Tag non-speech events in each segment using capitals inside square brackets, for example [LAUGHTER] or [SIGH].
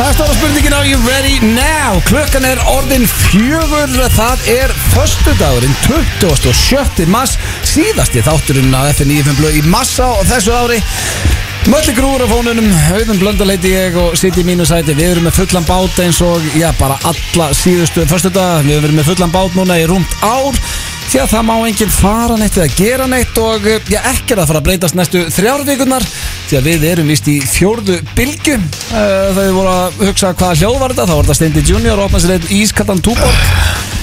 Það er stóra spurningin Are you ready now? Klukkan er orðin fjögur Það er föstudagurinn 27. mars Síðasti þátturinn á FN95 blöð í massa á þessu ári Mölli grúur á fónunum, auðum blöndaleiti ég og sitt í mínu sæti Við erum með fullan bát eins og já, bara alla síðustu föstudaga Við erum með fullan bát núna í rúmt ár Því að það má enginn fara neitt eða gera neitt og eh, já, ekki er að fara að breytast næstu þrjárvíkunar því að við erum vist í fjórðu bylgu Eh, þegar við vorum að hugsa hvaða hljóð var þetta þá var þetta Steindi Junior og opnaði sér einn ískattan túborg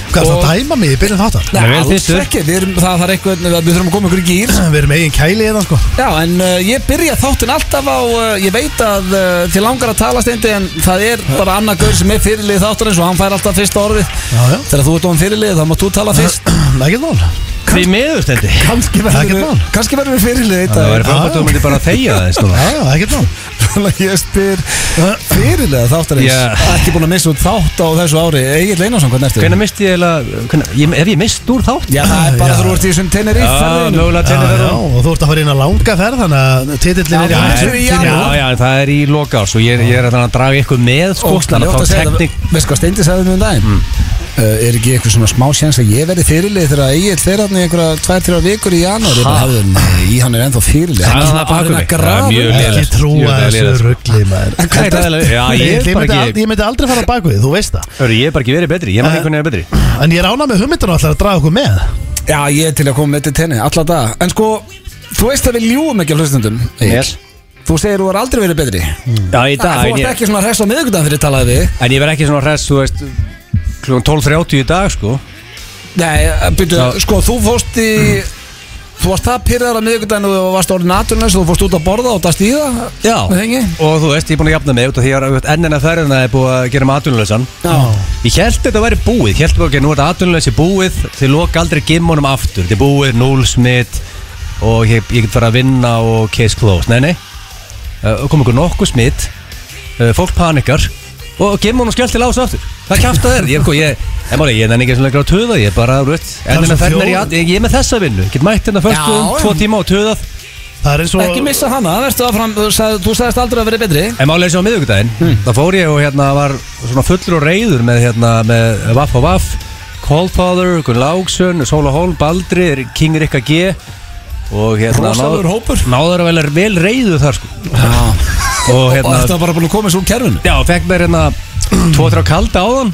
Hvað er það Og- að dæma mig í byrjun þáttar? Nei, Það er vel alls þýttur. ekki, við erum, það, það er eitthvað við þurfum að koma ykkur í gýr Við erum eigin kæli eða sko Já, en uh, ég byrja þáttinn alltaf á, uh, ég veit að uh, þið langar að tala steindi en það er bara annar gaur sem er fyrirlið þáttarins og hann fær alltaf fyrsta orðið Já, já. [CLEARS THROAT] Þegar þú ert ofan fyrirlið þá mátt þú tala fyrst Ekkert mál Því miður stendi Kanski Ekkert verður mál. kannski verður við fyrirlið eitt Það dag væri frábært að þú myndir bara að þegja þess núna Já, já, ekkert mál Þannig að ég spyr fyrirlið þáttarins Já. Ekki búin að missa út þátt á þessu ári Egil Einarsson, hvernig ertu? [LAUGHS] Hvernig misti ég eiginlega hvenær- ég- Ef ég mist úr þátt? Já, það er bara Já. þú ert í þessum tennir í Já, mögulega Já, tennir það já, nú og þú ert að fara inn að langa ferð Þannig að titillin er Já, það er í í hættu janúar. Já, já, en það er í lokás og ég, ég er að draga ykkur með sko, þannig að þá Mm. teknik Veist hvað Steindi sagði mér um daginn uh, Er ekki eitthvað svona smá séns að ég verði fyrirlið þegar að Egil fer hann í einhverja 2-3 vikur í janúar Ég bara hafði nei, í hann er ennþá fyrirlið Það er Hann það svona að reyna bakvið. að grafa Það er mjög upp. lélega. Ekki trúa Jú, það er þessu leiðilegt. ruggli maður Hvað er það? Já, ég Ég er myndi bara ald- ekki ég myndi aldrei fara að baku því, þú veist það Hörru, ég er bara ekki verið betri, ég man ekki hvernig ég er betri En ég er ánað með hugmyndinu alltaf að draga okkur með Já, ég er til að koma með til tenni, alla daga En sko, þú veist að við ljúum ekki á hlustundum Yes. Þú segir þú har aldrei verið betri Já, í dag, Þú en ert ég, ekki svona hress á miðvikudagen fyrir talaði við en ég verð ekki svona hress, þú veist Klukkan 12.30 í dag, sko Nei, byrju, Já. sko, þú fórst í Þú varst það pyrraður á miðvikudaginu og varst orðin naturlens og þú fórst út að borða og dast í það með þengi Og þú veist, ég er búin að jafna mig út af því að ennina ferðina er búið að gera mig atunlösan Já, Ég held þetta væri búið, ég held bara ekki að nú er þetta atunlösi búið Þið loka aldrei gimmunum aftur, þetta er búið, núl smitt Og ég, ég get fara að vinna og case closed Nei, nei, uh, kom ykkur nokkuð smitt uh, Fólk panikar Og gimmunum skjöld til ás aftur Það kjafta þér, ég, sko, ég, ég, ég, ég nenni ekki svona lengra að töða Ég er bara, þú veist, er ennina svo ferðina er í þjóð- at- ég, ég er með þessa vinnu Get mætt hérna fyrst um Já, tvo en- tíma og töðað Það er eins og ekki missa hana, verðstu áfram, þú sagði- þú sagðist aldrei að verið betri En málega eins og á miðvíkudaginn þá fór ég og hérna var svona fullur og reyður með hérna með Vaff og Vaff Coldfather, Gunn Láksson, Sóla Hólm, Baldri, King Rikka G og hérna Rosalegur hópur. náður að vel, vel reyðu þar sko Já, og og þetta hérna, var bara búin að koma svo úr kerfinu já, fekk mér hérna tvo, þrjá kalda áðan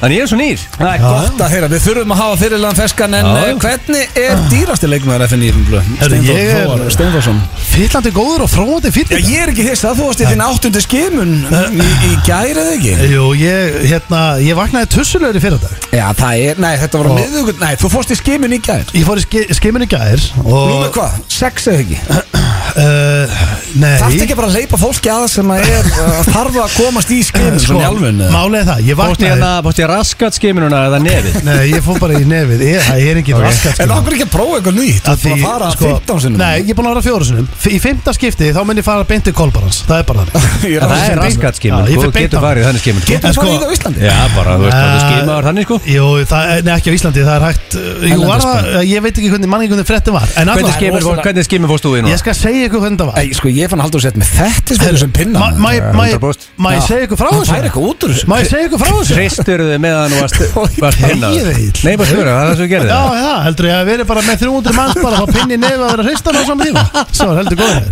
þannig ég er svo nýr Það er gott að heyra, við þurfum að hafa fyrirlegan feskan en Já. eh, hvernig er dýrasti leikmaður FN9 Herru, ég er- Steinforsson fyllandi góður og fróðandi Já, fyrir ég er ekki hissa, þú varst í þinn áttundi skimun í, í gærið ekki Jú, ég, hérna, ég vaknaði tussulegur í fyrir dag Já, það er, nei, þetta var á miðvikudaginn, nei, þú fórst í skimun í gær Ég fór í ski, skimun í gær Núna og, hvað, sex eða ekki? uh, Nei Þarftu ekki bara að leipa fólki aða sem að [LAUGHS] er uh, þarf að komast í skinn sko, svona í alvöru? Málið er það, ég Bótti vaknaði hérna, bótti ég raskat skiminuna eða nefið Nei, ég fór bara í nefið Ég, það er ekki okay. raskat En okkur ekki að prófa eitthvað nýtt Sko. Af sko, Þú ert búin að fara 15 sinnum [LAUGHS] Nei, ég er búin að fara fjóru sinnum F- Í fymta skipti, þá mun ég fara beint til kolbarans Það er bara þannig [LAUGHS] Ég er Það að- er raskat skimin, Já, ég þú fer beint getur á- farið í þannig skimin sko. Getur En þú farið í sko- það á Íslandi? Já, bara, þú veist, hvað þú Eh, skimaður þannig sko Jú, það, eh, nei, ekki á Íslandi, það er hægt eh, Jú, var Erlendis það, ég veit ekki hvernig, mann ekki hvernig frettin var En Hvernig alltaf, skimin fór- rosalega- Hvernig skimin fórst þú í núna? ég skal segja ykkur hvernig það var Ei, sko, ég fann haldur sett með þetta sem þessum pinna Ma- ma- Já, ma- 100%. Má ég segja ykkur frá Hann þessu? fær eitthvað út úr þessu. Má ég segja ykkur frá þessu? Hristur þið meðan og varst Oj, varst þegið hinnaður? Egill. Nei, bara spura, það er það sem við gerðum Já, já, heldur ég að verið bara með 300 manns bara að fá pinni nefn að vera hristan á saman tíma Svo er heldur góður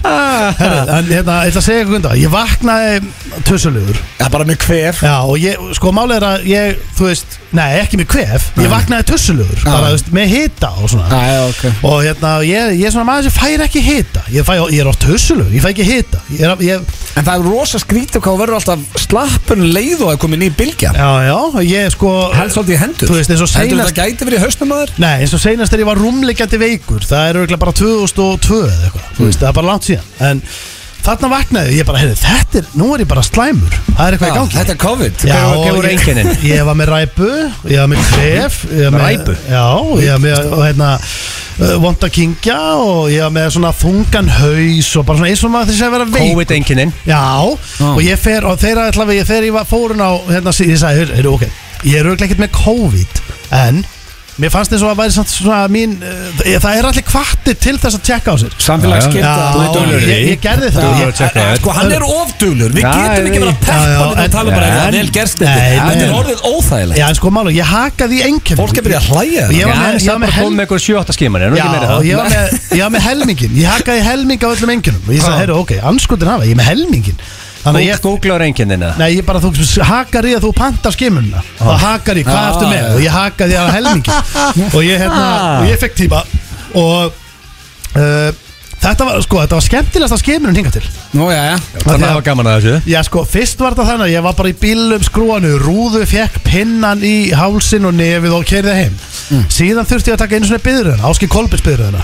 Herru, en hérna, ég ætla að segja ykkur hvernig það Ég vaknaði tussulegur Já, bara með kvef Já, og ég, sko, málið er að ég, þú veist Nei, ekki með kvef, ég vaknaði tussulegur Bara, þú veist, með hita og svona Já, já, ok Og hérna, ég, ég er svona maður sem fær ekki hita Ég, fæ, ég er á tussulur, ég fæ ekki hita ég er, ég, En það er rosa skrítið hvað þú verður alltaf slappun leið og að komin í bylgja Já, já, ég sko Helst svolítið í hendur Þú veist, eins og Heldur seinast- það gæti verið í hausnum að þér? Nei, eins og seinast þegar ég var rúmleikjandi veikur Það er auðvitað bara 2002 eða eitthvað Þú veist, það er bara langt síðan En þarna vaknaði ég, ég bara, heyrðu, þetta er Nú er ég bara slæmur, það er eitthvað í Já, gangi Þetta er COVID Já, Hver voru- hver og voru ég- einkennin? [LAUGHS] Ég var með ræpu, ég var með kref ég var með- Ræpu? Já, ég var með og, hérna, uh, vonda kingja og ég var með svona þungan haus og bara svona eins og maður þess að vera veik COVID-enginin Já, og ég fer og þeirra ætla að ég fer í fórun á hérna, sí- ég sagði, heyrðu, ok ég er auðvitað ekkert með COVID en Mér fannst eins og að væri samt svona mín uh, Það er allir kvartir til þess að tjekka á sér Samfélagsskylda Já, þú ert duglegur í því. ég, ég gerði Þú það ert að checka það. Sko, hann er ofduglur, við Já, getum ég ekki verið að veit. peppa Já, já, hann hérna og en- tala bara en- eitthvað vel gerst þetta Nei, Þetta nei. er orðið óþægilegt Já, en sko mála, ég hakaði í engjum Fólk er byrjað að hlæja Ég það var með- ég hann var samt með bara hel- komið með eitthvað 7-8 Já, skimar ég var, með, ég var með helmingin Ég hakaði helming á öllum engjunum Og ég sagði, Ha. heyrðu, ok, anskutin hafa, ég er með helmingin Þannig að ég Góklaður einkennina Nei, ég bara, þú hakar í að þú pantar skimmunna Þá hakar ég, hvað Ah. eftir með? Og ég hakaði á helmingi Og ég, hérna, Ah. og ég fekk tíma Og uh, þetta var, sko, þetta var skemmtilegasta skimmunum hingað til Nú, já, já Þannig að það var gaman að þessu Já, sko, fyrst var þetta þannig að ég var bara í bílum skrúanu Rúðu fekk pinnan í hálsin og nefið og kerði heim Mm. Síðan þurfti ég að taka einu svona byðröðina Áski Kolbins byðröðina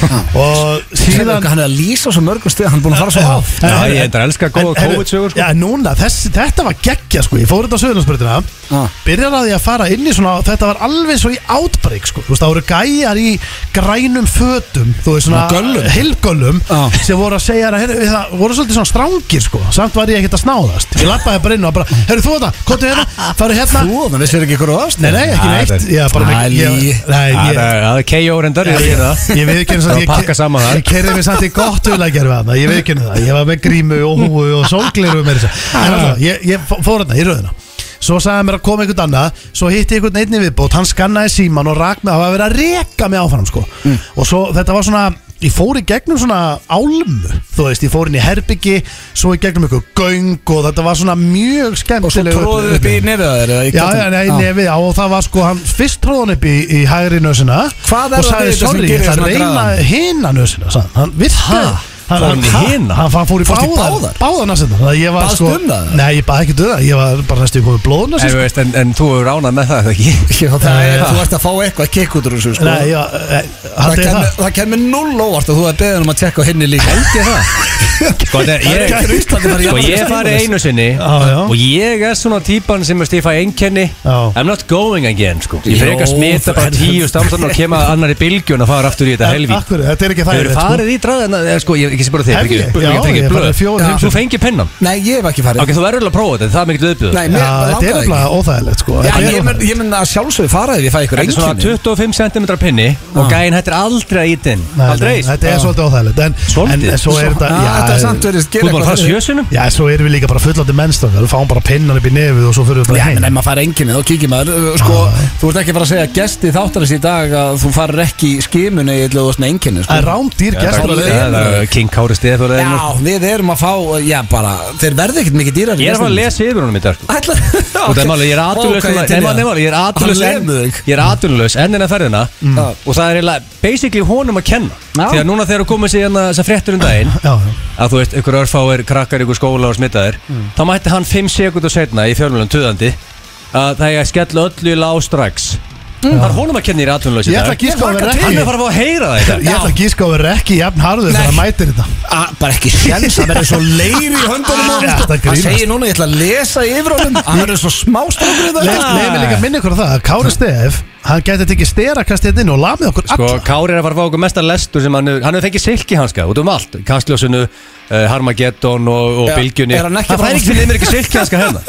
Ah. Og síðan Hann er að lýsa á svo mörgum stöð, hann er búin að fara svo hátt Já, ég reyndar elska góða En, heyrðu, COVID-sögur, sko. Já, núna, þess, þetta var geggja sko Ég fór þetta á söðunarsbyrðina Já. Byrjar að ég að fara inn í svona Þetta var alveg svo í outbreak sko Þú veist, það voru gæjar í grænum fötum Þú veist, svona Og göllum. Hilgöllum Já. Sem voru að segja að, heyrðu, það voru svolítið svona strangir sko Samt var ég ekkert að snáðast Ég lappaði bara inn og bara, heyrðu þú þetta, komdu hérna Farðu hérna Þú, þannig vissir ekki hverju ást Nei, nei, ekki Nei, neitt þetta- Ég var bara með- ég- nei, Já, ég- Það er- það er KO reyndar, ég veit það Ég veit ekki eins Það að var ég að pakka saman það. Ég kerði mig samt í gott hulagerfi að það Ég veit ekki eins það Ég var með grímu og húu og sólgleru með þess En alltaf, ég, ég fó- fór hérna í röðina Svo sagði hann mér að koma einhvern annað Svo hitti ég einhvern einni viðbót Hann skannaði síman og rak mig Það var verið að reka mig áfram sko Mm. Og svo þetta var svona Ég fór í gegnum svona álmu Þú veist, ég fór inn í herbyggi Svo í gegnum einhver göng Og þetta var svona mjög Og svo skemmtileg tróðu upp í nefið að þér eða í Já, göttin. já, nei, Já. nefið, já, og það var sko hann fyrst tróð hann upp í, í hægri nösina Hvað er og það við sagði, þetta sem sorry, ég gerir ætla að svona reyna graðan?" hina nösina, sagði hann. hann vilti Ha? Hann, Fór hann í ha? hina? Hann, hann fór í Fórst í báðar báðar? Báðar næsina Það ég var Baðst sko um það? Nei, ég baði ekki döða Ég var bara næstu komið blóð En, næsina þú veist, en, en þú hefur ránað með það, eða ekki? Já, það er, Já. þú ert að fá eitthvað kikk út úr þessu sko. Nei, já, eh, það, haldið þið kemur, það það kemur null óvart og þú er beðin um að tjekka á henni líka Held ég það Sko, þetta Það er- er ég- ekki að Íslandi bara Sko, jafnvel ég að fari Stefanes. einu sinni Já, já. og ég er svona típan sem veist, ég fæ einkenni Já. I'm not going again sko. Ég frekar Jó, smita bara þú- tíu stamsan og kemur annar í bylgjun og fara aftur í þetta helvík Akkur, þetta er ekki Þau það eru farið í draðina, eða sko, ég ekki sem bara þig, Hef ekki ég? upp, sko. Já, ekki ég fengið er farið blöð. fjóra, Já. fimm Þú sinnum. fengið pennan. Nei, ég hef ekki farið Ok, þú verður alveg að prófa þetta, það er mikið Nei, auðbjöð. mér Já, þetta langaði er ekki nefnilega óþægilegt sko Já, Þetta ég er mun, ég mun að sjálfsögðu fara ef ég fæ ykkur Þetta er svona einkenni 25 cm pinni og gæinn hættir aldrei að íta inn. Nei, Aldrei. nei, Þetta er svolítið óþægilegt en- Svolítið? En svo er þetta Já, já, eh, þetta er samt verið að Þú gera er bara að fara fyrir- sjösunum? Já, svo erum við líka bara fullandi mennstofn Við fáum bara pinnan upp í nefið og svo fyrir við Já, bara menn heim ef maður fara enginni, þá kíkir maður uh, Sko, þú ert ekki að fara að segja gesti þáttarins í dag að þú farir ekki í skimunni eða þú ert með enginni sko. Það er rámdýr Já, gestur bara- að það- leiða það- það- King Kári Stef og það er Já, við erum að fá, uh, já bara Þeir verði ekkert mikið dýrar Ég er að fara að lesa yfir honum í dag sko. Ætla, [LAUGHS] Og það er málið, ég er atvinnulaus núna- Nei, málið, málið, Ég er atvinnulaus Hann enn- lemur þig. Mm. Ég er atvinnulaus enn en að ferðina Og það er eiginlega basically honum að kenna Já. Þegar núna þegar þú komið sér hérna þessar fréttur um daginn Já, já að þú veist, ykkur örfáir, krakkar, ykkur skóla og smittaðir þá mætti hann 5 sekundur setna í fjölmjölum tuðandi að það er að skella öllu í lá strax það er honum að kenna í ratunlösi Ég ætla að gíska á að vera hann er að ekki fara að fá að heyra það Ég ætla að gíska á að vera ekki jafn harður Nei. þegar hann mætir þetta A- bara ekki sjens, hann verður svo leiri í höndunum á honum, Ja, sko. þetta hann grínast. segir núna ég ætla að lesa yfir honum hann verður svo smástrókur í það Leif leif mér líka að minna ykkur á það að Kári Stef Hann gæti tekið sterakast hérna inn og lamið okkur Sko, alla Kári er að fara að fá okkur mesta lestur sem hann hefur, hann hefur fengið silki hanska út um allt, kastljósinu, uh, Harmageddon og, og Já, bylgjunni er hann ekki að fær fá- ekki fyrir mér ekki silki hanska hérna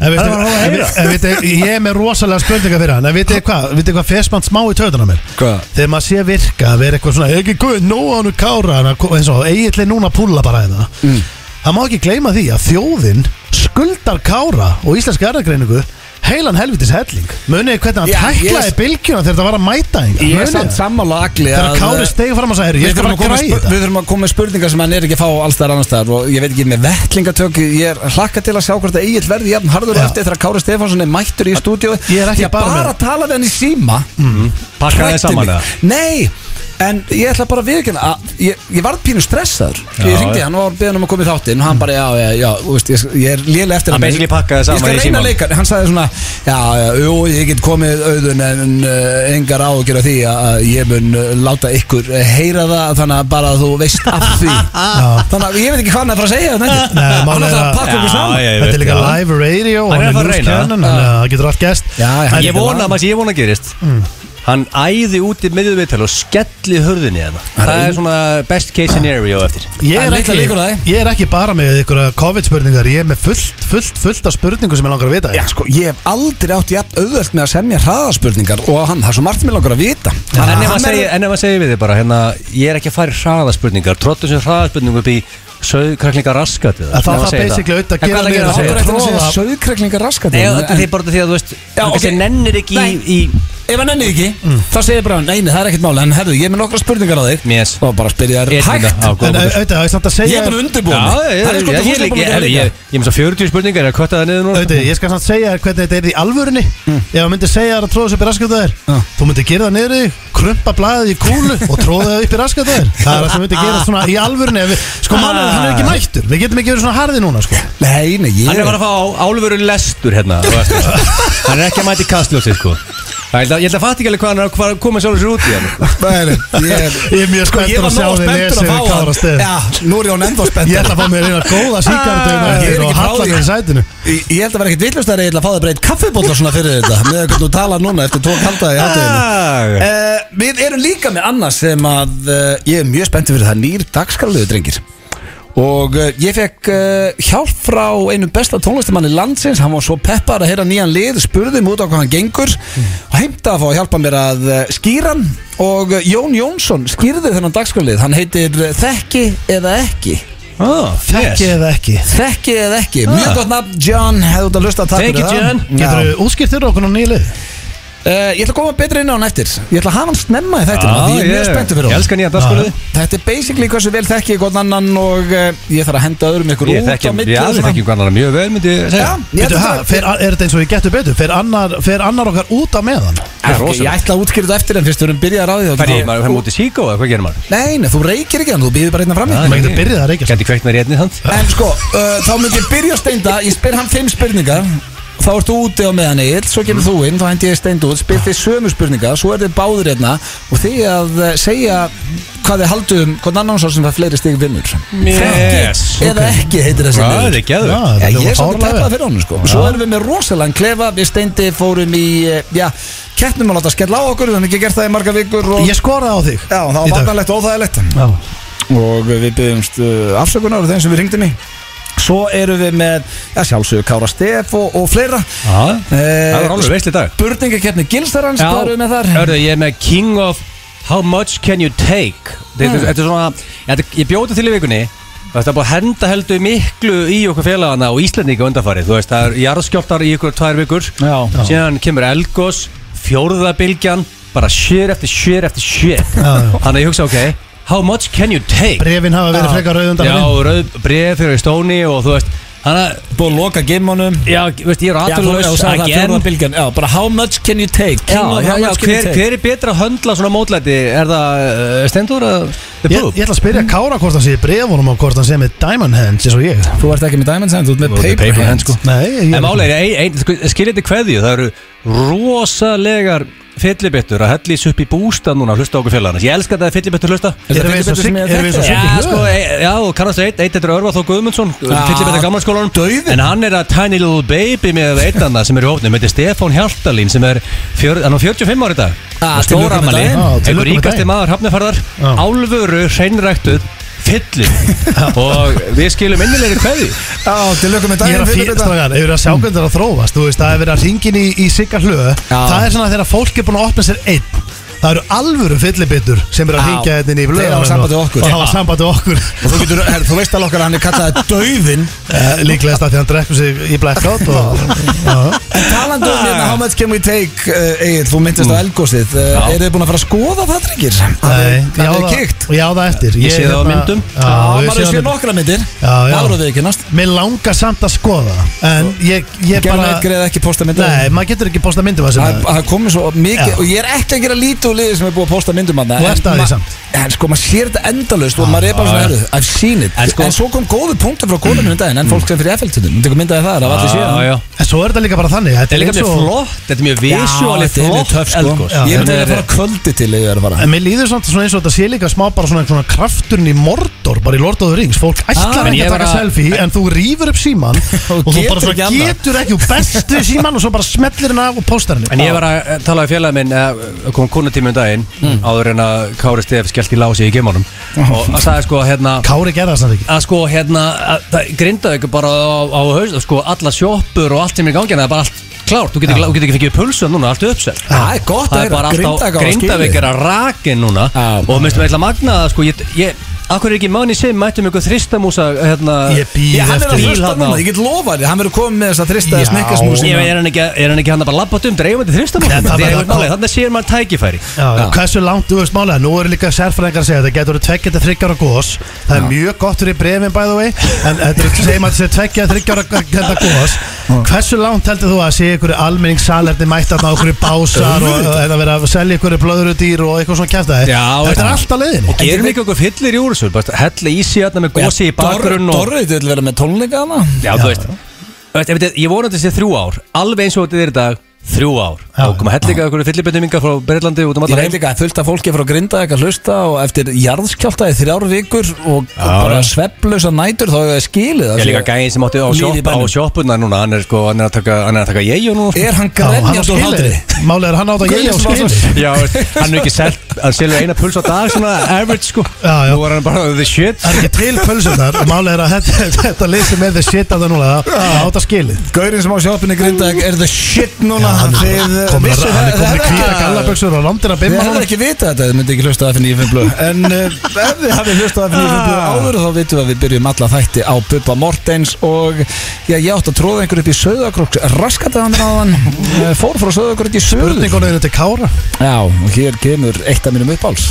En veitu- en veitu- en veitu, Ég er með rosalega spurninga fyrir hann En veitu hvað, veitu hvað fes mann smá í töðuna mér Hvað? Þegar maður sé virka að vera eitthvað svona Ekki guð, nóa hannu Kára hann eins og eiginlega núna að púlla bara hérna Mm. Það má ekki gleyma því að þjóðin skuldar Kára og íslenska erðagreiningu heilan helvitis helling Munið þið hvernig Já, hann ég- tæklaði bylgjuna þegar það var að mæta hingað? ég Munið er þið samt það? sammála agli eh, Þegar Kári stegi fram og sagði, "Heyrðu, Við ég skal þurfum, að bara koma, græði með spur- þetta við þurfum að koma með spurningar sem hann er ekki að fá alls þar annars þar og ég veit ekki með vettlingatök ég er hlakka til að sjá hvort að Egil verði jafn harður Já. eftir þegar Kári Stefánsson er mættur í stúdíu Ég er ekki ég bara með- bara að tala við hann í síma Mhm. pakka það hræddi saman mig. það Nei, en ég ætla bara að viðkynna að ég, ég varð pínu stressaður Ég Já. ringdi hann og var beðin um að koma í þáttinn og hann bara, já, já, já, þú veist, ég, ég er lélega eftir Hann hann basically pakkaði saman Ég í skal reyna símann. að leika, hann sagði svona Já, já, jú, ég get komið auðun en uh, engar ágjur af því að að ég mun uh, láta ykkur heyra það þannig að bara þú veist af [LAUGHS] því Þannig að ég veit ekki hvað hann er að fara að segja um þetta Nei, Hann ætlaði málið er að að- pakka okkur Já, saman já, ég Þetta veit er líka það. live radio Hann Hann er er að fara að reyna. lúskennan, það getur allt gest Já, já, En- Ég vona að maður sé, ég vona að gerist Hann æði út í miðjum viðtal og skelli hurðinni hérna Það er svona best case scenario eftir Ég Það er, er litlar líkur á því. ekki, ég er ekki bara með einhverja COVID-spurningar Ég er með fullt, fullt, fullt af spurningum sem ég langar að vita Já, sko, ég hef aldrei átt jafn auðvöld með að semja hraðaspurningar og hann, það er svo margt mér langar að vita En Hann- ef hann maður er- segir- en ef maður segir við þig bara hérna, Ég er ekki að fara í hraðaspurningar Trottu sem hraðaspurningu upp í Söðkraklinga raskat við Það- Ef maður það segir basically auðvitað En hvað gera það meira að gerir að Hann segja? er segja eftir að segja Tróða- söðkreklingar raskat Nei, hérna, þetta er bara því að þú veist Já, Hann kannski ok. nennir ekki í, í Ef hann nennir ekki, þá segir bara Nei, nei, það er ekkert máli, en herðu, ég er með nokkra spurningar á þig Yes. Og bara spyrja þér Ég er hægt þetta, á, góða En punktur. au- auðvitað, það er samt að Ég segja er bara Já, undirbúin ég, Það er ég, sko ég, þú ég, sem ég, búin að ég, líka ég, ég er með svo 40 spurningar, ég er að kvötta það niður núna Auðvitað, ég skal samt segja þér hvernig þetta er í alvörunni Ef hann myndi segja þér að tróða þessu upp í raskatu þér Mm. Já. Þú myndi gera það niður í þig, krumpa blaðið í kúlu og tróða það upp í raskatu þér Það er það sem myndi Ah. gera svona í alvörunni ef við- Sko mannur, hann er ekki mættur, við getum ekki verið svona harði núna sko. Nei, nei, ég Hann er bara að fá álveru lestur hérna [LAUGHS] á eftir. Hann er ekki að mæti kastljósið sko Það, ég held að- ég held að fatta ekki alveg hvað hann er að hvað koma sjálfur sér út í hann Nei, nei, ég er Ég er mjög Sko, ég spenntur var að sjá nóg þig spenntur lesa að yfir fá Kára hann Stef. Já, nú er ég án ennþá Ég spenntur ætla að fá mér eina góða síkardum Ah, ég er eftir ekki og frá halla því. mér í sætinu Ég ég held að vera ekkert villust að ég ætla að fá það breytt kaffibólla svona fyrir þetta með að þú tala núna eftir tvo kaldaði í hátteginu Ah. Uh, við erum líka með annars sem að uh, ég er mjög spenntið fyrir það nýr dagskarlegu drengir og uh, ég fekk uh, hjálp frá einum besta tónlistamanni landsins hann var svo peppar að heyra nýjan lið spurðum út á hvað hann gengur og heimta að fá að hjálpa mér að uh, skýra hann og uh, Jón Jónsson skýrði þennan dagskarlið hann heitir uh, Þekki eða ekki Ah, Ekki yes. eða ekki Þekki eða ekki, Ah. mjög gott nafn John, hefðu út að hlusta takk Thank fyrir you, það. John. Já. Getur þú útskýrt þér okkur á nýlið? Eh, Ég ætla að koma betra inn á hann eftir Ég ætla að hafa hann snemma í þættinum Ah, Því ég er mjög ég- spenntur fyrir Ég hann elska nýja dagskóliði Þetta er basically hversu vel þekki ég gott annan og uh, ég þarf að henda öðrum ykkur Ég út þekki, á milli ég og alveg svona. þekki hvernig hann mjög vel myndi ég Já, segja ég Bíddu, ætla ha, að fer, er þetta eins og ég getur betur? Fer annar, fer annar okkar út á meðan? Það Ok, Ég er rosalegt. ætla að útskýra þetta eftir en fyrst við erum byrjað að ráði Fær ég, maður fær mútið síkó eða hvað gerir maður? Nei, nei, þú reykir ekki hann, þú býður bara einna Ah, frammi maður getur byrjað að reykja. sko. Gæti kveikt mér í einni þand En sko, uh, þá myndi ég byrja á steinda Ég spyr hann fimm spurningar Þá ert þú úti á meðan eitt, svo kemur þú inn Þá hendi ég steind út, spyr þið sömu spurningar Svo er þið báður hérna Og þið að eh, segja hvað þið haldum Hvort annan sá sem það fleiri stig vinnur Yes. Þekki Eða ekki heitir þessi Það liður. er geðvögt Já, Já, þetta ég hljómar er svolítið fáránlega vel. peppað fyrir honum sko Svo erum við með rosalega klefa Við steindi fórum í, eh, já, keppnum að láta skella á okkur Við höfum ekki gert það í marga vikur og, Ég skoraði á þig Já, það í var dag. vatnalegt og óþægilegt Já. Og við byggjumst uh, afsökunar af þeim sem við ringdum í Svo erum við með, já, sjálfsögur Kára Stef og, og fleira Já, Það Það var alveg veist í dag Spurningakeppni Gilstarans, Já. hvað erum við með þar? Hörðu, ég er með King of How much can you take Þetta er- þetta er svona þetta, Ég bjóti til í vikunni og Þetta er búið að henda heldur miklu í okkur félagana og Íslendinga undanfarið Þú veist, það er jarðskjálftar í ykkur tvær vikur Já. Síðan kemur Elgos, fjórðabilgjan Bara sér eftir sér eftir sér já. Þannig að ég hugsa, ok How much can you take? Brefin hafa verið frekar rauðundar Já, rauð, bref fyrir stóni og þú veist Þannig að, Búið að loka gimmunum já, veist, ég er Já, þú veist, þú aðurlaus sagði það again fjóra bylgjan Já, bara how much can you take? King Já, of já, how já, much can you hver, take? hver er betra að höndla svona mótlæti? Er það uh, Stendur að The Ég, Poop? ég ætla að spyrja Kára hvort hann sé í brefunum og hvort hann sé með diamond hands eins og ég Þú ert ekki með Diamond Hand, þú ert með Þú ert með Paper, paper hand, Hand sko. Nei, ég En málega, skilir þetta sko, kveðju, það eru rosalegar fyllibittur að hella þessu upp í bústa núna að hlusta á okkur félagarnas. Ég elska þetta að fyllibittur hlusta. Erum við eins og sigg- erum við eins og Já, sigg í sko, höfðinu? e- já, og kannast eitt, eitt þetta er Örvað Þó Guðmundsson, Já, fyllibittur gamla skólanum. dauðinn. En hann er að tiny little baby með eitt annað sem er í hófnum, þetta er Stefán Hjaltalín sem er, fjör, hann er 45 ári í dag. Ah, Og stór til lukku með afmæli, daginn. Já, til einhver lukku með ríkasti daginn. maður hafnafarðar, Já. álfuru, hreinræktuð, [LAUGHS] fyllir. og við skilum innilegri kveðju. Já, til lökum með Ég er daginn að fyrir fyrirbytta. stragan, ef við erum að sjá hvernig það er að þróast Þú veist, það er verið að ringin í, í sigga hlöðu Það er svona þegar fólk er búin að opna sér einn Það eru alvöru fyllibittur sem er að Já. ringja þetta inn í Þeir blöðan hafa samband við okkur. Og hafa sambandi [LAUGHS] okkur Og þú getur, her, þú veist alveg okkar að hann er kallaði Dauðin Eh, Líklegast að því hann drekkur sig í blackout og, já. En talandi um hérna, how much can we take uh, Egil, þú myndist Mm. á elgósið uh, Já. Eru þið búin að fara að skoða það, drengir? Nei, Það ég á er það- kikt Ég á það eftir Ég sé það á hérna- myndum. Já, Já, ég maður sé hefur séð það á myndum. nokkra myndir Já, já. Það voruð þið ekki næst Mér langar samt að skoða það, En ég, ég Gerðum bara eitt greið ekki posta myndir Nei, maður getur ekki posta myndum að sem Það það það komið svo Já. mikið Og ég er ekki að gera lítið úr liðið sem er búið að posta myndum hann Þú ert að því samt. En sko, maður sér þetta endalaust og maður er bara Já, svona já. herðu I've seen it En En, sko- svo kom góðu punktur frá konum minn um daginn En fólk sem fyrir FL-tutum Þú tekur myndaði það, það var allir Já, síðan já. En svo er þetta líka bara þannig Þetta Þetta er er líka eins mjög og- flott, þetta er mjög visuáli þetta er mjög flott töff sko eldgos. Já. Ég myndi Þetta að er- fara kvöldi til ef ég er að fara En mér líður samt svona eins og þetta sé líka smá bara svona, svona krafturinn í Mordor bara í Lord of the Rings, fólk ætlar Ah, en ekki ég að var taka að- selfie en þú rýfur upp [LAUGHS] síman og þú getur bara ekki svona annað. getur ekki og bestu síman og svo bara smellir henni af og postar henni En ég var að eh, tala við félagin minn eh, kom konutími um daginn áður en að Kári Stef skellt í lási í geimánum og að sagði sko hérna Kári gerða það ekki að sko hérna að, það grindaði ekki bara á, á haust sko alla sjoppur og allt sem er í gangi það er bara allt klárt, þú getur ekki, þú getur ekki fengið pulsu núna, allt er uppsett Það er gott að það er bara alltaf grindavík er að rakin núna Já, og minnst við ætla að magna það sko ég, ég, akkur er ekki manni sem mættum ykkur þristamúsa hérna, Ég bíð Ég, hann er eftir að bíl hlusta þarna á. núna, ég get lofa þér Hann verður komið með þess að þrista hérna. Já. að snikka smúsin ég veit, er hann ekki, er hann ekki hann að bara labba um dreifandi þristamúsa Þetta þannig bara- að þannig sér maður tækifæri Já, já. Hversu langt, þú veist málega, nú eru líka sérfræðingar að segja þetta getur tveggja til þryggjara gos það er mjög gott fyrir brefin by the way en þetta er segjum að þetta sé tveggja til þryggjara gos hversu langt heldur þú að sé ykkur almenningssalerni mættatna á ykkur básar og og þetta verið að selja ykkur blöðurudýr og eitthvað svona kæftæði Já, þetta já. er allt að leiðinni og gerum ekki okkur fyllir í úr þessu bara hella í síðan með gósi í bakgrunn og Dorrið vil vera með tónleika hana Já, þú veist, þú veist ef þetta- Ég vonandi þessi þrjú ár Alveg eins og þetta er í dag Þrjú ár Já, Og koma hellinga ykkur fyllibendingar frá Breitlandi út um Ég allar reyndi heim líka að fullta fólki frá grinda að hlusta og eftir jarðskjálta í þrjár vikur og bara já. svepplösa nætur þá hefur það skilið Ég það er líka sé- gæðin sem átti á, Líf í sjopp, á bænum. sjoppunar núna Hann er, sko, hann er að taka, hann er að taka ég og nú sko. Er hann Já, hann á grenjast úr skilið hátri? Málið er hann átt að ég á skilið Já, veist, hann er ekki selt Hann selur eina puls á dag svona average sko Já, já. Nú er hann bara the shit Það er ekki til pölsunar og málið er að þetta, þetta leysi með þið shit að það núna átt að skilið Gaurinn sem á sjóppinni grinda er the shit núna hann þið- Komur vissu að hann er það- komin í það- kvíra gallaböksur og landir að Við bimma hefum hann ekki vitað þetta, þið myndi ekki hlusta að FNÍ 5 blöð En uh, ef þið hafið hlustað að FNÍ 5 blöð áður þá vitum við að við byrjum alla þætti á Bubba Mortens og já, ég átt að tróða einhver upp í Söðakróks raskataðan ráðan uh, fór frá Söðakróks í Söður Spurningunum er til Kára Já, og hér kemur eitt af mínum uppáls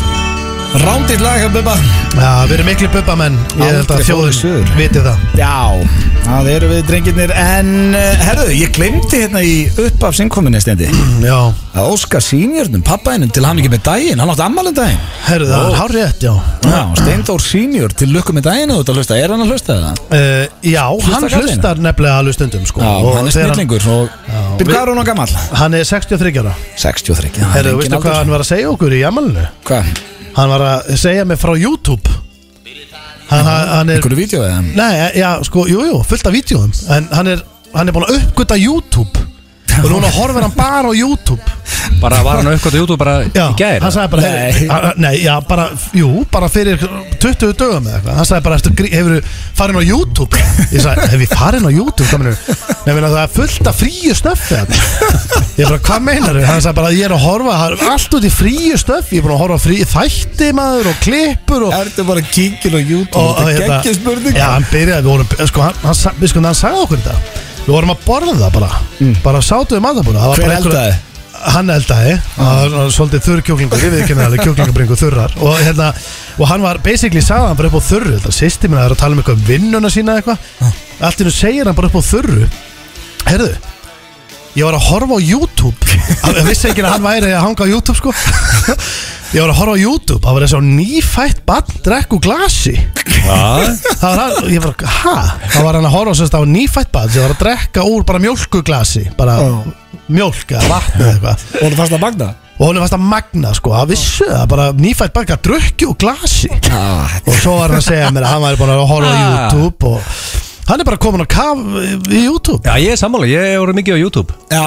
Rándið lag af Bubba Já, við erum miklu bubba menn Ég held að Aldrei fórum þjóðin suður. viti það Já, það eru við drengirnir En uh, herðu, ég glemdi hérna í uppaf sinnkominni stendi Já, að Óska sínjörnum, pappaðinum til hann ekki með daginn Hann átt ammalen daginn herðu það, oh. hár rétt, já Já, Steindór sínjör til lukku með daginn ef Þú ert að hlusta, er hann að hlusta það? uh, Já, hann kallinn? hlustar nefnilega alveg stundum sko. Já, Og hann er þegar snillingur og... Býr, hvað er hún á gammal? Hann er 63 ára 63 já, það er Herðu, engin veistu aldur. hvað hann var að segja okkur í jamalinu? Hvað? Hann var að segja mig frá YouTube Hann, hann, hann er Einhverju vídeo eða? Nei, já, sko, jú, jú, fullt af vídjóum En hann er, hann er búin að uppgöta YouTube Og núna horfir hann bara á YouTube Bara var hann aukvæmt á YouTube bara Já, í gæri hann sagði bara Nei. hey, hann- Nei, já, bara, jú, bara fyrir 20 dögum eða eitthvað Hann sagði bara, "Ertu grí- hefur þú farin á YouTube? Ég sagði, hefur ég farin á YouTube? Hvað meinarðu? Nei, meina, það er fullt af fríu stöffi þarna. Ég bara, hvað meinar þau? Hann sagði bara, ég er að horfa hann er Allt út í fríu stöffi, ég er búin að horfa á frí þætti maður og klippur og Ertu bara kíkil á YouTube? og Þetta hérna- er geggjum spurning Já, hann byrjaði, við vorum, sko, hann, hann, sa- við sko, hann sagði okkur þetta Við vorum að borða það bara Bara sátum við matabúna Mm. Hver eldaði? Ah. Hann eldaði, það var svolítið þurr kjúklingur, ég viðkynna alveg kjúklingabringu þurrar og, hérna, og hann var, basically sagði hann bara upp á þurru, þetta sýsti minna er að tala um eitthvað um vinnuna sína Ah. eða eitthvað, allt í nú segir hann bara upp á þurru, herðu, ég var að horfa á YouTube [LAUGHS] Hann- ég vissi ekki að hann væri að hanga á YouTube sko [LAUGHS] ég var að horfa á YouTube það var þess að nýfætt barn drekku glasi það var hann, ég var að, hæ það var hann að horfa sérst á nýfætt barn sem var að drekka úr bara mjólkuglasi bara mjólk eða vatn eða eitthvað Og hún er fast að magna? og honum fannst að magna sko, að vissu það bara nýfætt barn að drukki úr glasi Ah, og svo var hann að segja mér að hann væri búin að horfa á Ah. YouTube og hann er bara komin á kaf í YouTube Já, ég er sammála, ég er mikið á YouTube já,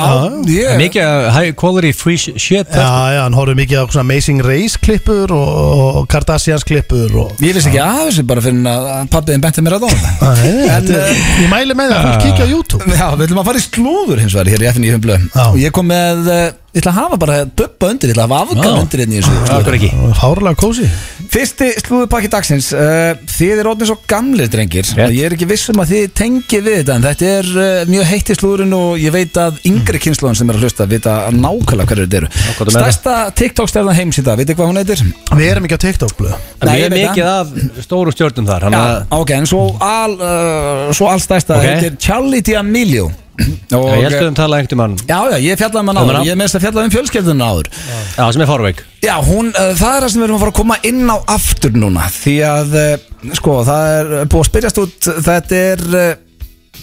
ég Mikið af high quality free sh- shit Já, já, hann horfði mikið á svona Amazing Race klippur og, og Kardashians klippur og Ég veist ekki að þessu bara fyrir að pappiðin benti mér að dóna Æ, En, þetta, er- Ég mæli með það uh, að fólk kíkja á YouTube [LAUGHS] Já, við ætlum að fara í slúður hins vegar hér í FNÍ 5 blöð Já. Og ég kom með, eh, ég ætla að hafa bara bubba undir, ég ætla að hafa afgan Já. undir hérna í þessu slúðri. Akkur ekki Fárlega kósi Fyrsti slúðupakki dagsins uh, Þið er orðin svo gamlir drengir Rétt. og Ég er ekki viss um að þið tengið við þetta En þetta er uh, mjög heitt í slúðurinn Og ég veit að yngri kynnslóðin sem er að hlusta Vita nákvæmlega hverju þetta hvað eru þú meinar. Stærsta TikTok-stærðan heims í dag Vitið hvað hún heitir? Við erum ekki á TikTok blöð Nei, En Við ég erum veit mikið af stóru stjórnum þar Já, Þannig að Ah, ok, en svo, al, uh, svo allstærsta Ok. heitir Charlie D'Amelio og, uh, ég held að við um tala einhvern mann Já, já, ég fjallaði um hann áður, Gaman á. ég meðst að fjallaði um fjölskeldunum áður Já, sem er farveik Já, hún, uh, það er það sem við erum að fara að koma inn á aftur eh, núna Því að, uh, sko, það er uh, búið að spyrjast út Þetta er uh,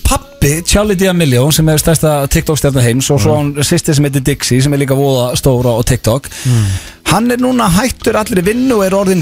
pappi, Charlie D'Amelio sem er stærsta TikTok-stjarnar heims og svo hann sýsti sem heitir Dixie sem er líka voða stóra á TikTok hann er núna hættur allir vinnu og er orðin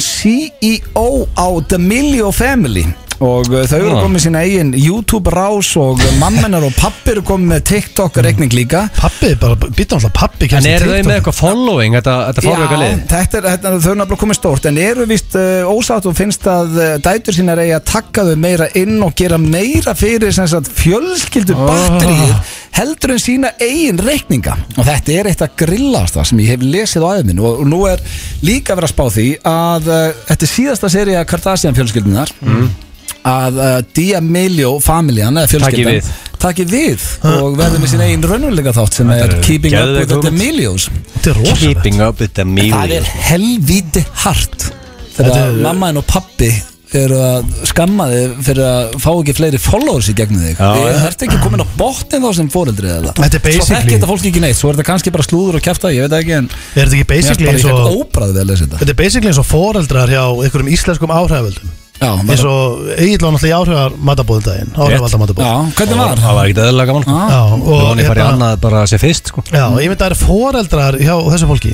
CEO á D'Amelio Family og uh, þau eru Ah. komið sína eigin YouTube-rás og mammenar og pappi eru komið með TikTok-regning líka Pappi, bara, býta alltaf pappi En kemst í eru þau TikTok. með eitthvað following Þetta, þetta fórleika lið þetta er, þetta er þau eru náttúrulega komið stórt en eru vist uh, ósátt og finnst að uh, dætur sínar eigi að taka þau meira inn og gera meira fyrir sem sagt fjölskyldu Ah. batterið heldur en sína eigin reikninga og þetta er eitt að grillast það sem ég hef lesið á aðeiminn og, og nú er líka verið að spá því að uh, þetta er síðasta serið að Kardashian fjölskyldunar Mm. að uh, D'Amelio familjan eða fjölskyldan Taki við. taki við og verður með sín eigin raunuleika þátt sem er er Keeping Up geðveik With The hugmynd. D'Amelios Þetta er rosalegt Keeping up with Það the er million helvíti hart Þetta Þegar er- mamma henn og pappi eru að skamma þig fyrir að fá ekki fleiri followers í gegnum þig Já, Það já. ert ekki komin á botnin þá sem fóreldri eða Þetta er Svo þekki basically- þetta fólk ekki neitt, svo er þetta kannski bara slúður og kjafta, ég veit það ekki en Er þetta ekki basically Mér eins er bara og ekki óbræð við að lesa þetta Þetta er basically eins og foreldrar hjá einhverjum íslenskum áhriföldum Já, eins bara, og Egil var náttúrulega í áhrifar matabóðum daginn áhrifalda já matabóð hvernig var? Það var ekkert eðla gaman sko. Ah. Já, Við og vonum ég farið hérna- annað bara að sé fyrst sko. Já, ég myndi að það er foreldrar hjá þessu fólki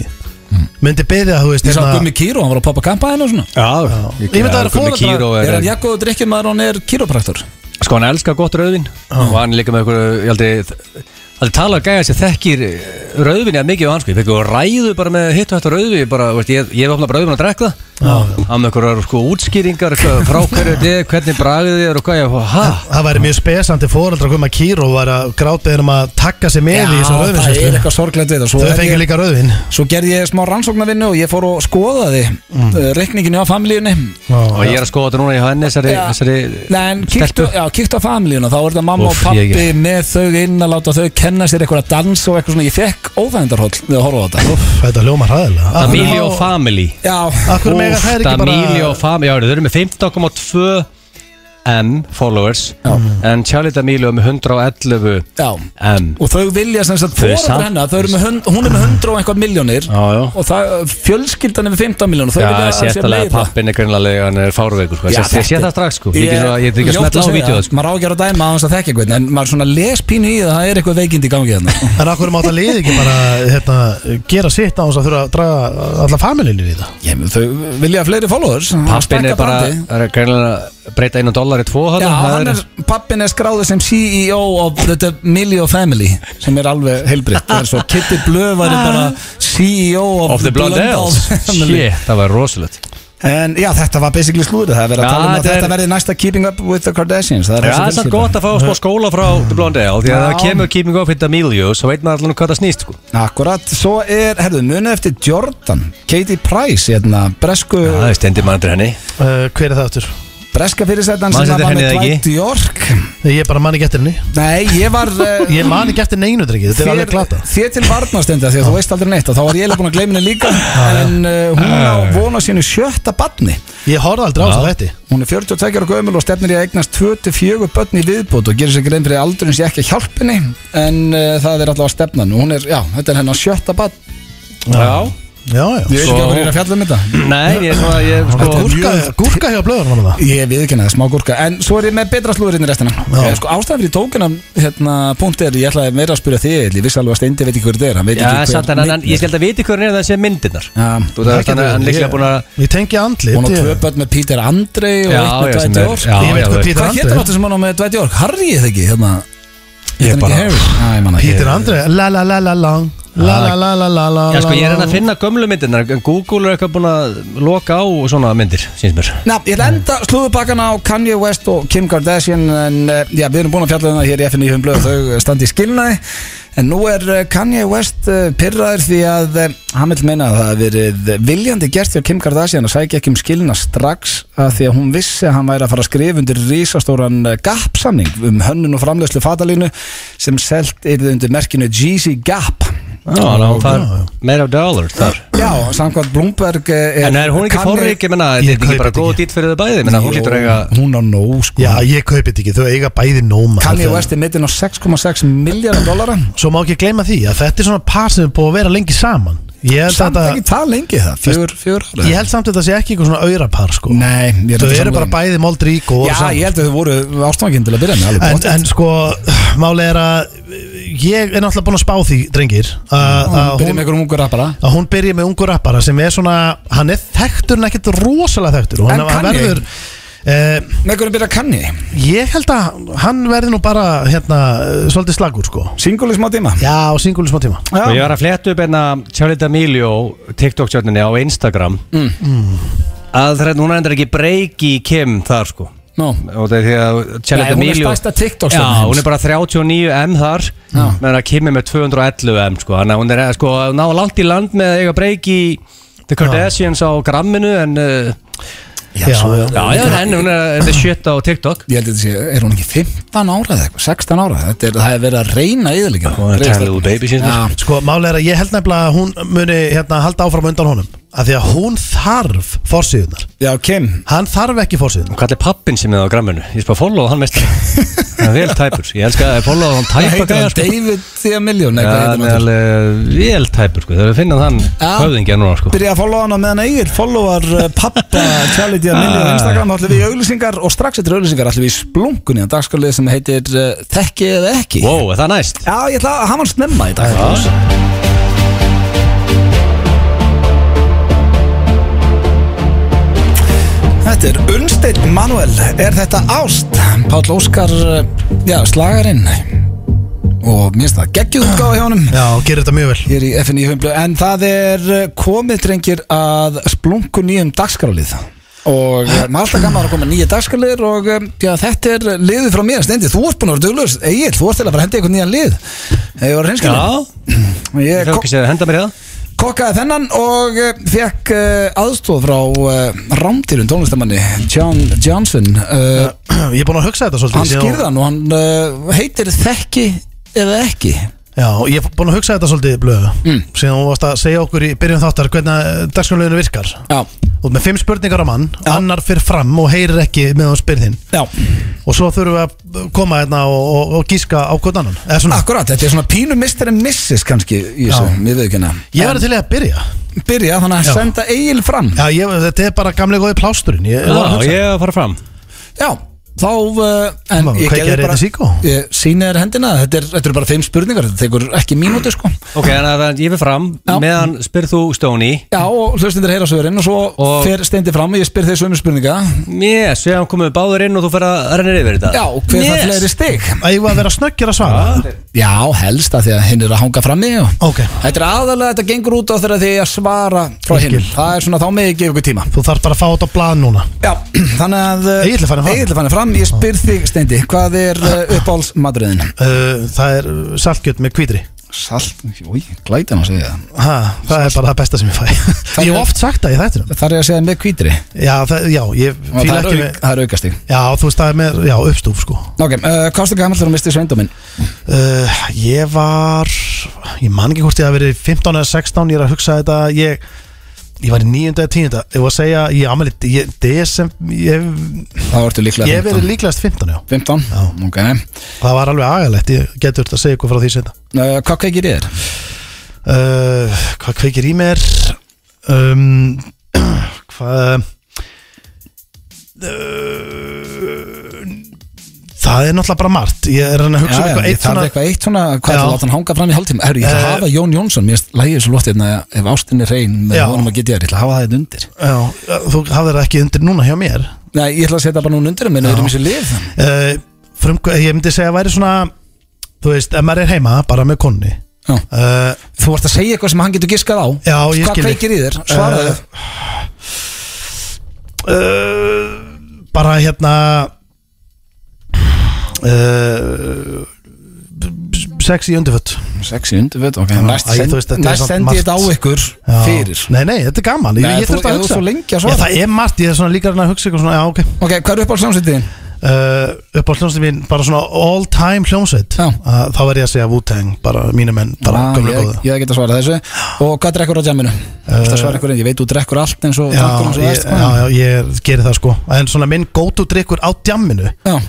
myndi beðja, þú veist Hmm. Ég sá hérna- Gummi Kíró, hann var að poppa kampa henn og svona Já, Ég myndi að það eru foreldrar- Er hann foreldrar jakkuð og drikkjum maður hann er kýrópraktor? Sko hann elskar gott rauðvin Og hann er líka með einhverju Ég aldrei Það er talað að gæja sér þekkir rauðvinni að mikið á hann sko Ég fekk og ræðu bara með hitt og hætt og rauðvi Ég, bara, veist, ég, ég hef opnað bara rauðvin að drekka það Hann með einhverjar sko útskýringar eitthvað, Frá hverju þetta er, hvernig bragðið er og hvað ég Hæ? Það væri mjög spesandi foreldrar að koma að kýra og væri að gráta þeirnum að taka sig með í þessu það er rauðvinslu eitthvað sorglegt við það svo Þau er ég- fengið líka rauðvin Svo gerði ég smá rannsóknarvinnu og ég fór og skoðaði mm. reikninginu á familíunni Og ég er að skoða þetta núna í henni Þessari, Já. þessari Nei, en kíktu, Stelpu. já, kíktu á familíuna þá er þetta mamma Úff, og pappi ég- með þau inn að láta þau kenna sér eitthvað að dansa og eitthvað svona ég fekk óþægindarhóll við að horfa á þetta Þetta hljóma hræðilega Af hverju- Family og family Já, af hverju mega Úff, þær ekki bara Damili og Fami, já, þau eru með 15,2 M followers en Charlie Damili er með 111 já M og þau vilja sem sagt Þau er fóraður samt- hennar þau eru með hund, hún er með 100 og eitthvað miljónir Já, já. og það, fjölskyldan er með 15 miljónir þau Já, vilja að sé sérstælega meira pappin er grunlega hann er fáruveikur sko. Já, Sérst- Ég sé þetta- það strax sko Ég get svo- ég get ekki að ljótt smetla á segja, vídeoð sko. maður ágjör að dæma aðeins að þekka eitthvað en maður svona les pínu í það það er eitthvað veikind í gangi hérna. þarna [LAUGHS] En af hverju má það liði ekki bara hérna, gera sitt á þess að þurfa að draga alla familinir í það Ég, þau vilja fleiri followers Pappin er bara er grunlega að breyta einu dólar í tvo Já, þarna. Það hann er, pappin er skráður sem CEO of the Milio Family sem er alveg heilbritt það er svo Kitty Blö var bara CEO of, Ah. Of the Blondells Family. [LAUGHS] Shit, það var rosalegt En já, þetta var basically slúður það er verið að Já, tala um að þetta er- þetta verði næsta Keeping Up with the Kardashians það er Já, það er samt gott að fá smá skóla frá The Blondell Því að Já. það kemur keeping up with the Emilio Svo veit maður allan hvað það snýst sko Akkurat, svo er, herðu, munið eftir Jordan Katie Price, hérna, bresku Já, Það er stendir maður henni Eh, uh, Hver er það aftur? breska fyrirsættan sem Manstu var eftir með henni eða Dwight York Ég bara man ekki eftir henni Nei, ég var eh, Ég man ekki eftir neinu drikki, þetta er alveg glata þér til varnastenda því að þú veist aldrei neitt og þá var ég eiginlega búin að gleyma henni líka en uh, hún á vona sínu sjötta badni Ég horfði aldrei á þess að þetta hún er 42 ára gömul og stefnir í að eignast 24 börn í viðbót og gerir sér grein fyrir aldurinn sé ekki að hjálpa henni en uh, það er allavega stefnan og hún er, já, þetta er hennar sjötta badn Já Já, já ég veit Svo- ekki að hvað ég er að fjalla um þetta Nei, ég er svona, ég sko Þetta er Gúrka, gúrka hjá blöðunum hann það Ég við ekki að það, smá gúrka En svo er ég með betra slúður hérna í restina Já. Eh, sko, Ástæðan fyrir tókunum hérna, punkt er Ég ætlaði meira að spyrja þig Egill. Ég vissi alveg að Steindi veit ekki hver þetta er Hann veit Já, ekki hver samt en hann, Neitt ég held að viti hvernig er það sem myndirnar Já. Þú veist, hann- hann er líklega búin að Ég tengi andlit Hún á ég- tvö börn með Peter Andre og Já, eitt sko. með já, Dwight sem er- York já, Ég veit já, hvað veit. Peter Hvað hétt Andre hann áttu sem hann á með Dwight York? Harry ég það ekki hérna Ég bara- bara Peter Andre La la la la lang La la la la la la Já sko, ég er enn að finna gömlu myndirnar en Google er eitthvað búin að loka á svona myndir, síns mér Ná, ég ætla að enda slúðubakkana á Kanye West og Kim Kardashian en eh, já, við erum búin að fjalla um það hér í FNI Humblöð þau standi í skilnaði en nú er eh, Kanye West eh, pirraður því að eh, hann vil meina að það hafi verið viljandi gert því að Kim Kardashian að sækja ekki um skilna strax að því að hún vissi að hann væri að fara að skrifa undir rísastóran GAP-samning um hönnun og framleiðslu fatalínu sem selt yrði undir merkinu Jeezy GAP Já, ná, það er meira af dollar þar Já, samkvæmt Bloomberg eh, En er hún ekki Kanye- forriki, menna, Ég kaupi þetta er ekki bara þetta góð ekki. dýtt fyrir þau bæði, menna, hún Jó, lítur eiga Hún á nóg sko Já, ég kaupi þetta ekki, þau eiga bæði nóma Kanye West er mittin á 6,6 miljardar dólara Svo má ekki gleyma því að þetta er svona par sem er búið að vera lengi saman Ég held Samt að þetta- ekki tala lengi það, fjör, fjör ára Ég held samt að það sé ekki eitthvað svona aurapar sko Nei, ég Þau að eru sammála bara um- bæði moldrík og Já, saman. ég held að þau voru ástofanginn til að byrja með alveg En, pottþétt. en sko, máli er að Ég er náttúrulega búinn að spá því, drengir Að Mm, Hún að byrja með hún, einhverjum ungu rappara að hún byrja með ungu rappara Sem er svona, hann er þekktur En ekkert rosalega þekktur og En hann- hann Kanye? verður, eh, Með einhverjum byrja kanni Ég held að hann verði nú bara Hérna, eh, svolítið slagur sko Singul í smá tíma Já, og singulum smá tíma Og Sko, ég var að fletta upp hérna Charlie D'Amelio TikTok-stjórninni á Instagram mm. að það er núna endur ekki breyki í Kim þar sko Nó og það er því að Charlie Nei, hún er D'Amelio stærsta TikTok-stjórnin Já, heims. hún er bara 39M þar meðan að Kim er með 211M sko þannig að hún er eh, sko að ná langt í land með að eiga breyki í The Kardashians á gramminu en uh, Já, já, já. já, já, en hún er eh, þetta er shit á TikTok Ég held að þetta sé, er hún ekki 15 ára eða eitthvað, 16 ára Þetta er, það er verið að reyna yðurleika Hún er a tiny little baby, sýnst mér. Já, Sko, máli er að ég held nefnilega að hún muni hérna, halda áfram á undan honum Af því að hún þarf forsýðunar já, Kim Hann þarf ekki forsýðunar og hvað er pappin sem er á gramminu ég spara follow hann mest hann er vel tæpur sko. ég elska að follow hann Það tæpa heitir gæja, hann sko. David Thea Million Já, hann er ja, alveg vel tæpur sko. þegar við finnum þann höfðingja núna sko. Byrja að followa hana meðan eigir Followar uh, pappa Charlie Thea Million á Instagram Þá ætlum við í auglýsingar og strax eftir auglýsingar ætlum við í splunkunni að dagskalið sem heitir uh, Þekki eða ekki wow, er það næst? Já, ég ætla að hafa hann snemma í dag Ah. Þetta er Unnsteinn Manuel, er þetta ást? Páll Óskar, uh, já, slagarinn og mér finnst það geggjuð útgáfa hjá honum Já, gerir þetta mjög vel hér í FNI Humblu en það er uh, komið drengir að splunku nýjum dagskrálið og uh, maður er alltaf gaman að koma nýja dagskrálir og um, já, þetta er liðið frá mér Stendi, þú ert búin að vera duglaus Egil, þú ert til að fara að henda í eitthvað nýjan lið Ef ég var já, reynskilin ég Ég þarf ko- ekki að henda mér í það kokkaði þennan og uh, fekk uh, aðstof frá uh, rámtýrun tónlistamanni John Johnson uh, Ég er búinn að hugsa þetta svolítið hann síðan- skýrðan og hann uh, heitir Þekki eða ekki Já, ég er búinn að hugsa þetta svolítið blöðu mm. Síðan hún varst að segja okkur í byrjun þáttar Hvernig dagskanleginu virkar Já, Og með fimm spurningar á mann Já. Annar fyrir fram og heyrir ekki með hún spyrðin já Og svo þurfum við að koma hérna og, og, og gíska á hvern annan Eða svona Akkurat, þetta er svona pínu Mr. and Mrs. kannski í þessu, Já. ég veit ekki hana Ég verði til í að byrja Byrja þannig að Já. senda Egil fram Já, ég, þetta er bara gamlega góði plásturinn Ég, ég var að já, hugsa Ah, ég er að fara fram Já, þá uh, En Má, ég kveikja gerði þér bara í síkó? Ég sýni þér hendina, þetta er- þetta eru bara fimm spurningar Þetta tekur ekki mínúti sko ok, en að ég fer fram Já. meðan spyrð þú Stóni Já, og hlustindir heyra svörin og svo Og- fer steindi fram og ég spyr þeir sömu spurninga yes, við hann komum við báður inn og þú fer að renna yfir þetta Já, og hver yes. það fleiri stig Að ég var að vera snöggjur að svara Já, helst að því að hinn er að hanga frammi og... Ok, Þetta er aðalega, þetta gengur út á þegar því að svara frá hinn Skil. Það er svona þá með ég gefa ykkur tíma þú þarf bara að fá þetta á blað núna Já, þannig að uh, Egill er farinn fram. Egill er farinn fram Ég spyr þig, Steindi, hvað er eh, uppáhaldsmadriðin? uh, Það er uh, saltgjöt með hvítri Salt, úi, glætan að segja það ha, Það er bara það besta sem ég fæ Ég hef oft sagt það í þættinum Þar er ég að segja með hvítri Já, það, já ég Og fíla Það ekki er, auk, með það er aukastig Já, þú veist það er með, já, uppstúf sko Ok, uh, Kosti Gamall er að misti sveindóminn uh, Ég var Ég man ekki hvort ég hafi verið 15 eða 16 Ég er að hugsa þetta Ég, ég var í 9. eða 10. Ég var að segja, ég ámæli Ég, desem, ég, Þá ertu líklega ég hef verið líklegast 15, já 15 Já. ok Eh, Það var alveg agalegt, ég getur þetta að segja eitthvað frá því setna uh, Hvað kveikir ég þér? uh, Hvað kveikir í mér um, [CLEARS THROAT] Hvað uh, Það er náttúrulega bara margt Ég er að reyna að hugsa um Já, já, eitthvað ég eitt þarf svona eitthvað eitt svona Hvað er Já. það að láta hann hanga fram í hálftíma? Herru, ég ætla að Eh. hafa Jón Jónsson Mér lægir svo lótt hérna Ef ástin er reyn með Já. honum að geta ég þér Ég ætla að hafa það hérna undir já, Þú hafðir það ekki undir núna hjá mér Nei, ég ætla að setja bara núna undir Menni, erum þessi lið uh, frumkvæ, Ég myndi segja að væri svona Þú veist, ef maður er heima, bara með konni Já. uh, Þú vart að segja eitthvað sem hann getur giskað á Já, ég Hvað skil þig. kveikir í þér? Svaraðu Eh, uh, Bara hérna uh, Sex í undirfött Sexy undirföt, ok Næst æ, send- þú veist, þetta er næst samt sendi ég þetta á margt. ykkur Já. fyrir Nei, nei, þetta er gaman Ég, Nei, ég þú- þurfti að þú hugsa svo lengi að svara. Já, Það er margt, ég er svona líka að reyna að hugsa eitthvað svona, já, ok Ok, hvað er upp á samsýttiðin? uh, Upp á hljómsveit mín, bara svona all time hljómsveit Já. Ah, uh, Þá verð ég að segja Wu-Tang, bara mínu menn, bara gömlega ég, góðu ég get að svara þessu Og hvað drekkur á jamminu? Uh, það svara ykkur einn, ég veit þú drekkur allt eins og Eh, Já, drakkur eins og ég, æst já, já, ég geri það sko En svona minn gótu drikkur á djamminu já,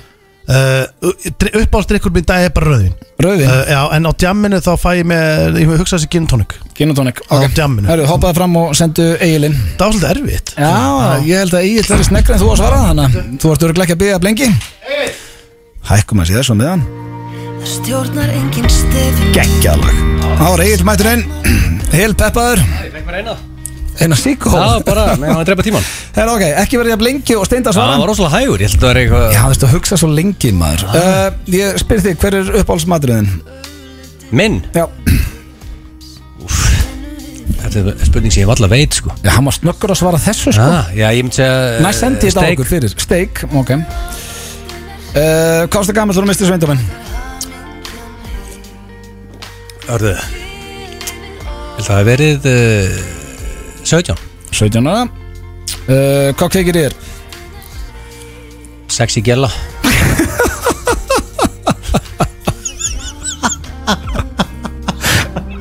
uh, uppáhaldsdrykkur minn í dag er bara rauðin Rauðin? uh, Já, en á djamminu þá fæ ég með, ég hugsa þessi gin og tonic Gin og tónik Á djamminu. Hörru, hoppaði fram og sendu Egilinn Það var svolítið erfitt Já, ég held að Egil verið sneggri en þú að svara Þannig að þú ert örglega ekki að byggja blengi Hækkum að sé þessu með hann Stjórnar engin stef Gekkjaðlag Þá er Egil mættur inn Hel peppaður Einar síkó Það var bara, [LAUGHS] nei, hann var að drepa tíman Herra, ok, ekki verið að blengi og steinda að svara Það var rosalega hægur, ég held að það var Já, eitthvað þú veist að hugsa svo lengi maður uh, Ég spyr þig, hver er uppáhaldsmaturinn? þinn? Minn, Já, þetta er spurning sem ég valla veit sko já hann var snöggur að svara þessu sko ah, Já, ég myndi segja eh, Næst sendi ég þetta á steik. okkur fyrir Steak, ok uh, Hvað er það gammal þú mistir sveindaminn? Hörðu Ég held að það hafi verið uh, 17 17 ára uh, Hvað kekir ég er? Sexy gella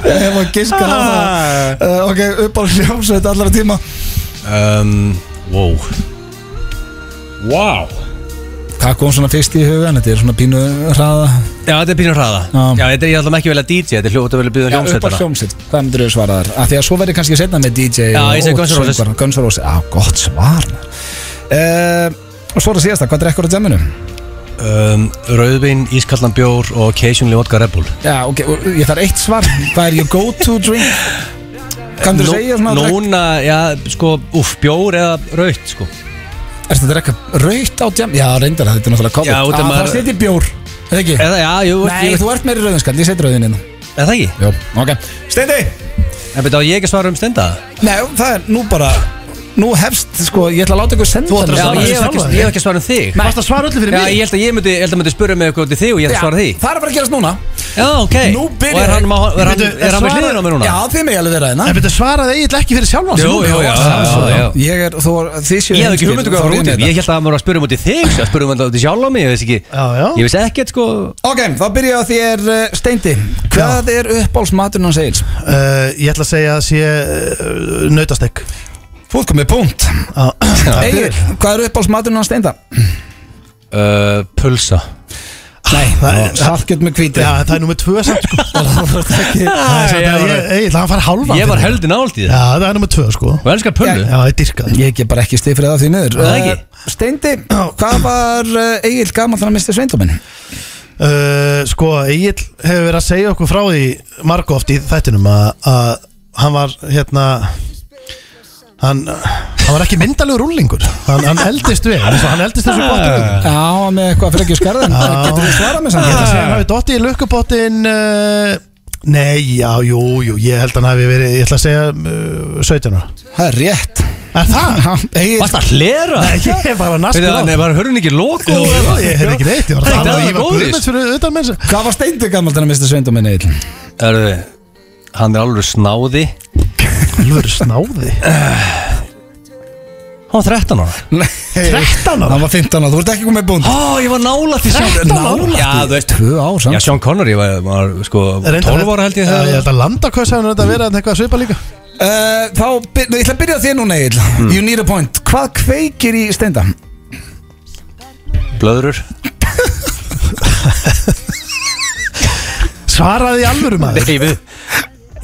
Ég var að giska á það uh, Ok, uppáhaldsljómsveit allara tíma um, Wow Wow Hvað kom svona fyrst í hugan? Þetta er svona pínu hraða Já, þetta er pínur hraða Já. Já, þetta er ég alltaf ekki vel að DJ Þetta er hljóta vel að byggja hljómsveitana Uppáhaldsljómsveit, hvað myndir þau svara þar? Af því að svo verður kannski setna með DJ Já, og- ég segi og Guns N' Roses. söngvara. Guns N' Roses, já, gott svar uh, Og svo er það síðasta, hvað drekkur á djeminu? um, Rauðvin, ískallan bjór og occasionally vodka Red Bull Já, ok, og ég þarf eitt svar Hvað er your go-to drink? Kan þú Nú- segja svona að drekka- Núna, já, sko, uff, bjór eða rauðt, sko Ertu að drekka raukt á djam? Já, reyndar, þetta er náttúrulega COVID Já, út af ah, maður- Eh, Það setjum bjór, eða ekki? Eða, já, jú, Nei, ég, þú ert meiri rauðinskall, ég setjum rauðin hérna. inn eða það ekki Jó, ok Steindi! En betur á ég ekki að svara um stenda Nei, það er nú bara Nú hefst, sko, ég ætla að láta ykkur senda Þú ætlar að Já, svara mig. þessu ég hef ekki, sjálfur. ég hef ekki að svara um þig Varst að svara öllu fyrir Já, mig? ég held að ég myndi, ég held að myndi spurja mig eitthvað út í þig og ég held að svara því Það er bara að gerast núna Já, ok Nú byrjar Og er hann, ég. má- er hann, Bíddu, er hann með svara- hliðin á mér núna? Já, þið mig alveg vera hérna En betur svaraði Egil ekki fyrir sjálfan sig Jú, núna? jú, já, já, já. Ég er, þú, þið séu Ég hef ekki um hugmyndu hvað það var út í hérna. Ég held að maður var að spurja um út í þig Svo að spurja um út í sjálf á mig, ég veist ekki Já, já. Ég veist ekkert, sko Ok, þá byrja ég á þér, uh, Steindi Hvað er uppbólsmaturinn hans Egils? Uh, Ég ætla að segja að sé uh, nautastekk Þú ert komið punkt Ah, Egil, hvað er uppbólsmaturinn hans Steinda? Uh, Pulsa Nei, það er- saltgjöld með hvíti [LAUGHS] Já, það er nummið tvö samt sko [LAUGHS] Það er samt ég að var- ég- Egil, hann fær halvan Ég var fyrir heldur nált í þetta. það Já, það er nummið tvö sko Og elskar pullu Já, það er dyrkað Ég get bara ekki stig fyrir það því miður Það ekki? Eh, Steindi, hvað var uh, Egil gaman þannig að misti sveindóminn? Uh, sko, Egil hefur verið að segja okkur frá því margu oft í þættinum að, að hann var hérna hann, hann var ekki myndalegur rúlingur hann, hann eldist við, hann, hann eldist þessu bóttur Já, með eitthvað fyrir ekki skarðin Getur við svarað með samt Ég ætla Ah. að segja hann hafi dottið í lukkupottin uh, Nei, já, jú, jú Ég held að hann hafi verið, ég ætla að segja uh, 17 ára Það er rétt Er [LAUGHS] það? Egil, Varst að hlera? Nei, ég er bara naskur á Nei, það. bara hörun ekki loku Jú, jú, Ég hef ekki neitt, ég var að Nei, það tala um var Ég var góðis. guðmens fyrir utan menns hvað var Steindi gaman þannig að misti sveindóminn Egil? Erðu, hann er alveg snáði Alvöru snáði Hann var 13 ára 13 ára? Hann var 15 ára, þú ert ekki komið búnd Ó, ég var nála til sjálf 13 ára? Já, þú veist Tvö ár Já, samt Sean Connery var, var sko 12 ára held ég það Ég þegar held að landaköss hefur þetta verið að eitthvað svipa líka Eh, Þá, byr- ég ætla að byrja á þér núna Egil You need a point Hvað kveikir í Steinda? Blöðrur Svaraði í alvöru maður David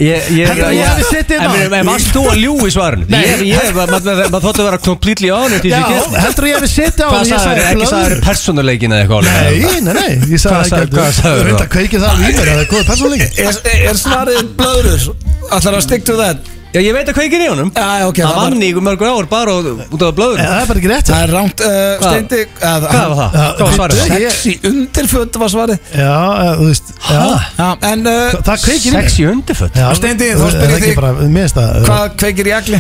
Ég, ég, Heldur þú ég, hefði setið inn á? en, en varst þú að ljúi svarun? Ég, ég, maður mað, mað þóttu að vera completely honest í Já, þessu gæsli heldur ég að við setja á Hvað en ég sagður, ekki blöðrur. sagður persónuleikin eða eitthvað alveg? Nei, nei, nei, ég Hvað sagði sagði- ekki hvað sagðirðu Reynda þá? kveikið það alveg í mér, það er góð persónleiki Er, er svarið blöður? Ætlar að stick to that? Já, ég veit að kveikir í honum Já, ok, Það það var- vann í mörgur ár bara og- út af En blöðrur Það er bara ekki rétt Það er rámt uh, Steindi að, Eh, Hvað var það? Já, Hvað var svarið? bíddu, ég- Sexy undirföt var svarið Já, eh, þú veist já, Já, En uh, Það kveikir í mér Sexy undirföt Já, Steindi, þá það spyr ég er ekki þig- bara- Mér finnst það hvað kveikir í agli?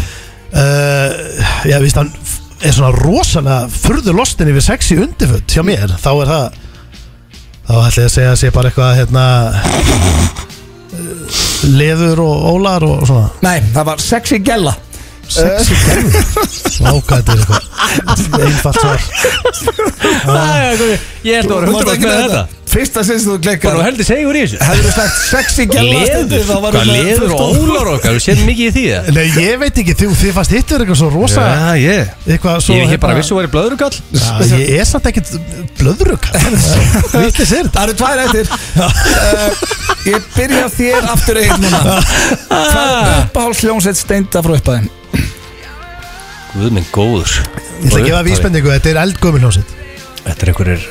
uh, Já, víst, hann er svona rosalega furðu lostin yfir sexy undirföt hjá mér, þá er það þá ætla ég að segja að sé bara eitthvað hérna eh, leður og ólar og svona Nei, það var sexy gella Sexy gerfi Váka, þetta er eitthvað Einfalt svar Ég held að Varstu voru hundur ekki með þetta Fyrsta sinns þú Bara glekkar nú heldur segjur í þessu Hefur þú sagt sexy gæla Leður, hvað leður og ólar okkar Við séum mikið í því að Nei, ég veit ekki, þú, þið fannst hittur eitthvað svo rosa ég Eitthvað svo hérna- Ég er bara viss um- og verið blöðrugall Já, ég er samt ekkert [LAUGHS] blöðrug Vittlis er Það eru tvær eftir uh, Ég byrja á þér aftur eitt [LAUGHS] núna Hvað uppáhalds hljómsveit steinda frá uppæðin? Guð minn góður Ég ætla að gefa vísbendingu, þetta er eldgömul hljómsveit Þetta er einhverjir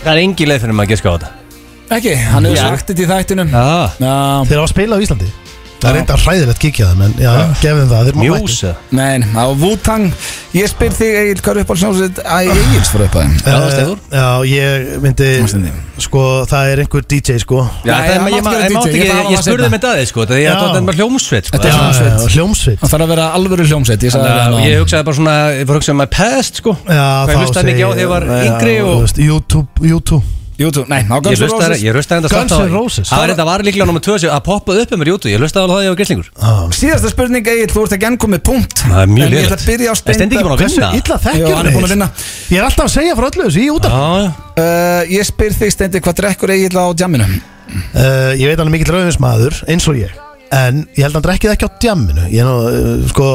Það er engi leið fyrir maður að geska á þetta Ekki, hann hefur Já. sagt þetta í þættinum Já, ah, Þeir á að spila á Íslandi Það er Já. reynda hræðilegt kíkja það, menn já, gefum það, þeir má mættu Mjúsa Nein, á Wu-Tang Ég spyr þig, Egil, hvað er uppáhalds hljómsveit Æ, Egils frá uppæðin? Já, það stendur. Eh, Já, ég myndi Sko, það er einhver DJ, sko Já, Nei, það er hann maður, mátti ég, ég, gera ég, DJ, mátti ég þarf ekki, að ég spurði setna. með daði sko, því Já. að þetta er bara hljómsveit sko. Þetta er Já, hljómsveit. já, Hljómsveit Það þarf að vera alvöru hljómsveit Ég sagði Þannig það að ég áðan. hugsaði bara svona, ég fór að hugsa um my past sko Já, Hvað ég hlustaði mikið á þegar ég var yngri og- YouTube, YouTube YouTube, nei, á Ég Guns N' hlustaði Roses. ég hlustaði enda Guns samt á- N' Roses. Það var þetta var líklega nummer 2 sem- að poppaði upp um mér jútu Ég hlustaði alveg á það ég var gæslingur Síðasta spurning, Egil, þú ert ekki enn komið punkt Það er En mjög ég lélegt. ætla að byrja á Er Steindi ekki búinn að steinda vinna? Hversu illa þekkjum Jú, hann er búinn að vinna. Ég er alltaf að segja frá öllu þessu í út af Já, Uh, Ég spyr þig, Steindi, hvað drekkur Egil á djaminum? uh, Ég veit hann er mikill rauðinsmaður eins og ég En ég held að hann drekkið ekki á djamminu Ég er nú, uh, sko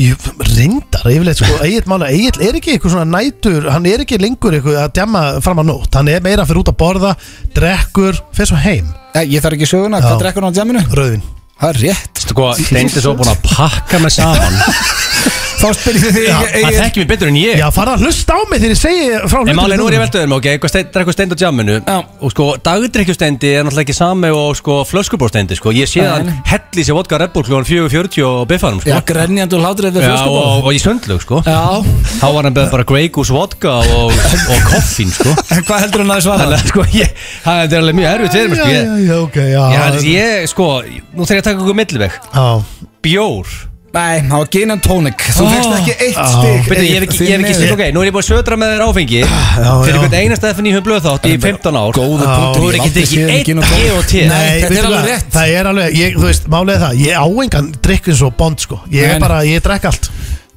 Ég reyndar yfirleitt sko Egil, mála, Egil er ekki eitthvað svona nætur Hann er ekki lengur eitthvað að djamma fram á nótt Hann er meira fyrir út að borða Drekkur, fyrir svo heim Eh, Ég þarf ekki söguna, Já. hvað drekkur hann á djaminu? Rauðin Það er rétt Sko, Steindi svo búin að pakka mig [LAUGHS] saman Þá spyr ég þig, Það Egil þekki mér betur en ég Já, farða að hlusta á mig þegar ég segi frá Eh. En hlutum máli nú er ég velduðum, ok, eitthvað stein- drekkur steindi á djamminu Já. Og sko, dagdrykkjusteindi er náttúrulega ekki sami og sko flöskubórsteindi sko Ég sé hann Nei. helli sér vodka Red Bull kljóðan 4.40 og biffanum Já, sko grenjandi og hlátrið við Já, og, fjöskubóð og í sundlög sko Já, Þá var hann beðið bara Grey Goose vodka og, og koffín sko en hvað heldur hann að svara? Þannig að sko ég, það er alveg mjög erfitt fyrir mér Já, sko já, Ég, já, ok, já ég, ég, ég sko, nú þarf ég að taka okkur milliveg Já, Bjór Nei, það var gin and tonic Þú Ó. fegst ekki eitt Á. stig Ah. Byrju, ég hef ekki, ég hef ekki sett, ok, nú er ég búin að södra með þér áfengi Fyrir já. hvern einasta FNI höfum blöð þátt í 15 ár góður Já. punktur, ég Þú er hef aldrei ekki séð ekki gin einn og tónik. E og T Nei, þetta veistu er alveg hvað? rétt. Það er alveg, ég, þú veist, málið er það Ég á engan drikk eins og bond sko Ég Nei, er nei. bara, ég drekk allt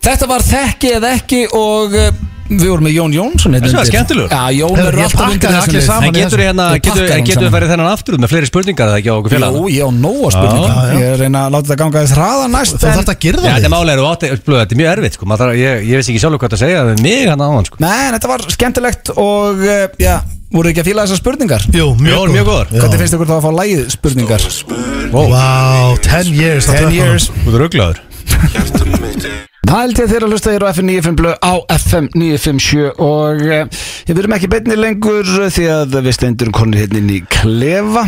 Þetta var þekki eða ekki og uh, við vorum með Jón Jónsson hérna Þessi var undir. skemmtilegur. Já, Jón Heyrðu, er ég alltaf undir pakkaði þessum allir lið. saman En í getur þessu. við hérna, Ég getur pakka hann getur saman. við færið þennan aftur út með fleiri spurningar eða ekki á okkur Jú, félagann ég á nóa Já, já. spurningar Ég er að reyna að láta þetta ganga þess hraða Þú næst þarf að Já, gerða þetta þig málega eru átti, blöð, þetta er mjög erfitt sko, maður þarf, ég, ég veist ekki sjálfur hvað það segja við mig hann áðan sko Nei, en þetta var skemmtilegt og uh, já, voru ekki að fíla þessar spurningar Jú, Jú, mjög, mjög góðar. góður. Já. Hvernig finnst ykkur þá að fá lægið spurningar? Vá, 10 years á 10 tröppunum. years. Þú ert rugglaður Hældi að þeirra hlusta hér á FM 95 blöð á FM 957 og uh, við erum ekki beinni lengur eh, því að við stendurum konir hérna inn í klefa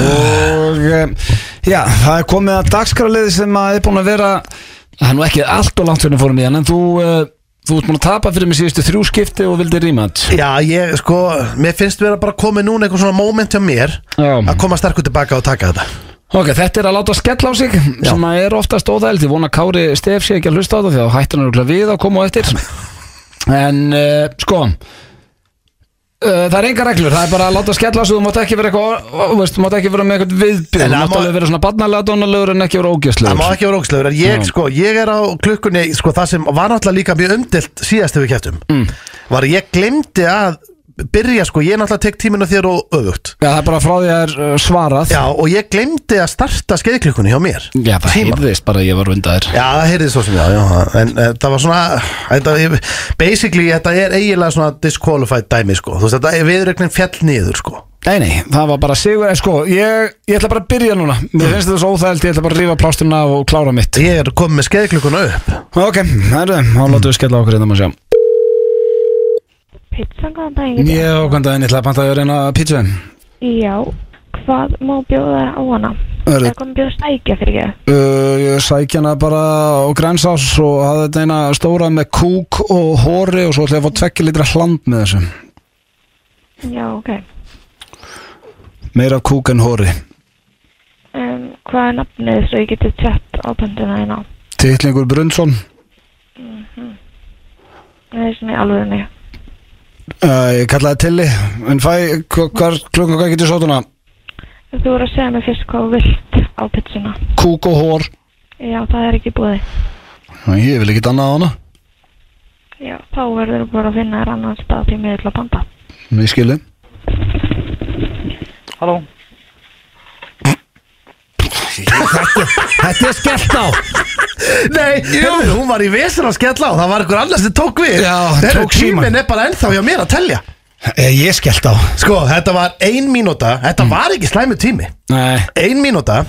og uh, já, það er komið að dagskraliði sem að er búin að vera það er nú ekki allt og langt fyrir fórum í hann en þú, uh, þú ert búin að tapa fyrir mig síðustu þrjú skipti og vildi rýmat Já, ég, sko, mér finnst vera bara komið núna eitthvað svona moment hjá mér Já. að koma sterkur tilbaka og taka þetta Ok, þetta er að láta skella á sig sem að er oftast óþægild, ég vona að Kári Stef sé ekki að hlusta á það því að hættan er örugglega við að koma á [LAUGHS] eftir en uh, sko uh, það er enga reglur, það er bara að láta skella á sig þú mátt ekki vera eitthvað, ó, ó, veist, þú mátt ekki vera með eitthvað viðbyrð, En þú það mátt má- alveg vera svona barnalega dónalegur en ekki vera Það má ógjöslegur ekki vera ógislegur, en ég, Já. sko, ég er á klukkunni, sko, það sem var náttúrulega líka mjög umdilt síðast ef við kæftum mm. var að ég glemdi að byrja, sko, ég náttúrulega tek tíminu þér og öfugt Já, það er bara frá því að það er uh, svarað Já, og ég glemdi að starta skeiðklukkunni hjá mér Já, það Tímann. heyrðist bara að ég var undan þér Já, það heyrði svo sem já, já En uh, það var svona þetta, ég- Basically, þetta er eiginlega svona disqualified dæmi, sko Þú veist, þetta er viðrögnin fjall niður, sko Nei, nei, það var bara sigur, en sko ég, ég ætla bara að byrja núna, Mm. mér finnst þetta svo óþægild ég ætla bara að rífa plásturna og klára mitt Ég er komið með skeiðklukkuna upp Ok, það er það, þá látum við skella á okkur hérna maður sjá Pizzan, góðan daginn. Já, hvernig daginn, ég ætla að panta að reyna pítsu Já, hvað má bjóða þér á hana? Hörðu. Eða hvað má bjóða stækja fyrir ég? uh, Ég sækja hana bara á grænsás og hafði þetta eina stóra með kúk og hóri og svo ætla ég að fá tvekki litra hland með þessu Já, ok. Meira af kúk en hóri Um, hvað er nafnið svo ég geti tjátt á pöndina hérna? Tittlingur Brunnsson Mhm. Það er svona í alvörunni. uh, Ég kallaði Tilli En fæ, hva- hvar klukka hvað getur sótuna? Þú voru að segja mér fyrst hvað þú vilt á pizzuna. Kúk og hór Já, það er ekki búið. Ég vil ekki annað á hana Já, þá verður bara að finna þér annan stað því miður til að banda. Við skilum Halló, [LAUGHS] Þetta er skellt á Nei, heyrðu, hún var í vesen að skella á Það var einhver annars sem tók við Já, Heyrðu, tók símann. Tíminn er bara ennþá hjá mér að telja Eh, Ég er skellt á Sko, þetta var ein mínúta Þetta Mm. var ekki slæmi tími Nei Ein mínúta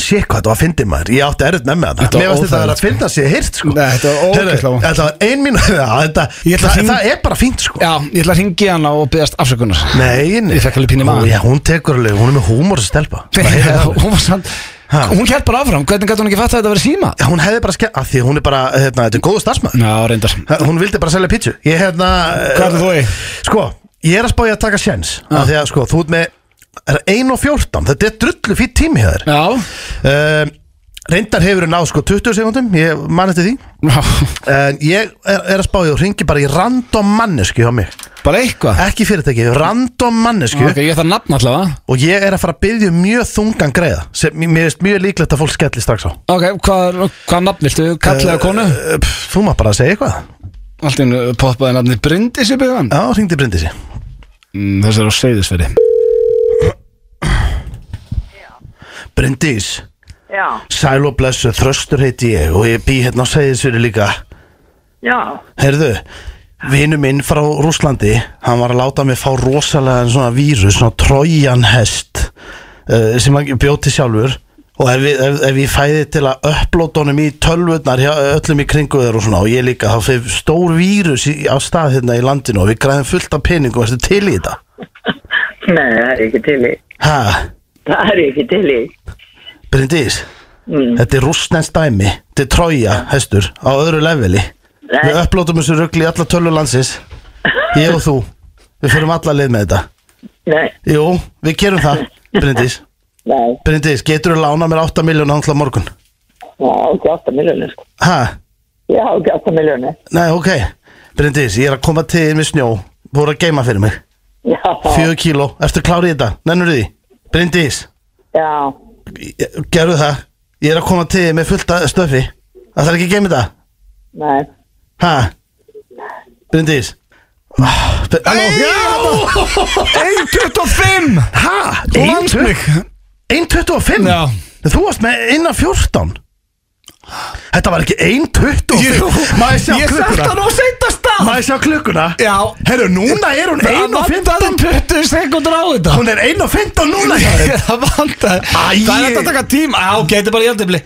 Sér hvað þetta var að fyndi maður Ég átti erut með Þetta með það var Mér varst þetta að vera óþægilegt, að fynda sér hirt sko Nei, þetta var Heyrðu, ógeðslega vont. Þetta var ein mínúta Já, þetta, Ég ætla að það, hring- það er bara fínt sko Já, ég ætla að ringi hana og byggast afsökunar Nei, nei Ég fékk alveg pínu í magann. Já, hún tekur alveg, hún er með húmor að [LAUGHS] stelpa Bara hérna, heyrðu það. Hún var sann Ha? Hún held bara áfram, hvernig gæti hún ekki fatt að þetta verið síma? Já, Hún hefði bara skemmt Því að hún er bara, hérna, þetta er góðu starfsmæður Já, reyndar Ha, Hún vildi bara selja pítsu Ég hérna Hvað ætlar þú í? Sko, ég er að spája að taka sjens ah. Því að sko, þú ert með er 1 og 14 Þetta er drullu fýtt tími hjá þér Já, [LAUGHS] um, Reyndar hefur náð sko 20 sekundum Ég man eftir því Já. En ég er, er að spája og ringi bara í random mannesku hjá mig bara eitthvað Ekki fyrirtæki, random mannesku Ok, ég ætla að nafna allavega Og ég er að fara að byggja mjög þungan greiða Sem mér- mér finnst mjög líklegt að fólk skelli strax á Ok, hvað, hvað nafn viltu? Kallega konu? Eh, pff, Þú maður bara að segja eitthvað Allt einu poppaði nafni Bryndis í byggðan Já, ringdi Bryndisi mm, Þessi er á Seyðisferi Bryndís já, Sæl og blessu, þröstur heiti ég og ég bý hérna á Seyðisfyrir líka já, Herðu, vinu minn frá Rúslandi hann var að láta mig fá rosalega svona vírus, svona trojan hest uh, sem hann bjóti sjálfur og ef, við- ef, ef ég fæði til að upplóta honum í tölvurnar hjá öllum í kringu þeir og svona og ég líka, þá fyrir stór vírus í, á stað hérna í landinu og við græðum fullt af peningum, veistu til í þetta nei, það er ekki til í, Ha, það er ekki til í, Bryndís mm. Þetta er rústnens dæmi, þetta er trója, hestur, á öðru leveli Nei. Við upplótum þessu rugli í alla tölur landsins Ég og þú, við fyrir alla leið með þetta nei, Jú, við gerum það, Bryndís nei, Bryndís, getur þú lána mér 8 miljónu ánklað morgun? já, ekki 8 miljónir, sko, Ha, já, ekki 8 miljónir, nei, ok Bryndís, ég er að koma til þín með snjó Búið að geima fyrir mig, já, 4 kíló Ertu klárið þetta, nennur því? Bryndís, já, gerðu það Ég er að koma til þín með fullta stöfi Það þarf ekki að geima þetta nei, Hæ? Bryndís Ah, be- Halló, 1.25 já! Hæ? Þú vannst mig 1.25? Já. Þú varst með innan 14 Þetta var ekki 1.25 Má ég sjá Ég sett klukkuna? hann á seinta stað Má ég sjá klukkuna? Já Herru, núna er hún Það 1.15 vantaði 20 sekundur á þetta Hún er 1.15 núna hjá þér. Það vantaði Æi. Það er hægt að taka tíma Já, ok, þetta er bara jældibli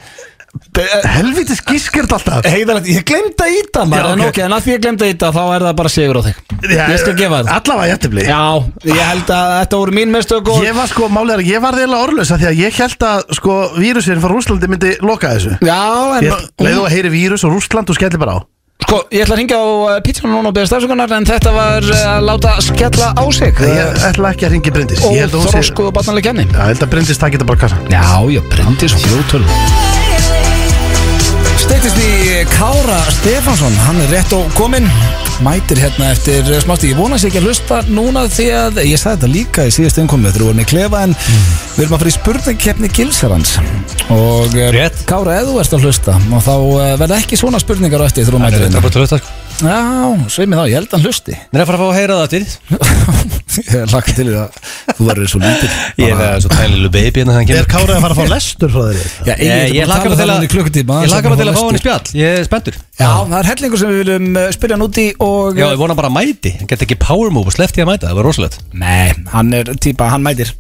Helvítis gískert alltaf Heiðalegt, ég glemd að íta maður Já, En ok. ok, en að því ég glemd að íta þá er það bara sigur á þig Já, Ég skal gefa þér Alla var jættibli Já, ég held að þetta voru mín mistök og Ég var sko, málið er að ég var þeirlega orðlösa Því að ég held að sko, vírusinn frá Rúslandi myndi loka þessu Já, en Ég- Leðu að heyri vírus og Rúsland og skellir bara á Sko, ég ætla að ringja á uh, pítsunum núna og beða stafsökunar en þetta var uh, að láta skella á sig Eh, Ég ætla ekki að ringi Bryndis Ég og held að hún sé þróskuðu barnalega genni Já, Ég held að Bryndis takk þetta bara á kassa Já, ég brendi svo fljótöl Steytist í Kára Stefansson hann er rétt og kominn mætir hérna eftir smátti ég vonast ekki að hlusta núna því að ég sagði þetta líka í síðast innkomu þegar við vorum í klefa en við erum að fara í spurningkeppni gilsarans og eh, Rétt. Kára, ef þú ert að hlusta og þá eh, verða ekki svona spurningar á eftir þegar þú Það mætir er hérna bara að hlusta sko. Já, svei mig þá, ég held að hann [LAUGHS] hlusti Nei, að fara að fá að heyra það til Ég lakka til því að þú verður svo lítil Ég er það svo tiny little baby hérna þegar hann Er kemur Kárið að fara að fá lestur frá þér? Já, ég, ég, ég lakka lakka bara um til að um klukkutíma Ég lakka bara til að fá hann í spjall spjall Ég er spenntur Já, það er hellingur sem við viljum eh, spyrja hann út í og Já, ég vona bara að mæti Hann gett ekki power move og slefti að mæta Það var rosalegt Nei, hann er típa, hann mætir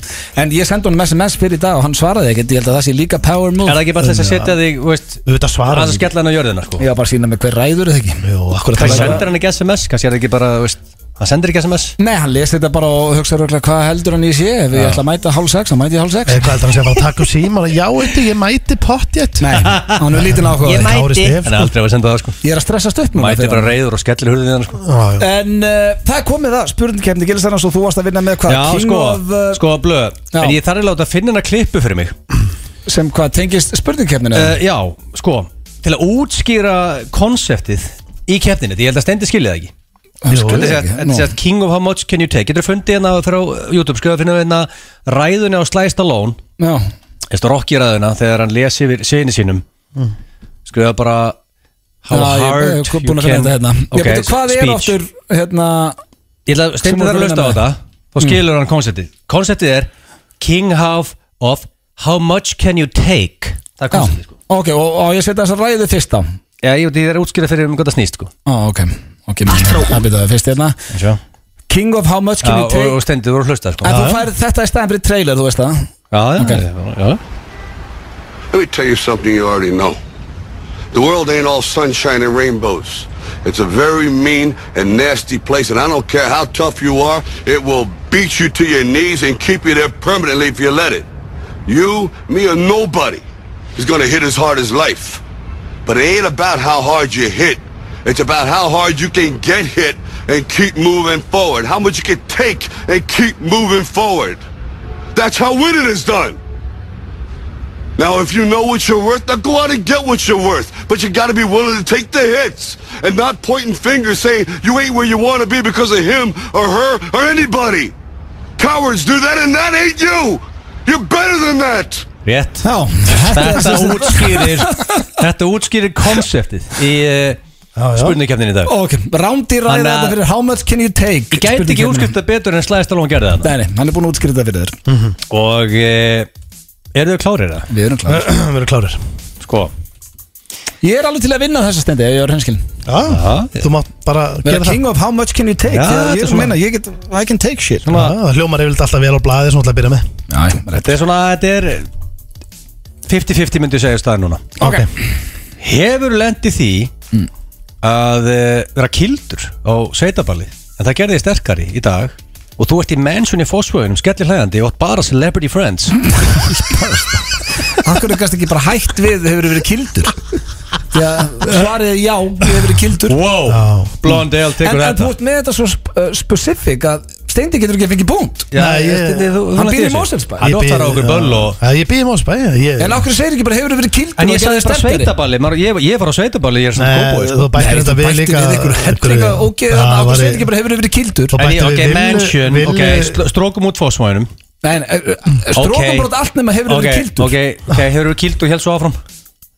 En ég sendi honum SMS fyrir í dag og hann svaraði ekkert Ég held að það sé líka power move Er það ekki bara til þess að setja þig, þú veist Við veit að svara Að þessu. skella hann á jörðina, sko Ég var bara að sína mig hver ræður eða ekki Jú, akkur að Hann það er sendir hann ekki SMS Kannski er það ekki bara, þú veist Hann sendir ekki SMS Nei, hann lesi þetta bara og hugsa röglega hvað heldur hann í sé Ef ég ætla að mæta hálf sex, hann mæti hálf sex Eh, Hvað heldur hann sé að fara að taka um síma? Já, eitthvað, ég mæti pottjett Nei, hann er lítinn áhuga á því. Kári Stef Hann er aldrei að fara að senda það, sko Ég er að stressast upp núna Mæti fyrir bara hann. reyður og skellir hurðin í hann, sko Já, já. En uh, það er komið það, spurningkefni Gilsarans og þú varst að vinna með hvað Já, King sko, of, uh, sko, blöð Já. En ég þarf að láta að finna hana klippu fyrir mig sem hvað tengist spurningkefninu Uh, já, sko, til að útskýra konseptið í keppninu, því ég held að stendi skilja það ekki Hann Sko, Þetta skilur er ekki, sagt- þetta er nú. sagt King of how much can you take Getur fundið hérna frá YouTube Skrifa að finna hérna ræðuna á Sliced Alone Já, Þetta er Rocky ræðuna þegar hann lesi yfir sinni sínum Skrifa bara How Mm. Já, hard ég, ég, búin að finna þetta hérna Ok, Ég veit, hvað er speech. aftur, hérna Ég ætla að Sem steinda þú þar að ert að Mm. lusta á vinna þetta Þá skilur hann konceptið Konceptið er King half of How much can you take Það er Já, konceptið sko ok, og, og ég setja þess að ræðu fyrst á Á, Já, ég veit, ég er að útskýra fyrir um hvað það snýst sko ok, ok, mér Það byrjaði fyrst hérna Já, King of how much can you og, take og steindu, þú voru að hlusta sko En þú færð þetta í staðan fyrir trailer, þú veist það Já, já, Ok. já, já Let me tell you something you already know. The world ain't all sunshine and rainbows. It's a very mean and nasty place, and I don't care how tough you are, it will beat you to your knees and keep you there permanently if you let it. You, me, or nobody is gonna hit as hard as life. But it ain't about how hard you hit. It's about how hard you can get hit and keep moving forward. How much you can take and keep moving forward. That's how winning is done. Now, if you know what you're worth, now go out and get what you're worth. But you gotta be willing to take the hits and not pointing fingers saying you ain't where you wanna be because of him or her or anybody. Cowards do that and that ain't you. You're better than that. Rétt Já, [LAUGHS] þetta er Þetta útskýrir [LAUGHS] Þetta útskýrir konseptið Í uh, spurningkefnin í dag Ok, rándi ræða Þannig að- þetta fyrir how much can you take Ég gæti ekki Spurningkeppnin. útskýrt Mm. það betur en slæðist alveg gerði það Nei, nei, hann er búin að útskýra þetta fyrir þér Og uh, eru þau klárið það? Við erum kláð [CLEARS THROAT] Við erum klárir Sko Ég er alveg til að vinna þessa stendi, ef ég er hreinskilin Já, þú mátt bara Vera gera það king of how much can you take Já, Þegar Ég er þetta er að svona- meina, ég get, I can take shit Já, það Hljómar yfirleitt alltaf vel á blaði sem þú ætla að byrja með Já, rétt Þetta er svona, þetta er 50-50 myndi segja staðar núna Ok, Hefur lendi því Mm. að uh, vera kildur á sveitaballi en það gerði þið sterkari í dag og þú ert í mansion í fósföðunum skellir hlæðandi og átt bara celebrity friends hann hvernig gæst ekki bara hægt við hefur verið [LAUGHS] kildur Já, svarið er já, hefur verið kildur [LAUGHS] Wow, Mm. Já. Blondale En tekur en þú þetta ert með þetta svo sp uh, specific að Steindi getur ekki að fengi búnt Já, Nei, ég, ég- Steindi, þú, þú Hann lendir býr í þessu. Mosfellsbæ. Hann Ég oftar á býð- okkur böll og Já, ég býði mósbæ En okkur segir ekki bara hefur verið kildur og En ég sagði gerðist bara sterkari? sveitaballi, maður, ég, ég var á sveitaballi, ég er svona Nei, góðbúið þú sko. Nei, bættir þetta þú við bætti líka við ykkur hellinga og Já, geða hann var- okkur segir ekki bara hefur verið kildur Þú En ég, bættir ok, við mansion, villu- ok, villu- str- strókum út fósmæðunum Nei, nei, strókum bara allt nema hefur verið kildur Ok, ok, hefur verið kildur, held svo áfram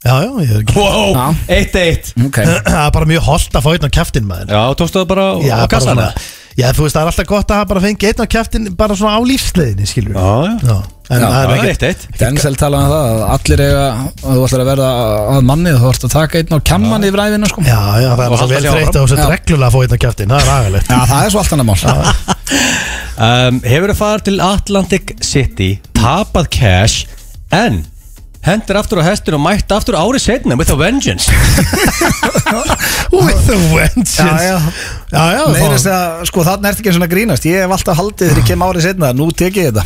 Já, já, ég er ekki Wow, Já. eitt eitt Ok, [CLEARS THROAT] Það er bara mjög holdt að fá einn á kæftin maður Já, tókstu það bara Já, á bara kassana svona Já, þú veist, það er alltaf gott að hafa bara fengi einn á kæftin bara svona á lífsleiðinni, skilur Já, já. já En Já, það er Já, ekki eitt eitt Denzel talaði um það að allir eiga að þú ætlar að verða að manni þú ætlar að taka einn á kjamman yfir æfina sko Já, já, það er Og alltaf halda vel sig áfram. þreytt Já. og sett reglulega að fá einn á kæftin Það er agalegt Já, það er svo allt annað mál Já, um, Hefur þið farið til Atlantic City, tapað cash En hendur aftur á hestin og mætt aftur árið setna With a vengeance With the wenches Já, já. já, já Meira fá- þess að, sko, þarna ertu ekki svona að grínast Ég hef alltaf haldið þegar ég kem árið setna Nú tek ég þetta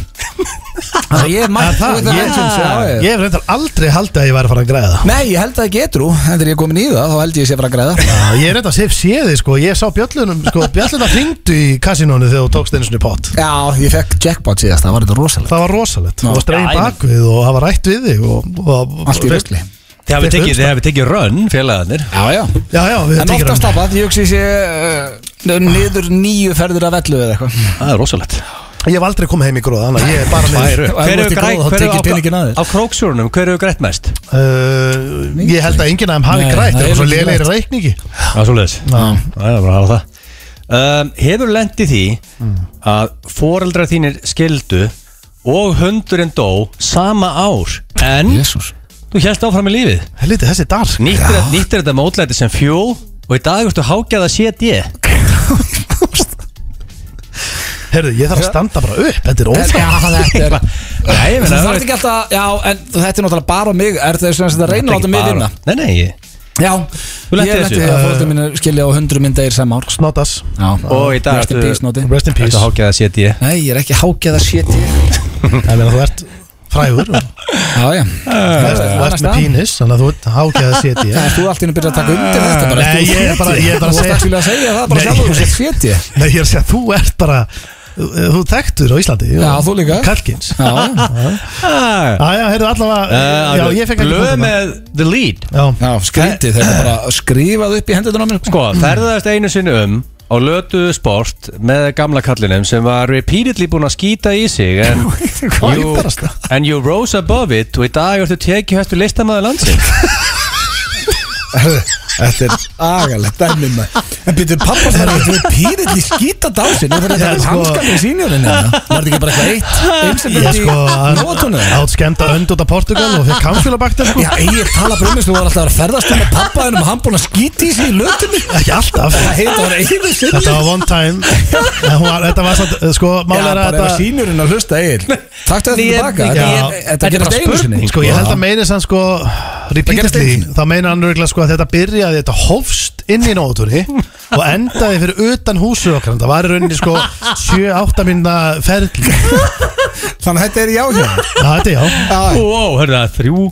Þannig að ég hef mætt Það, þú veit að ég, vengeance, já, ég hef reyndar aldrei haldið að ég væri að fara að græða Nei, ég held að það getur En þegar ég er komin í það, þá held ég sé að fara að græða Já, ég er reyndar að séf séði sko, ég sá bjöllunum sko, bjölluna hringdu í kasinónu þegar þú tókst einu svona pott Já, ég fekk jackpot síðast, það var þetta rosalegt Það var rosalegt, Já. þú varst Já, reyn ég bakvið og hafa rætt við þig og, og, Allt í rusli Þið Þetta hafið er tekið, þið hafið tekið run, félagarnir Já, já Já, já, við En tekjum oftast hann tapað, ég hugsi sé uh, niður nýju ferðir af vellu eða eitthvað Það er rosalegt Ég hef aldrei komið heim í gróða, þannig að ég er bara Hver með upp. Ef þú hefur ert í grætt- gróða, þá hver hefur tekið á- peninginn að þér. Á króksjórunum, hver hefur grætt mest? uh, Ég held að enginn af þeim hafi Nei, grætt, það það er er svo ekki lélegir grætt. reikningi Já, svo leiðis Það er bara að hafa það um, Hefur lendið því að foreldrar þínir skildu og hundurinn dó sama ár en Jésús þú hélst áfram í lífið Helviti, þessi er dark Nýttir, nýttir þetta mótlæti sem fjól og í dag ertu hágjað að sé þetta Herðu, ég þarf að standa bara upp, þetta er óþægt þetta er Nei, ég Þú meina það þarf er- ekki alltaf, já, en þetta er náttúrulega bara á mig Er þetta sem þetta reynir Þetta átta er mig ekki vinna? bara- Nei, nei ég- Já, Þú lenti ég þessu? lenti því að fólkið mínu skilja á hundru minn degir sem ár Snotas Já, Og í dag Rest in peace, Nóti. Rest in peace ertu hágjað að sé þetta Nei, ég er ekki hákjað að shit ég Það meina þú ert frægur og [LAUGHS] Já, já Þú ert með pínis, þannig að þú ert hákjað að setja Það er þú allt í einu byrjað að taka undir þetta [LAUGHS] bara Nei, ert þú ég er bara- 70? ég er Þú bara að segja- varst ekki að segja það bara Nei, sjálfur Þú ég- sett shit ég Nei, ég er að segja, þú ert bara Þú þú ert þekktur á Íslandi Já, þú líka. Kalkins Já, Ah, já. ég Já, já, heyrðu allavega Já, ég fekk ekki eh, Blöð punktum. með the lead Já, já, skrítið Þetta er bara skrifað upp í hendurinn á mér Sko, ferðaðist einu sinni um á lötuðu sport með gamla kallinum sem var repeatedly búinn að skýta í sig en, Hvað er you, barasta? en you rose above it og í dag ertu tekið hættu listamaður landsins Þetta er agalegt dæmi maður En byrju, pappa þarf að við pýrill í skýta dásin Það var þetta Já, sko, sko- hanskan í sínjórin Var þetta ekki bara eitthvað eitt Ég Einsendið sko í hann- nótunum átt skemmt að önd út af Portugal og fekk kamfélabakta sko Já, Egil tala brumis, þú var alltaf að ferðast um með pappa en hann búin að skýta í sig í lötunni Ekki alltaf Það heitir að vera Egil sinni Þetta var one time En hún var, Þetta var satt, eh, sko Já, málega bara ef að þetta sínjórin að hlusta Egil Takk þetta Ég- tilbaka Já. Þetta- Þetta Þetta er gerast bara einu spurning, sinni Sko ég held að meinis hann sko einu Repeatedly sinni. Þá meina hann örgulega sko að þetta byrjaði Þetta hófst inn í nótunni Og endaði fyrir utan húsu okkar Það var í rauninni sko 7-8 minna ferli Þannig að þetta er já hér Já þetta er já Já, Wow, hörðu það, þrjú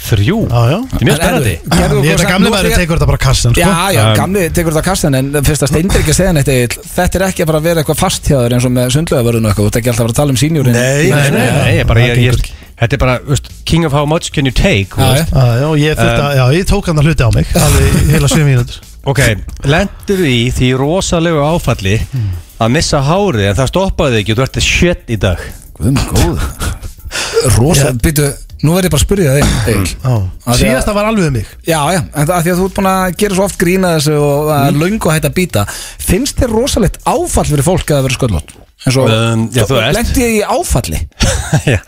Þrjú Já já Þetta er mjög spennandi En eru- gerðu Ég okkur veit að samt- gamli nú maður ætla ég- tekur þetta bara á kassan sko Já, já, gamli tekur þetta á kastan en fyrst að steindir ekki að segja neitt Egill, þetta er ekki að fara að vera eitthvað fast hjá þér eins og með sundlöðavörðun og eitthvað, þú ert ekki alltaf að fara að tala um sínjúrin Nei, Nei, nei, nei, ég bara, það ég, ég, gengur ekki. þetta er bara, veist, king of how much can you take, þú Já, veist. Já, já, ég þurfti að, já, ég tók hann að hluti á mig Alveg í heila 7 mínútur Ok, lendur í því rosalegu áfalli að missa hárið en það stoppaði þig ekki og þú ert shit í dag Guð minn góð Rosa, Já. býtu, nú verð ég bara að spyrja þig Egil. Mm. Já, Af því að- síðasta var alveg um mig Já, já, en það að því að þú ert búin að gera svo oft grína þessu og það Mm. er löng og hætt að býta Finnst þér rosalegt áfall fyrir fólk að vera sköllótt? En svo, Um, já, þú veist. lendi ég í áfalli Já.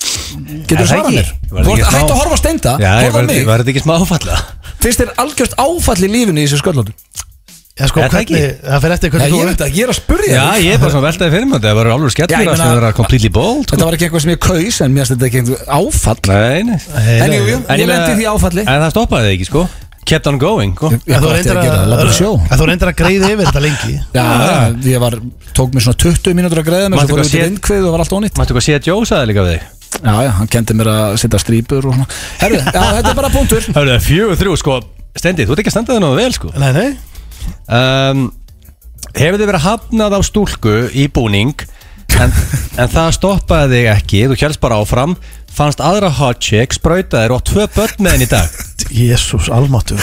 Getur þú Er það svarað ekki? mér? Var Þú þetta ert ekki smá- hætt að horfa á steinda, Já, ég horfa á var, mig var þetta ekki smá áfalla? Finnst þér algjört áfall í lífinu í þessu sköllóttum? Já, sko, Er það hvernig, ekki? það fyrir eftir Já, hvernig ég veit þú að ég er að spurja Já, ég er bara svona veltaði fyrir mjöndi, það var alveg Já, ég skellur að meina- það var completely bold. sko. Þetta var ekki eitthvað sem ég kaus en mér finnst þetta ekki eitthvað áfall Nei, nei. Nei, En nei, jú, jú, En ég lendi í meina- því áfalli En það stoppaði þig ekki, sko. Kept on going, sko. Já, En hvað þú ætti ég reyndir að gera? Labba í sjó? að- en þú reyndir að greiði yfir þetta lengi Já, ég var, tók mér svona 20 mínútur að greiða mér Manstu Svo fór hvað ég út í sé- vindkvið og var allt ónýtt Máttu hvað sé að Joe sagði líka við þig? Já, já, hann kendi mér að setja strípur og svona Herru, já, þetta er bara punktur [LAUGHS] Hörru, það er fjögur þrjú, sko. Stendi, þú ert ekki að standa það náðu vel, sko. Nei, nei, um, Hefur þið verið hafnað á stúlku í búning [LAUGHS] en, en það stoppaði þig ekki þú kjælst bara áfram fannst aðra hot chick sprauta þér og átt tvö börn með henni í dag jésús, almáttur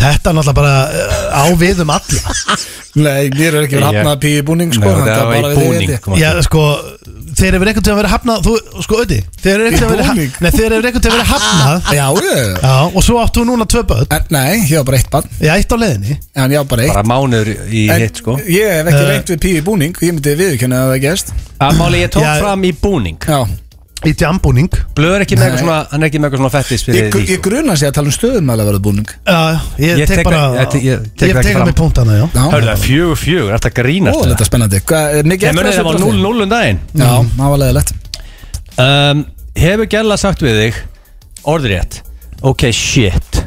Þetta er náttúrulega bara eh, á við um alla Nei, mér er ekki verið Ég- hafnað pí í búning sko, Nei, þannig að það var bara í við búning viti. kom Já, aftur. sko, þeir hefur einhvern til að vera hafnað Þú, sko, öði, þeir hefur einhvern til að vera búning? Ah. hafnað Nei, þeir hefur einhvern til að vera hafnað Já, ég Já, og svo áttu núna tvö börn En, nei, ég var bara eitt barn Já, eitt á leiðinni En ég var bara eitt bara mánuður í En hitt sko Ég hef ekki Eh. reynt við pí í búning Ég myndi viðurkenna að það gerst að máli ég tók Já. fram í búning Já, Í jambúning blöður ekki með eitthvað Nei. svona hann er ekki með eitthvað svona fettis fyrir ég, því sko. ég gruna sig að tala um stöðum að verða búning Já, ég, Ég tek tek- bara ég tek- ég tek Ég það ekki tek fram. að mig punktana, já Já, hörru það er fjögur fjögur þetta Ó, grínast þetta er spennandi Hvað, er mikið ég eftir muni það var þessu 0-0 um daginn Já, það var leðilegt um, hefur gæla sagt við þig orðrétt ok shit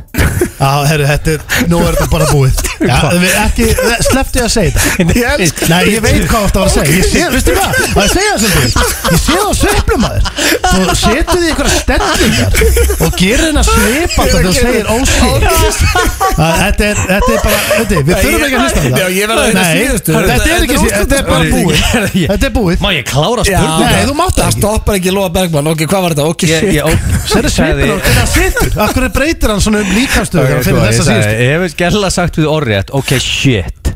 Já, herru, þetta er, nú er þetta bara búið Já, við ekki, slepptu ég að segja þetta Nei, ég veit hvað þetta var að segja Ég sé, veistu hvað, það er að segja það sem Ég sé það á sveplum aður Þú setur því einhverja stellingar Og gerir henn að svipa þetta Þú segir ósýr Þetta er, þetta er bara, þetta er, við þurfum ekki að hlusta á Já, ég verð að þetta heyra Nei, síðustu. þetta er ekki síðustu, þetta er bara búið Þetta er búið má ég klára Já, spurning Nei, þú mátt það Það ekki. stoppar ekki Lóa Bergman Ok, hvað var þetta? Ok, ég, shit ég, ó, Serðu svipin á, hvernig það situr Af hverju breytir hann svona um líkamstöðu Þegar hann finnir þessa síðustu sko, Ég hef gæla sagt við orðrétt Ok shit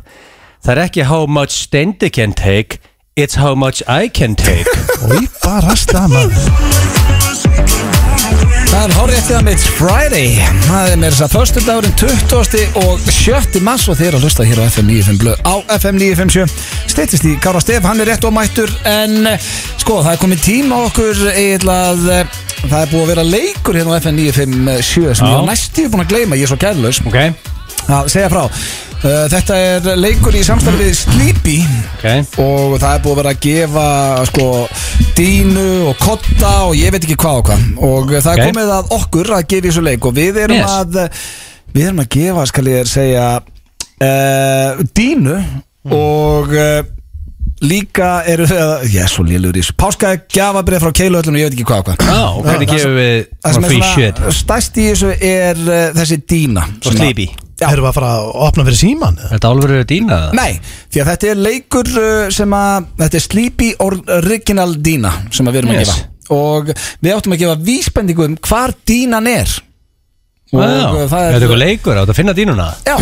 Það er ekki how much Stendi can take It's how much I can take Í bara stama Það er hórið eftir það mitt Friday Það er meira þess að förstu dagurinn 20. og 7. mars og þið er að hlusta hér á FM 95 blöð á FM 957 Steytist í Kára Stef, hann er rétt og mættur en eh, sko, það er komið tíma á okkur eða að eh, það er búið að vera leikur hérna á FM 957 sem Já. ég var næstíð búin að gleyma, ég er svo kærlaus [LAUGHS] Ok að segja frá Uh, Þetta er leikur í samstarfið Sleepy Ok. og það er búið að vera að gefa sko, dínu og kotta og ég veit ekki hvað og hvað og það Ok. er komið að okkur að gefa í þessu leik og við erum Yes. að uh, við erum að gefa, skal ég þér segja uh, dínu Hmm. og uh, líka eru við að, ég er svo lélur í þessu páska gjafabrið frá keiluöllun og ég veit ekki hvað og hvað Á, og hvernig Það sem- gefum við Það sem Svona free er shit svona stærst í þessu er uh, þessi dína Og sleepy Já. Erum við að fara að opna fyrir síman? Er þetta álfurður að dýna það? Nei, því að þetta er leikur uh, sem að, þetta er Sleepy uh, Original Dina sem að við erum Yes. að gefa og við áttum að gefa vísbendingu um hvar dínan er Vá, uh, Ah, Er þetta eitthvað leikur átt að finna dýnuna? Já,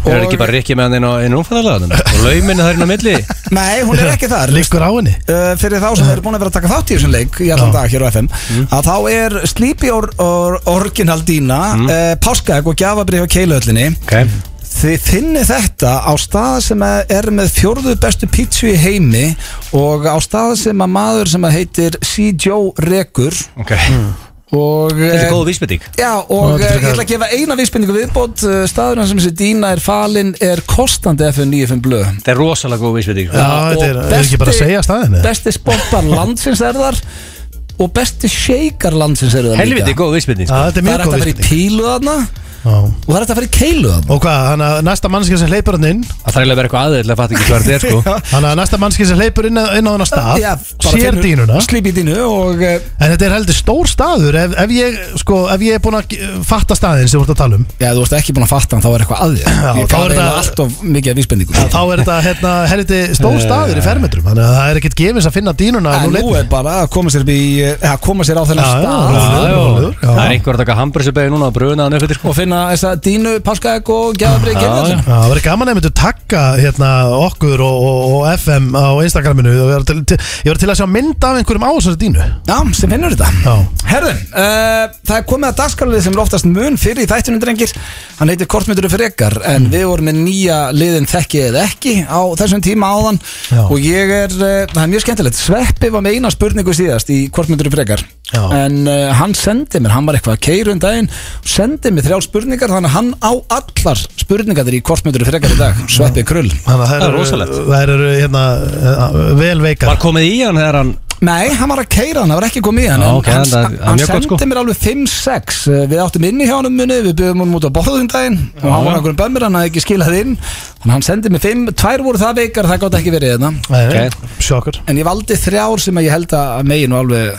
Er það ekki bara Rikki með hann inn á inn umfæðalaganum og lauminu þar inn á milli Nei, hún er ekki [LAUGHS] þar Liggur á henni uh, fyrir þá sem eru búin að vera að taka þátt í þessum leik í allan Já. dag hér á FM Mm. að þá er Sleepy or, or, Original Dina mm. uh, Páskaegg og Gjafabrið á Keiluhöllinni okay. Þið finni þetta á stað sem að er með fjórðu bestu pítsu í heimi og á stað sem að maður sem að heitir C. Joe Rekur Okay. Mm. og Þetta er eh, góð vísbending Já, og Nú, eh, þetta er ég ætla að gefa eina vísbendingu viðbót eh, staðurinn sem þessi dýna er falin er kostandi FM 95 blöð Eh. Þetta er rosalega góð vísbending sko. Já, þetta er, er ekki bara að segja staðin eða? Besti spottar landsins er þar og besti shaker landsins er þar Helviti góð vísbending Já, sko. þetta er Það mjög er hægt að góð fara í vísbending. pílu þarna Já. og það er hægt að fara í keilu þarna Og hvað, hann að næsta mannski sem hleypur hann inn Það þarf eiginlega að vera eitthvað aðeins að fatta ekki hvað þetta er [LAUGHS] sko Hann að næsta mannski sem hleypur inn, inn á hann að stað Já, bara Sér finnur- dýnuna Slíp í dínu og eh, En þetta er heldur stór staður Ef, ef, ég, sko, ef ég er búin að eh, fatta staðin sem þú ert að tala um Já, þú ert ekki búin að fatta hann, þá er eitthvað að þér Ég þá gaf er eiginlega það- allt of mikið af vísbendingum að Þá er þetta hérna, heldur stór staður í fermetrum Þannig að það er ekkert gefins að finna dýnuna En nú er bara að koma sér, upp í, að koma sér á þennan Já, já, stað já. Já, já. rólegur, já. Það er einhver að taka hambúrsabegi núna og bruna hann upp eftir sko og finna þessa dínu, páskaegg og gjafabrið Já, gerðin Já, það verður gaman að myndu takka hérna, okkur og, og, og FM á Instagraminu Það verður til- til- Ég verður til að sjá mynd af einhverjum á þessari dínu Já, sem finnur þetta Já. Herðin, uh, það er komið að dagskarlið sem er oftast mun fyrir í þættunum drengir Hann heitir Kortmyndur frekar En Mm. við vorum með nýja liðin þekki eða ekki á þessum tíma áðan Já. Og ég er, uh, það er mjög skemmtilegt Sveppi var með eina spurningu síðast í Kortmyndur frekar Já. En uh, hann sendi mér, hann var eitthvað að keyra um daginn Sendi mér þrjá spurningar Þannig að hann á allar spurningar í Kortmyndur frekar í dag Sveppi Krull Þannig að Það er þær rosalegt. eru- þær eru hérna, eh, vel veikar Var komið í hann þegar hann Nei, hann var að keira hann, það var ekki komið í hann Já, en ok, hann, það er- hann, það er mjög gott, sendi sko. mér alveg 5-6 eh, Við áttum inni hjá hann muni, við byggum hann út á borðum daginn og hann var okkur um bömmir, hann hafði ekki skilað inn Þannig að hann sendi mér 5, tvær voru það veikar, það gátt ekki verið þetta okay. Sjokkur En ég valdi þrjár sem að ég held að megin og alveg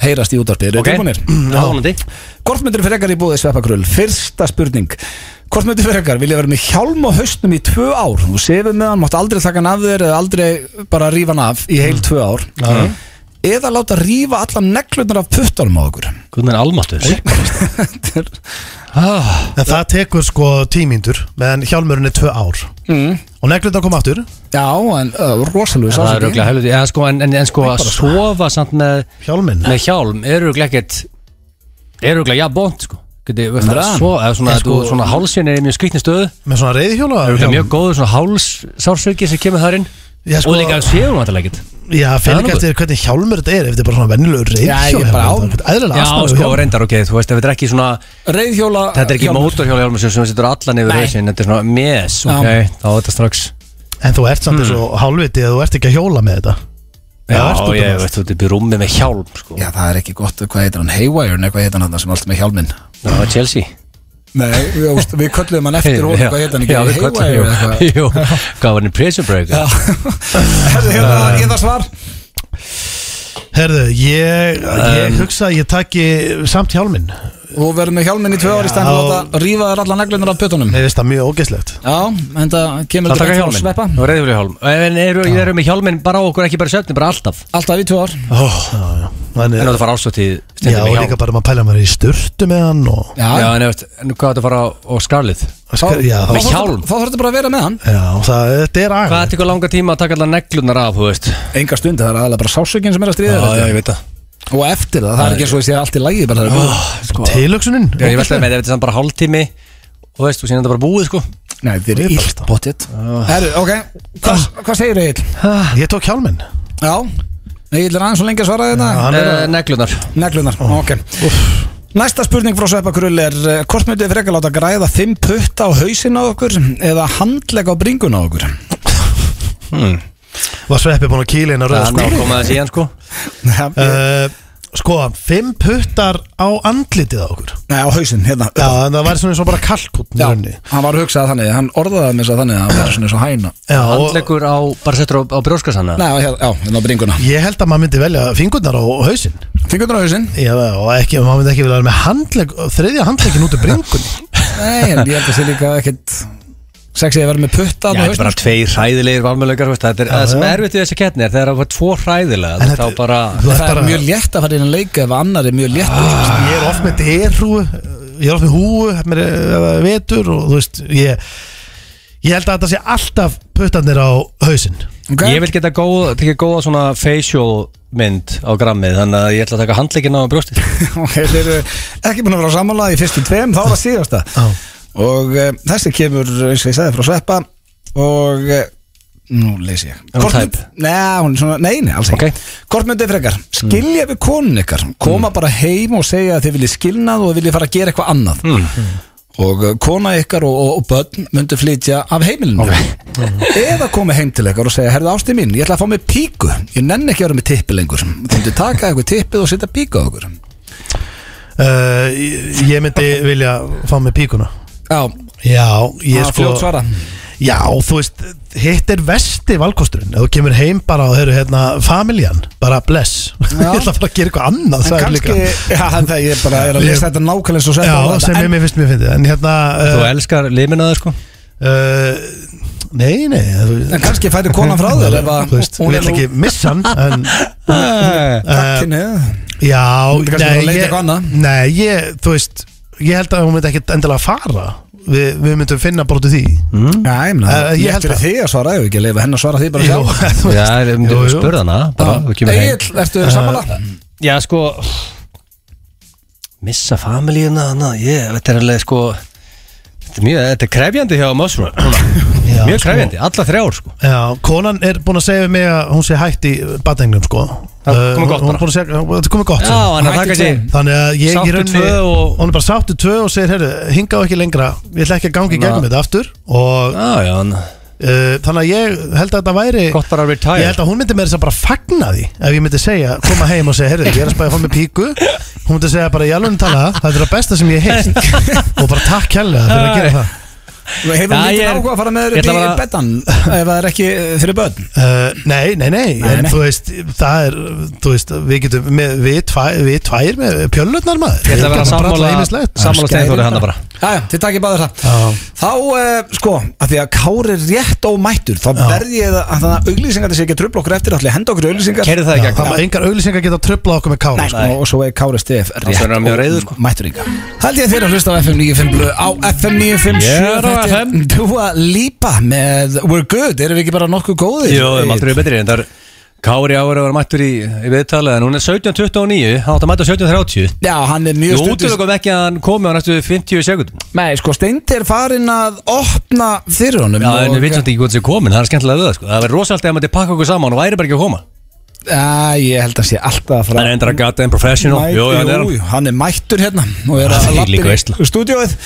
heyrast í útarpi Eru Ok, okay. tilbúinir? já, vonandi Hvort myndir fyrir ekkar í búið sveppakrull? Fyrsta spurning Hvort myndir fyrir ekkar? Vil ég vera með hjálm á hausnum í tvö ár? Þú sefur með hann, mátt aldrei taka hann af þér eða aldrei bara rífa hann af í heil Mm. tvö ár Mm. Eða láta rífa allan neglutnar af puttunum á okkur Guðmenn Almatur Þetta er- En það tekur sko tímyndur meðan hjálmurinn er tvö ár mm. og neglur þetta koma aftur Já, en uh, rosalega Það er röglega helviti En sko, en, en, en sko að sofa samt með, hjálminn með hjálm Er röglega ekkert Er röglega jabont sko Geti, það er það? svo, eða svona, En sko- sko, svona hálsinn er í mjög skrýtni stöðu með svona reyðhjóla Það er mjög góður svona hálssársöki sem kemur þar inn Já, sko- Og líka séum hann alltaf ekkert Já, Það er fyrir nokkuð. eftir hvernig hjálmur þetta er ef þetta er bara svona vennilegur reyðhjóla Já, ég er bara á- Æðlilega Já, aðstæður sko, reyndar, ok, þú veist, ef þetta er ekki svona Reyðhjóla Þetta er ekki hjálmur. mótorhjóla hjálmur sem setur allan yfir Nei. hausinn Þetta er svona mes, ok, þá er þetta strax En þú ert samt eins Mm. og hálfviti að þú ert ekki að hjóla með þetta Já, ert út um ég allt. veist, þú ert upp í rúmi með hjálm, sko Já, það er ekki gott, hvað heitir hann, Haywire, nei, hvað heitir hann þarna sem er alltaf með hjálminn Það var Chelsea [LAUGHS] Nei, við, ást- við köllum hann eftir og hvað heitir hann ekki, Já, við Haywire köllum, jú, eða eitthvað? [LAUGHS] jú Hvað var hann í prison break? Já. [LAUGHS] Herðu, hérna, ég það svar Herðu, ég, Um. ég hugsa að ég taki samt hjálminn Þú verður með hjálminn í tvö ári stæðan og láta rífa þér alla neglunar af pötunum Mér finnst það mjög ógeðslegt Já, en það kemur Það þetta taka beint frá sveppa hjálminn, og reyðfjölu hjálm En eru ég eru með hjálminn bara á okkur, ekki bara söfni, bara alltaf Alltaf í tvö ár oh. Já, já Þannig, En þú ert að fara ástóttíð Já, stundum og með líka hjálm bara maður pæla maður í sturtu með hann og Já, Já, en ef- en hvað ert að fara á, á skarlið? Þá, já, þá, þá, Með þá- hjálm? Þá þurftu bara að vera með hann já það, þetta er Hvað aðeins tekur langa tíma að taka allar neglunar af, þú veist? eh, Enga stund, það er aðalega bara sásökin sem er að stríða þér eftir. veit það Og eftir það, það er ekki eins og þessi allt í lagi bara það er búið. sko. Tilöksunin Já, ég veit það með þetta er samt bara hálftími og veist, og síðan er þetta bara búið, sko Nei, þið er Ég illt bóttið Herru, ok, hvað hvað segir Egil? Ah, Ég tók hjálminn Já, Egil er aðeins og lengi að svara þetta Hann er Eh, Neglunar Neglunar, ok Næsta spurning frá Sveppakrull er eh, Hvort myndið þið frekar láta græða fimm putta á hausin á okkur eða handlega á bringun á okkur? Var sveppi búin að kýla inn að Það röða er ná að koma þessi í hann, sko Nei, sko Sko, fimm puttar á andlitið á okkur á hausin, hérna Já, en það væri svona eins og bara kalkutn í Já, rauninni hann var hugsað þannig, hann orðaði það með þess að þannig að hann var svona eins og hæna Já, og Handleggur á, bara settur á, á brjóskasanna Nei, já, já, hérna á bringuna ég held að maður myndi velja fingurnar á hausinn Fingurnar á hausinn? Já, og ekki, maður myndi ekki vilja vera með handleg, þriðja handlegin út af bringunni Nei, en ég held að sé líka ekkit sexið að vera með putta Já, þarna á þetta er bara tveir hræðilegir valmöðlegar Það er það sem er erfitt við þessi kettni er þegar það er tvo hræðilega En þá þetta- bara Ah, Þú ert Það er bara- Ah, mjög létt að fara inn að leika ef annar er mjög létt Ég er oft með derhúu Ég er oft með húu, með vetur og þú veist, ég Ég held að þetta sé alltaf puttanir á hausinn Ok? Ég vil geta góð, tekið góða svona facial mynd á grammið Þannig að ég ætla að taka handleikin á [LAUGHS] brjóstið [LAUGHS] Ok, þeir eru ekki búin að vera samanlega í fyrstu tveim, þá var það síðasta Já. og e, þessi kemur eins og ég sagði frá Sveppa og e, nú leys ég Er hún Hvort tæp? mynd- Nei, hún er svona, nei, nei, alls Ok. Mm. ekki Hvort myndið frekar, skilja við konun ykkar koma bara heim og segja að þið viljið skilnað og þið viljið fara að gera eitthvað annað Mm. og eh, kona ykkar og, og, og börn myndu flytja af heimilinu Mm. eða komi heim til ykkar og segja herðu ásti mín, ég ætla að fá mig píku ég nenni ekki að vera með tippi lengur þú myndu taka eitthvað tippið og setja píku á okkur Eh, uh, ég- Ég myndi vilja fá mig píkuna Já, Já, ég sko- Það sko- er fljótt svara. Já, þú veist, hitt er vesti valkosturinn Ef þú kemur heim bara og höfðu hérna familjan, bara bless [LAUGHS] Ég Já. ætla bara að gera eitthvað annað en sagði kannski líka. já, en það ég bara er að lesa þetta nákvæmlega svo Já, þetta sem ég mér finnst mér fyndið En hérna Þú uh, elskar liminaði sko uh, Nei, nei þú- En kannski færi konan frá þér ef að- [LAUGHS] Þú veist, hún hún er vil nú- ekki Eh, missa hann [LAUGHS] en, Æ, Kynni, Já, myndi kannski bara leita ég, eitthvað annað. nei ég, þú veist Ég held að hún myndi ekkit endilega fara Vi, Við myndum finna bara út úr því já, ég meina, Eh, ég ég held held fyrir það. því að svara ef ekki að leifa henn að svara því bara Jú, sjálf [LAUGHS] þú Já, veist, ég myndi jú, jú. spurða hana bara, þú kemur heim. Egil, ertu samanlega? Já, sko Missa familíuna hana Ég, þetta er alveg sko Þetta er mjög, þetta er krefjandi hjá Mössur Já, Mjög sko. krefjandi, alla þrjár sko Já, konan er búin að segja við mig að hún sé hætt í badengnum sko Það er komið Uh, gott hún- hún bara. er búin að segja- hún- Þetta komið gott Já, sko. hann er Hætti þakka tveim. sér Þannig að ég Sáttu í rauninni tvö og- Hún er bara sáttu tvö og segir, herru, hingað ekki lengra Ég ætla ekki að gangi gegnum þetta aftur Og uh, Já, já, hann þannig að ég held að þetta væri Gott bara að retire Ég held að hún myndi með þess að bara fagna því Ef ég myndi segja, koma heim og segja, herru, ég er að spæja að fá mig píku Hún myndi segja bara, ég alveg tala Það er það besta sem ég heist Og bara takk kærlega fyrir að gera það Hefur Já, hún ég lítið er- áhuga að fara með þér ég ætla upp í bara- betan ef það er ekki eh, fyrir börn? Uh, nei, nei, nei, Nei, en nei. þú veist það er, þú veist, við getum með, við, tvæ, við tvær með pjöllunar maður Ég ætla að vera Við getum brallað sammála ýmislegt. Sammála Skæri Steinþóri hann þetta. bara Já, já, þið takkir báður það Já. Þá, uh, sko, að því að Kári er rétt ómættur þá verð ég að þannig að auglýsingar þessi ekki að tröfla okkur eftir allir henda okkur í auglýsingar Kerði það Já, í gegn það var engar auglýsingar geta tröflað okkur með kára Nei, sko. sko, og svo er Kári Stef rétt er hann mjög reiður, sko. mættur yngar Held ég að þeir eru að hlusta á FM 95 blöð á FM 95 Ég er á FM. Dúa Lípa með We're Good Erum við ekki bara nokkuð góðir? Jó, við erum aldrei betri en það er Kári ára var mættur í, í viðtalið en hún er 17.29, hann átt að mæta 17.30 Já, hann er mjög Ég útlökum ekki að hann komi á næstu 50 sekundum Nei, sko, Steindi er farin að opna fyrir honum Já, en og- við veitum ekki hvað sem komin, það er skemmtilega við það sko Það verður rosalegt ef hann myndi pakka okkur saman og væri bara ekki að koma Já, ég held að sé alltaf að fara Hann er endur að gata en professional Mæ- Jú, jú, hann er jú, hann hann er mættur hérna og er Það að er labba líka inn í veisla. stúdíóið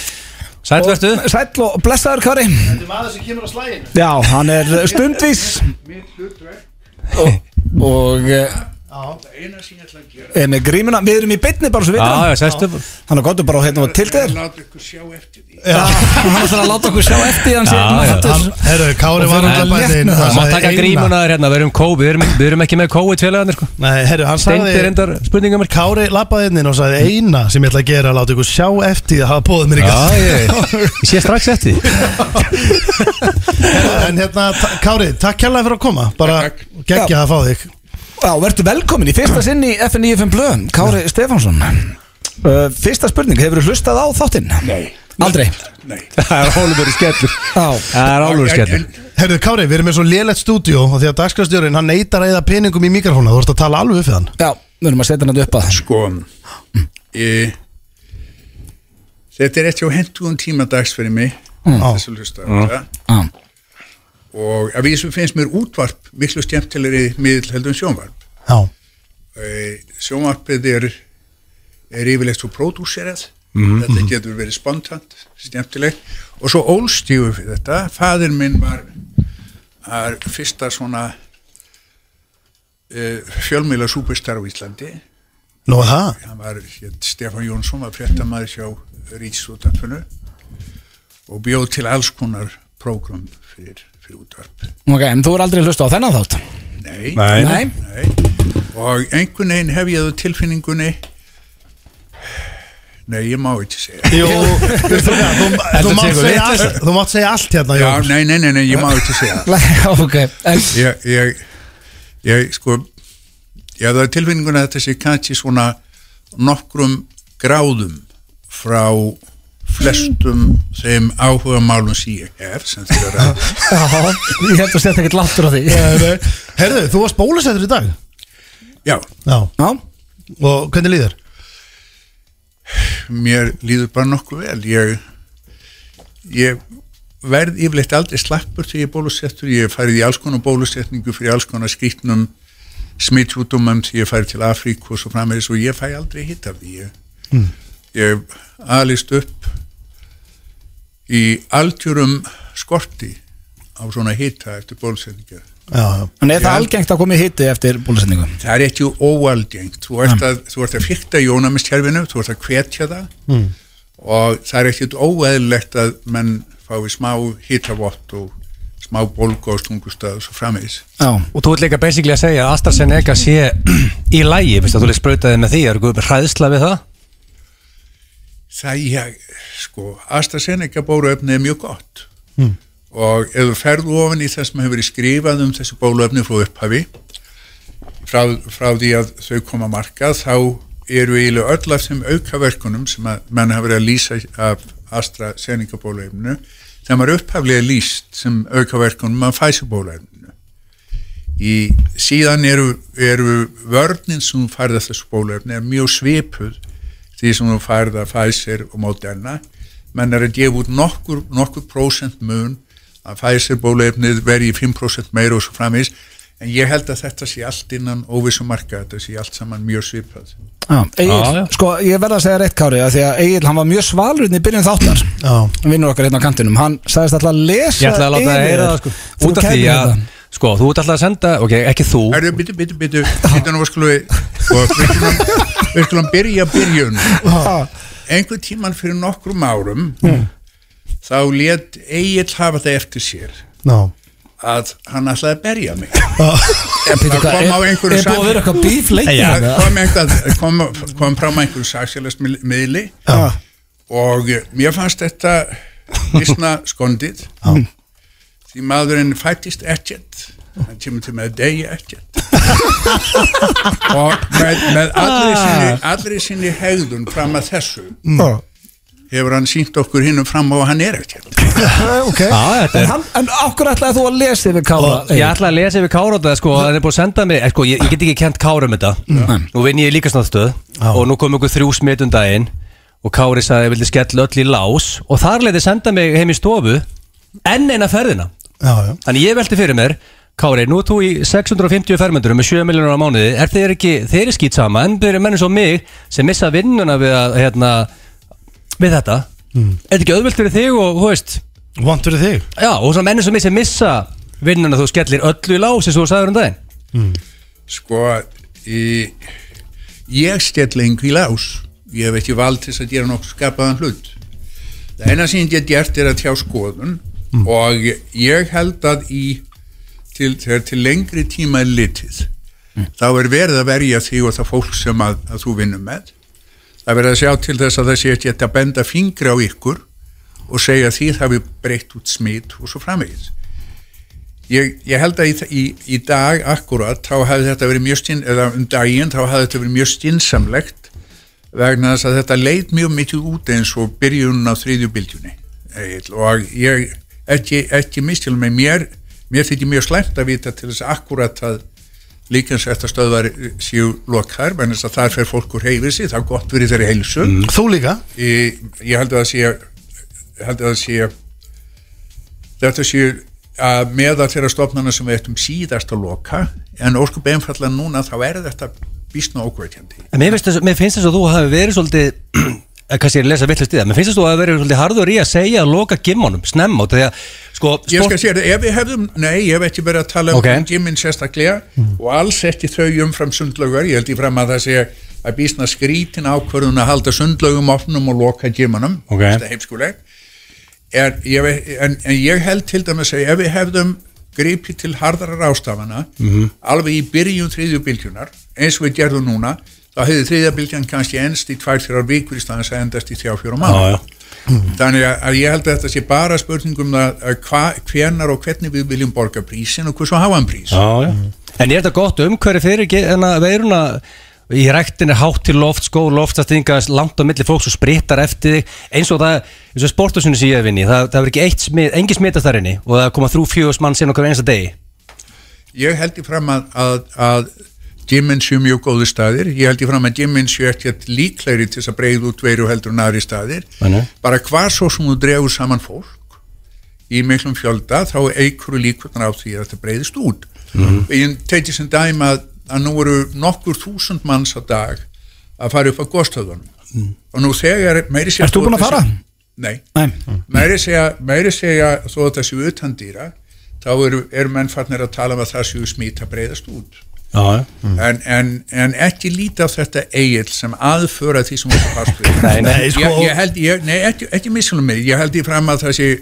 Sæll vertu Og- Sæll og blessaður Kári Þetta er maður sem kemur á slæginu Já, hann er uh, stundvís og, og uh, er með eh, grímuna Við erum í beinni bara svo við Já, það já, sæstu Hann er gotur bara á hérna og til þér Láta ykkur sjá eftir því Hann ætlar að láta okkur sjá eftir hann sé hérna. Já, Ah, já. mættur Herru, kári var það er hann létt bæti inn með það. hann Má sagði taka eina- grímuna þér hérna, við erum, kó- við erum, við erum ekki með COVID félagarnir sko Nei, herru, hann Steindi er sagði endar spurningamörk Kári labbaði inn og sagði eina sem ég ætla að gera að láta ykkur sjá eftir því að hafa bóðið mér í Ah, Já, gang ég, ég sé strax eftir því. [LAUGHS] En hérna, ta- Kári, takk kærlega fyrir að koma Bara geggja að fá þig Já, verður velkomin í fyrsta sinn í FNIFM Blöð Kári Stefánsson uh, Fyrsta spurning, hefur þú hlustað á þáttinn? Nei, Aldrei nei Það er álfur skellur Já, Það er álfur skellur Herðu Kári, við erum með svo lélegt stúdíó og því að dagskrastjórinn, hann neytar að eða peningum í mikrofónu þú ert að tala alveg fyrir hann já, við erum að setja hann upp að Sko e, Þetta er eftir á hentugun tíma dags fyrir mig Þessu hlusta mm. Já, Og að vísu finnst mér útvarp miklu skemmtilegri miðl heldur en sjónvarp Já, e, Sjónvarpið er er yfirleitt svo pródúserað Þetta getur verið spontant skemmtilegt og svo ólstífu fyrir þetta fadir minn var, var fyrsta svona e, fjölmiðla súperstar á Íslandi nú er það hann var hér, Stefán Jónsson var fréttamaður hjá Ríksútarpinu og bjóð til alls konar prógram fyrir, fyrir útvarp ok, en þú er aldrei hlusta á þennan þátt Nei. Nei. Nei, Nei. og einhvern veginn hef ég það á tilfinningunni Nei, ég má ekki segja Jú, veistu hvað, þú, þú, Þetta mátt tekur segja við. allt, þú mátt segja allt hérna Já, Jón. nei, nei, nei, nei, ég má ekki segja [LAUGHS] ok en, ég, ég, ég sko ég hafði á tilfinninguna að þetta sé kannski svona nokkrum gráðum frá flestum þeim áhuga málum sem ég hef sem þeir eru að Ég held að setja ekkert láttur á því Herðu, þú varst bólusettur í dag Já, Já, Já, og hvernig líður? mér líður bara nokkuð vel ég, ég verð yfirleitt aldrei slappur þegar ég er bólusettur ég hef farið í alls konar bólusetningu fyrir alls konar skrýtnum smittsjúdumum þegar ég farið til Afríku og svo framvegis og ég fæ aldrei hitt af því ég, ég alist upp í aldjurum skorti á svona hita eftir bólusetningar Já, já en er það Já. algengt að koma í hitti eftir bólusetningu það er ekki óaldengt þú ert að, þú ert að fyrta í ónæmistjærfinu þú ert að hvetja það mm. og það er ekkert óeðlilegt að menn fái smá hitavott og smá bólgu á stungustað og svo framvegis Já, Og þú ert líka basically að segja að AstraZeneca sé í lægi, veist að þú leik sprautaði með því, er eitthvað hræðsla við það? það ég, sko, AstraZeneca bóluefni er mjög gott og ef þú ferðu ofan í það sem hefur verið skrifað um þessi bóluefni frá upphafi frá, frá því að þau koma á markað þá eru eiginlega öll af þeim aukaverkunum sem að menn hafa verið að lýsa af AstraZeneca bóluefninu þeim er upphaflega lýst sem aukaverkunum af Pfizer bóluefninu í, síðan eru, eru vörnin sem þú færði að þessu bólefni er mjög svipuð því sem þú færði að Pfizer og Moderna menn er að gefa út nokkur, nokkur prósent mun að Pfizer bólefnið veri í 5% meira og svo framvís en ég held að þetta sé allt innan óvissu marka, þetta sé allt saman mjög svipað já. Já, já. Egil, sko, ég verða að segja rétt Kári að Því að Egil, hann var mjög svalurinn í byrjun þáttar Já. Vinnur okkar hérna á kantinum Hann sagðist alltaf að lesa Ég ætla að láta það yfir heyra það þér þú sko Út af því kæmir hérna. að, þetta. sko, þú ert alltaf að senda, ok, ekki þú Erðu, byttu, byttu, byttu, byttu nú skulum við og við skulum, við skulum byrja byrjun einhver tíman fyrir nokkrum árum Hmm. þá lét Egil hafa það eftir sér Já, að hann ætlaði að berja mig En býtu, Það hvað, kom á Er er einhverju búið að sami- vera eitthvað bíf lengi Það hérna? kom, eitthvað, kom, kom fram að einhverju saksjálasmiðli Já. og mér fannst þetta vissna skondið því maðurinn fættist ekkert hann kemur til með að degi ekkert og með, með allri, sinni, allri sinni hegðun fram að þessu Já. hefur hann sínt okkur hinnum fram á að hann er ekkert Ok. Já, þetta En er- hann- En okkur ætlaði þú að lesa yfir Kára Ah, Ég ætla að lesa yfir Kára á þetta sko Það er búið að senda mig, eh, sko, ég, ég get ekki kent Kára um þetta Nú vinn ég líka snáttstöð Og nú kom ykkur þrjú smitun daginn Og Kári sagði að ég vildi skella öll í lás Og þar leiði senda mig heim í stofu Enn eina ferðina já, já Þannig ég velti fyrir mér Kári, nú ert þú í 650 fermendurum með 7 miljonar á mánuði Er þeir ekki, þeir er skýt sama En þeir eru mennum svo mig sem missa vinnuna við, að, hérna, við þetta Er þetta ekki auðvelt fyrir þig og, þú veist Vant fyrir þig Já, og svona mennum sem mig sem missa vinnuna Þú skellir öllu í lási, svo sagður um daginn sko í, ég stjæll engu í lás ég hef ekki vald til þess að gera nokkuð skapaðan hlut það eina sem ég get gert er að tjá skoðun og ég held að í til, þegar til lengri tíma er litið þá er verið að verja þig og það fólk sem að, að þú vinnum með það er verið að sjá til þess að það sé ekki hægt að benda fingri á ykkur og segja því það við breytt út smit og svo framvegis ég, ég held að í, í, í dag akkurat þá hefði þetta verið mjög stinn eða um daginn þá hefði þetta verið mjög stinnsamlegt vegna þess að þetta leit mjög mikið út eins og byrjun á þriðju bylgjunni Egill. og ég ekki, ekki mistil með mér mér þykir mjög slæmt að vita til þess akkurat að líkans eftir stöðvar séu lokar, vegna þess að þar fer fólk úr heifir sig, það er gott fyrir þeirri heilsu Þú líka ég, ég held að það sé ég held að það sé þetta sé að meða þeirra stofnana sem við ættum síðast að loka en óskup einfallega núna þá er þetta býstna ókvækjandi En mér finnst þess, mér finnst þess að þú hafi verið svolítið [CLEARS THROAT] eh, kannski ég er að lesa villast í það, mér finnst þess að þú hafi verið svolítið harður í að segja að loka gimmunum, snemma út af því að, sko, ég sport- skal segja þetta, ef við hefðum, nei, ég hef ekki verið að tala Ok. um gymmin sérstaklega og alls ekki þau umfram sundlaugar ég held í fram að það sé að býstna skrítin ákvörðun að halda sundlaugum opnum og loka gymmanum, Ok. þetta er heimskulegt er, ég, ve- en, en ég held til dæmis að ef við hefðum gripið til harðara rástafana Mhm. alveg í byrjun þriðju bylgjunar eins og við gerðum núna þá hefði þriðja bylgjan kannski ennst í tvær þrjár vikur í staðins að endast í þrjá fjóra mánu Já, já. þannig að, að ég held að þetta sé bara spurningum að, að hva, hvenar og hvernig við viljum borga prísin og hversu háan prís Mm. En er þetta gott umhverfi fyrir ge- hérna, veiruna í ræktin er hátt til loft, skó loft það stinga aðeins langt á milli fólks og sprittar eftir þig eins og það, eins og sportasunni sem ég er vinni það, það er ekki eitt smit, engin smitast þar inni og það koma þrjú fjögurs mann sinna okkur einasta degi Ég held í fram að, að, að gyminn séu mjög góði staðir ég held í fram að gyminn séu ekkert líklegri til þess að breyða út veiru heldur en aðri staðir Þannig. bara hvað svo sem þú dregur saman fólk í miklum fjölda þá eikur líkurnar á því að þetta breyðist út Mhm. ég teiti sem dæmi að, að nú eru nokkur þúsund manns á dag að fara upp á góðstöðunum og nú þegar meiri Mhm. sér Ert þú búin að fara? Nei, Nei. meiri segja, meiri segja þó að það séu utan dýra þá eru, eru menn farnir að tala um að það séu smít að breyðast út Já, Mm. en, en, en ekki líta á þetta eigil sem aðföra því sem hún fast [LAUGHS] við Nei, nei, ég, sko- ég held, ég, nei ekki, ekki missunum mig ég held í fram að það sé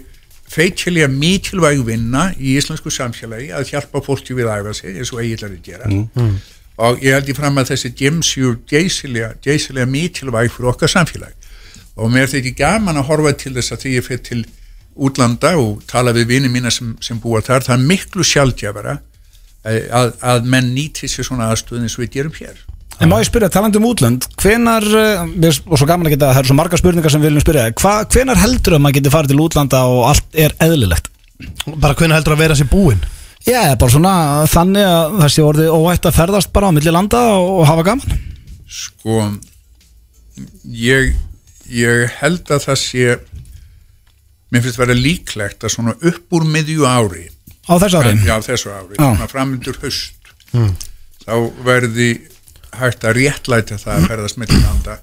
feitkilega mikilvæg vinna í íslensku samfélagi að hjálpa fólki við að æfa sig eins og eiginlega gera Mm, og ég held í fram að þessi gemsjú geysilega, geysilega mikilvæg fyrir okkar samfélag og mér þykir gaman að horfa til þess að því ég fyrir til útlanda og tala við vini mína sem, sem búa þar, það er miklu sjálfgjafara eh, að, að menn nýti sér svona aðstöðin eins og við gerum hér En má ég spyrja, talandi um útlönd Hvenar, eh, mér er s- og svo gaman að geta það eru svo marga spurningar sem við viljum spyrja þig. Hva, Hvenar heldur að maður geti farið til útlanda og allt er eðlilegt? Bara hvernig heldur að vera sér búinn Já, bara svona þannig að það sé orðið óhætt að ferðast bara á milli landa og, og hafa gaman sko ég, ég held að það sé mér finnst vera líklegt að svona upp úr miðju ári á þessu ári já þessu ári, Já. svona framöndur höst þá verði hægt að réttlæta það að ferðast mittlanda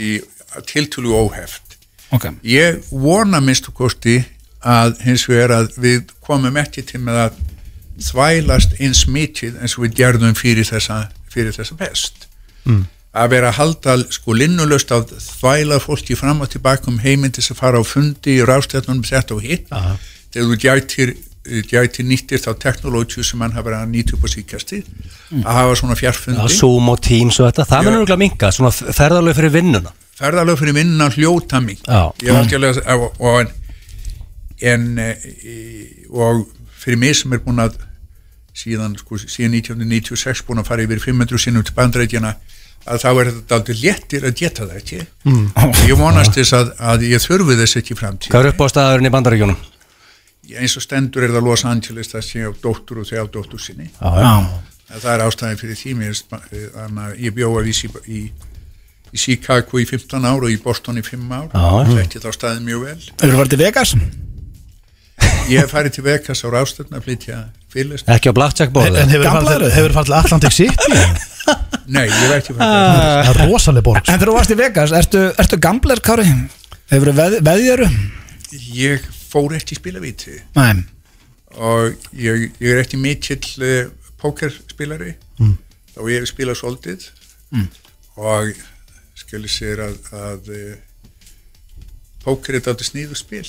í tiltölu óheft okay. ég vona minnstu kosti að hins vegar að við komum ekki til með að þvælast eins mikið eins og við gerðum fyrir þessa, fyrir þessa pest að vera að halda sko linnulöst að þvæla fólki fram og tilbaka um heiminn til þess að fara á fundi í rástættunum þetta og hitt þegar þú gætir, gætir nýttir þá teknológiu sem mann hafa verið að nýta upp á síkjasti að hafa svona já, fjarfundi Zoom og Teams og þetta, það Já. verður nörgulega minka svona ferðalög fyrir vinnuna ferðalög fyrir vinnan hljóta mig Já. ég er algjörlega og, og, en, en eh, í- og fyrir mig sem er búin að síðan, sko, síðan 1996 búin að fara yfir 500 sinnum til bandrækjana að þá er þetta aldrei léttir að geta það ekki mm. ég vonast þess að, að ég þurfi þess ekki í framtíð Hvað er upp á staðurinn í bandaríkjónum? eins og stendur er það Los Angeles það sé á dóttur og þegar á dóttur sinni að það er ástæðin fyrir því mér, finnst ma- eh, þannig að ég bjóða í, Sib- í, í Chicago í 15 ár og í Boston í 5 ár Já. þetta þá staðið mjög vel Hefur farið til Vegas? ég hef farið til Vegas á ráðstöfna að flytja fyrirlest Ekki á Blackjack borðið? En hefur Gamla farið eru til- þau? hefur farið til Atlantic City nei, ég hef ekki farið til Það er rosaleg borg sko. En þegar þú varst í Vegas, ertu, ertu gambler, Kári? Hefur veð, veðjöru? Vegas ég fór ekki í spilaviti Nei og ég, ég er ekki mikill uh, pókerspilari Mm. þá ég hef spilað soldið og skilur sér að, að uh, póker er þetta sníðu spil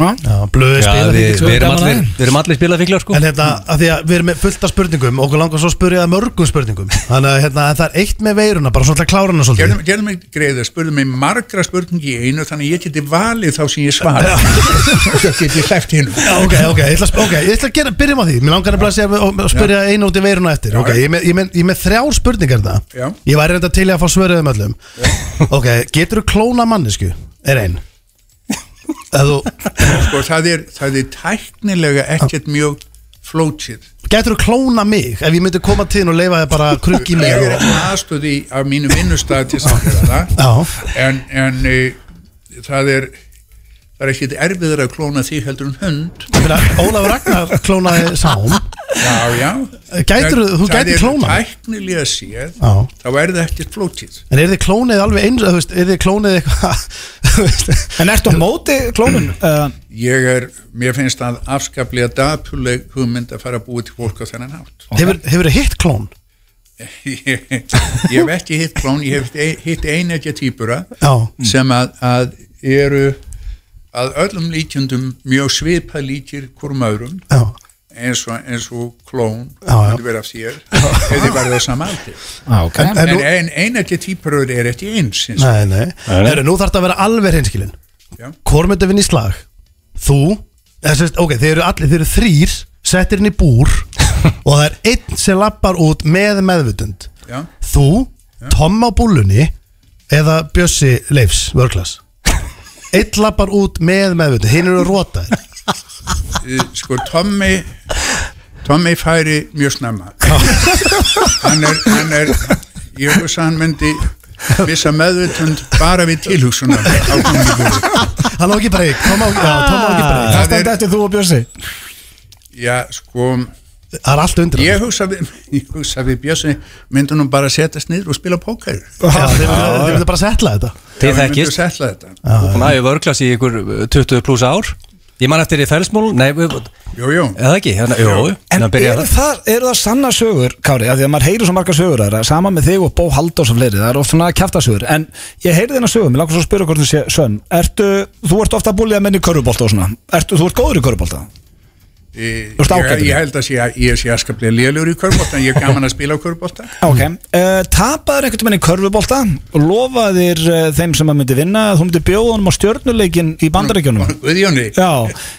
Já, Blöðu Já, spila við, þykir við, svo erum gaman allir, aðeins. við erum allir spilað fíklar sko En hérna, að því að við erum með fullt af spurningum Okkur langar svo að spyrja það mörgum spurningum Þannig að hérna, það er eitt með veiruna Bara svona til að klára hana svolítið gerðum, gerðum mig greiða, spurðu mig margra spurningi í einu þannig að ég geti valið þá sem ég [LAUGHS] svara þá geti ég hlæft hinn Já, ok, ok, ég ætla, að sp- ok, ég ætla að gera, byrjum á því Mér langar nefnilega að segja og- og spyrja einu út í veiruna eftir Ok, ég er með, ég er með, ég er með þrjár spurningar það Já. Ég væri reynda til í að fá svöruðum öllum Ok, getur þú klóna mannesku? Er ein Eða þú, sko, það er, það er tæknilega ekkert mjög flótið getur þú klóna mig? Ef ég myndi koma til þín og leifa þér bara krukk í ég mig er og, ekki aðstöði af mínu vinnustæð til þess að gera Já. það en, en e, það er það er ekkert erfiður að klóna því heldur en hund Ég meina, Ólafur Ragnar klónaði sám já, já Gætirðu- En þú það gætir er klónað? tæknilega séð, Já. þá er það ekkert flótið En er þið klónið alveg eins Þú veist, er þið klónið eitthvað þú veist? En ertu á móti klónun? Uh, ég er, mér finnst það afskaplega dapurleg hugmynd að fara að búa til fólk á þennan hátt Hefur hefurðu hitt klón? ég, ég hef ekki hitt klón ég hef hitt- hitt einegja týpura Já. sem að, að eru að öllum líkjundum mjög svipa líkir hvorm öðrum Já, eins og, eins og klón Já, já. myndi vera af þér ef þið verða á sama aldi okay. En- en, nú- en einegja týpurur er ekki eins eins og nei, nei Heru, Nú þarf þetta að vera alveg hreinskilin Já. Hvor myndi vinna í slag? Þú Þessi, Ok, þeir eru allir, þeir eru þrýr [LAUGHS] Settir inn í búr Og það er einn sem lappar út með meðvutund Já. Þú, Tom á búlunni eða Bjössi Leifs vörklas Eitt lappar út með meðvitið hinn eru rótaðir Eh, sko Tommy Tommy færi mjög snemma hann er, hann er ég veist að hann myndi missa meðvitund bara við tilhugsunar á komandi Hann á ekki breyk Tom á já, Tom á ekki breyk Það Það stendur er- eftir þú og Björsi já sko Það er allt undir ég hugsa við, ég hugsa við Bjössi myndi nú bara setjast niður og spila póker Já, Þeir myndu- þeir myndu bara setla þetta Þið Ef hann myndi þekkist setla þetta Hún aðeins vörglas í ykkur uh, 20 pluss ár Ég man eftir í felsmól Nei, við- jú, jú. eða ekki hérna, Jó, En þannig að byrja eru það það, eru það sanna sögur, Kári, af því að maður heyrir svo marga sögur þar, sama með þig og Bó Halldórs og fleiri, það eru oft svona kjaftasögur, en ég heyri þennan sögum, ég langar svo að spyrja hvort þú sé sönn, ertu, þú ert ofta að búlja menn í körfubolta og svona, ertu, þú ert góður í körfubolta? Ég, ert ágætur í ég, því. ég held að sé, að- ég sé askaplega lélugur í körbólta en ég er gaman að spila á körbólta Ok, uh, tapaður einhvern veginn í körfubolta og lofaðir uh, þeim sem að myndi vinna að þú myndi bjóða honum á stjörnuleikin í bandaríkjunum? Guðjóni Já,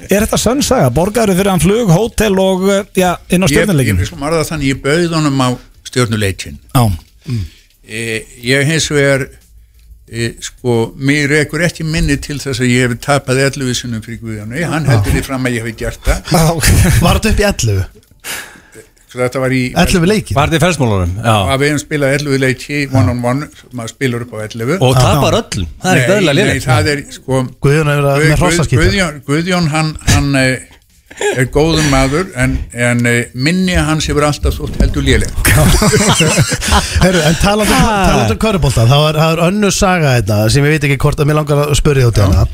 er þetta sönn saga? Borgaður fyrir hann flug, hótel og eh, já, inn á ég, ég, stjörnuleikin? ég, orða þannig, ég bauð honum á stjórnuleikin Já, e, ég hins vegar e, sko, mér rekur ekki minni til þess að ég hef tapað 11 sinum fyrir Guðjóni, hann heldur því fram að ég hef gert það, Já, Ah, ok. Var þetta upp í 11 svo þetta var í 11 leiki [LAUGHS] Var þetta í felsmólunum? Já að við hefum spilað 11 leiki one on one, maður spilur upp á 11 Og tapar öllum Það er nei, döðlega nei, liðið það er sko Guðjón er að- Guð- með Guð- hrossaskýta Guðjón, Guðjón hann, hann e, er góður maður en, en e, minni hans hefur alltaf þótt heldur léleg Herru, en talandi talandi um körubólta þá er, það er önnur saga þetta sem ég veit ekki hvort að mér langar að spurja út í hana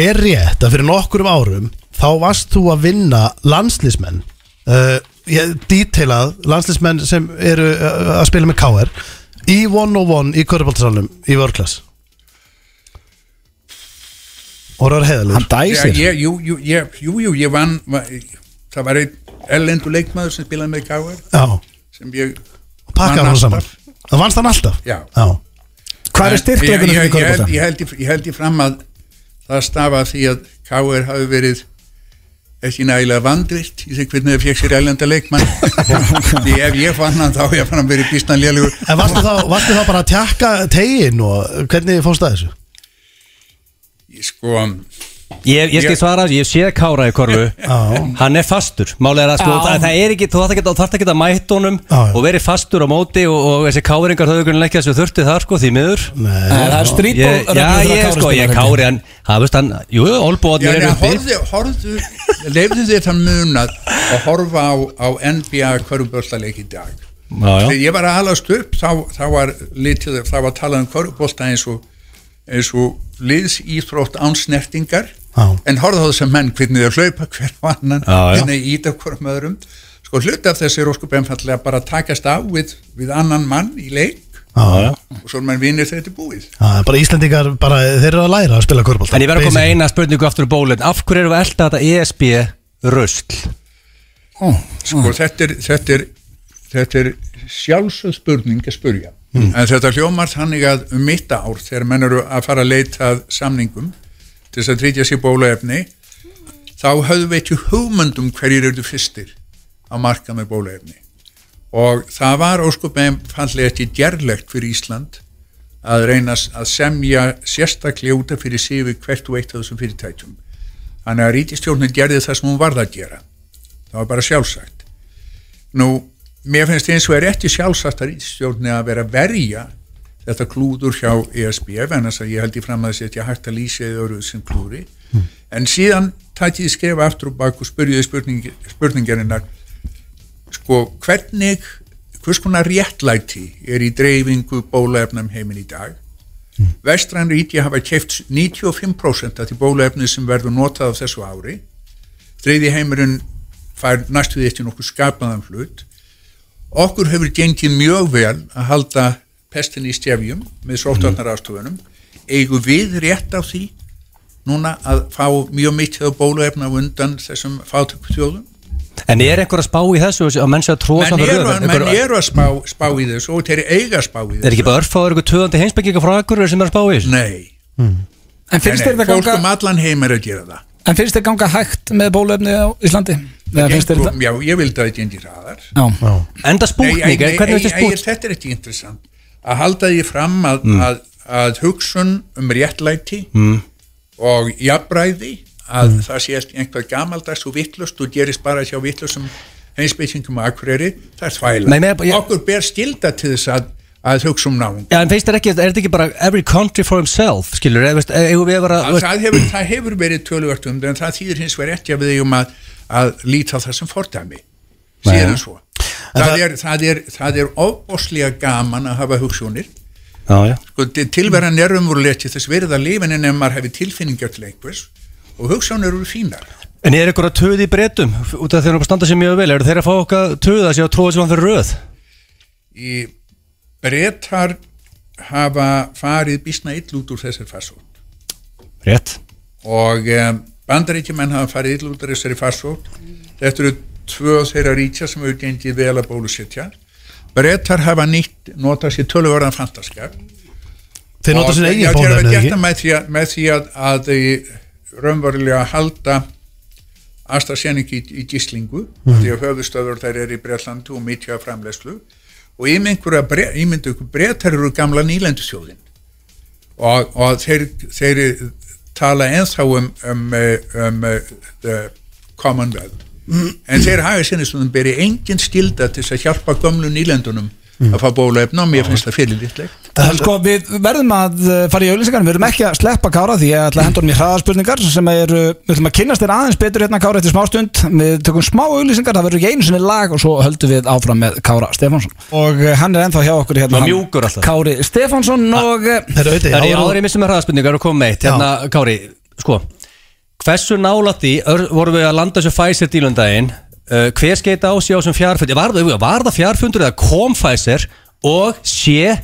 er rétt að fyrir nokkurum árum þá varst þú að vinna landslísmenn uh, ég, detailað landslísmenn sem eru uh, að spila með KR í 101 í körubóltasalunum í vörklass og það er hann heiðalur dæsir. ég, jú, jú, ég, jú, jú, ég vann va, það var einn ellendu leikmaður sem spilaði með Gáður já, og sem ég pakkaði vann hann alltaf. saman það vannst hann alltaf Já. Hvað er En ég- styrkleikunum í ég- ég held- körfubolta? Ég held í- ég held í fram að það stafa af því að K.R. hafi verið ekki nægilega vandvirt í því hvernig það fekk sér ælenda [LAUGHS] leikmann því ef ég fann hann þá ég fann hann verið býstan lélugur en varstu þá, varstu þá bara að tjakka tegin og hvernig fórst það þessu? sko, Ég, ég skal Ég- svara, ég sé Kára í korfu Hann er fastur Málega er að sko, það, það er ekki, þú þarft ekki, þú þarft ekki að mæta honum Já, já. og verið fastur á móti og, og þessi Káringar höfðu kunni leggja þessu þurfti þar sko, því miður Nei, Nei, það er strítból ég, Já, ég sko, ég Kári hann, hann, veist hann, jú, já, olbúatnir en eru uppi horfðu, horfðu leifðu þér þann munað að horfa á, á NBA köruböltaleik í dag Já, já, þegar ég var að alast upp þá, þá var litið, þá var talað um körubólta eins og eins og liðsýþrótt án snertingar Já. en horfðu á þess að menn hvernig þau hlaupa hver á annan Já, já. hvernig þau íta hverjum öðrum sko hluti af þessi óskup einfallega bara að takast á við, við annan mann í leik Já, já. og svo er mann vinir þegar þetta er búið Já, bara Íslendingar, bara, þeir eru að læra að spila korfbólta En ég verð að koma með eina spurningu aftur úr bólinn Af hverju erum við elda þetta ESB rusl? sko þetta er, þetta er, þetta er sjálfsög spurning að spurja en þetta hljómar þannig að um mitt ár þegar menn eru að fara að leita að samningum til þess að tryggja sér bólaefni þá höfðum við ekki hugmyndum hverjir eru fyrstir á marka með bólaefni og það var óskupið fannlega ekki gerlegt fyrir Ísland að reyna s- að semja sérstaklega út af fyrir sig við hvert og eitt af þessum fyrirtækjum þannig að rítistjórnin gerði það sem hún varð að gera það var bara sjálfsagt nú, mér finnst eins og er ekki sjálfsagt að ríkstjórni að vera að verja þetta klúður hjá E ESB en þess að ég held í fram að setja hægt að lýsa eða öruð sem klúri en síðan tætti ég skrifa aftur og bak og spurði spurning, spurningarinnar sko, hvernig hvers konar réttlæti er í dreifingu bólaefnum heiminn í dag vestræn ríti hafa keft 95% af því bólaefni sem verður notað á þessu ári þriði heimurinn fær næstu því eftir nokkuð skapaðan hlut okkur hefur gengið mjög vel að halda pestin í stefjum með sóttarnar ástofunum eigum við rétt á því núna að fá mjög mikið á bóluefna á undan þessum fátöku þjóðum En er einhver að spá í þessu að menn sé að tróða menn saman eru, röðum? menn Einhver- eru að spá, spá í þessu og þeir eru eiga að spá í Er þessu ekki bara örfáður ykkur töðandi heimsbygginga frá ekkur sem er að spá í þessu? nei, En nei, finnst þér nei, það fólk ganga, um allan heim er að gera það en finnst þér ganga hægt með bólöfni á Íslandi? Eða finnst þér Gengur- þetta? já, ég vildi að þetta gengi hraðar Já. Enda spúkning, Nei, hvernig nei, veist nei, spúkning? Þetta er ekki interessant að halda því fram að, Mm. að, að hugsun um réttlæti mm. og jafnræði að Mm. það sé einhvað gamaldags og vittlust og gerist bara hjá vittlustum heimsbyggingum og akureyri, það er þvæla Nei, nei, bara ég- okkur ber skilda til þess að, að hugsa um náung Já, en finnst þér ekki, er þetta ekki bara every country for himself, skilur, eða, veist, eigum við að vera, það, veist, það, hefur, það hefur verið töluvert um en það þýðir hins vegar ekki að við eigum að, að líta á það sem fordæmi síðan svo það er, það, er, það er ofboslega gaman að hafa hugsunir já, já, sko, til- tilveran er umverulega ekki þess verið að lifin en ef maður hefur tilfinningar til einhvers og hugsanir eru fínar en er ykkur að töði í breytum, út af þeir eru að standa sér mjög vel, eru þeir að fá okkar að töða sér að tróða sér hann fyrir röð? í brettar hafa farið bísna ill út úr þessari farsótt Rétt. og um, bandaríkjumenn hafa farið ill út úr þessari farsótt þetta eru tvö þeirra ríkja sem hefur gengið vel að bólusetja brettar hafa nýtt notað sér töluverðan fantaskap Þeir nota sinna eigin Já, þeir fóðan hafa gert það með því að, með því að, að þau raunverulega halda AstraZeneca í, í gíslingu Mhm. því að höfðustöður þær eru í Breitlandu og mítja framlegslu og ímyndu bre, ímyndu ykkur brettar eru gamla nýlendu þjóðin og, og þeir, þeir tala ennþá um, um, eh, um eh, the Commonwealth en þeir hafa sinni sem þeim beri engin skilda til þess að hjálpa gömlu nýlendunum Mhm. að fá bólaefnum, mér finnst það fyrirlítlegt En sko, við verðum að uh, fara í auðlýsingarnum, við verðum ekki að sleppa Kára því ég ætla að henda honum í hraðarspurningar sem er, uh, við ætlum að kynnast þér aðeins betur hérna Kára eftir smástund, við tökum smá auðlýsingar, það verður ekki einu sinni lag og svo höldum við áfram með Kára Stefánsson og uh, hann er ennþá hjá okkur hérna Var hann- mjúkur alltaf. Kári Stefánsson og uh, Þeir auðvitað, Það ég er ég áður- áður í missum með hraðaspurningar og komið eitt, hérna, Kári, sko, hversu nála því ör, vorum við að landa þessu Pfizer dílundaginn, uh, hver skeita á sig á þessum fjárfundur, var, það- var það fjárfundur eða kom Pfizer og sé,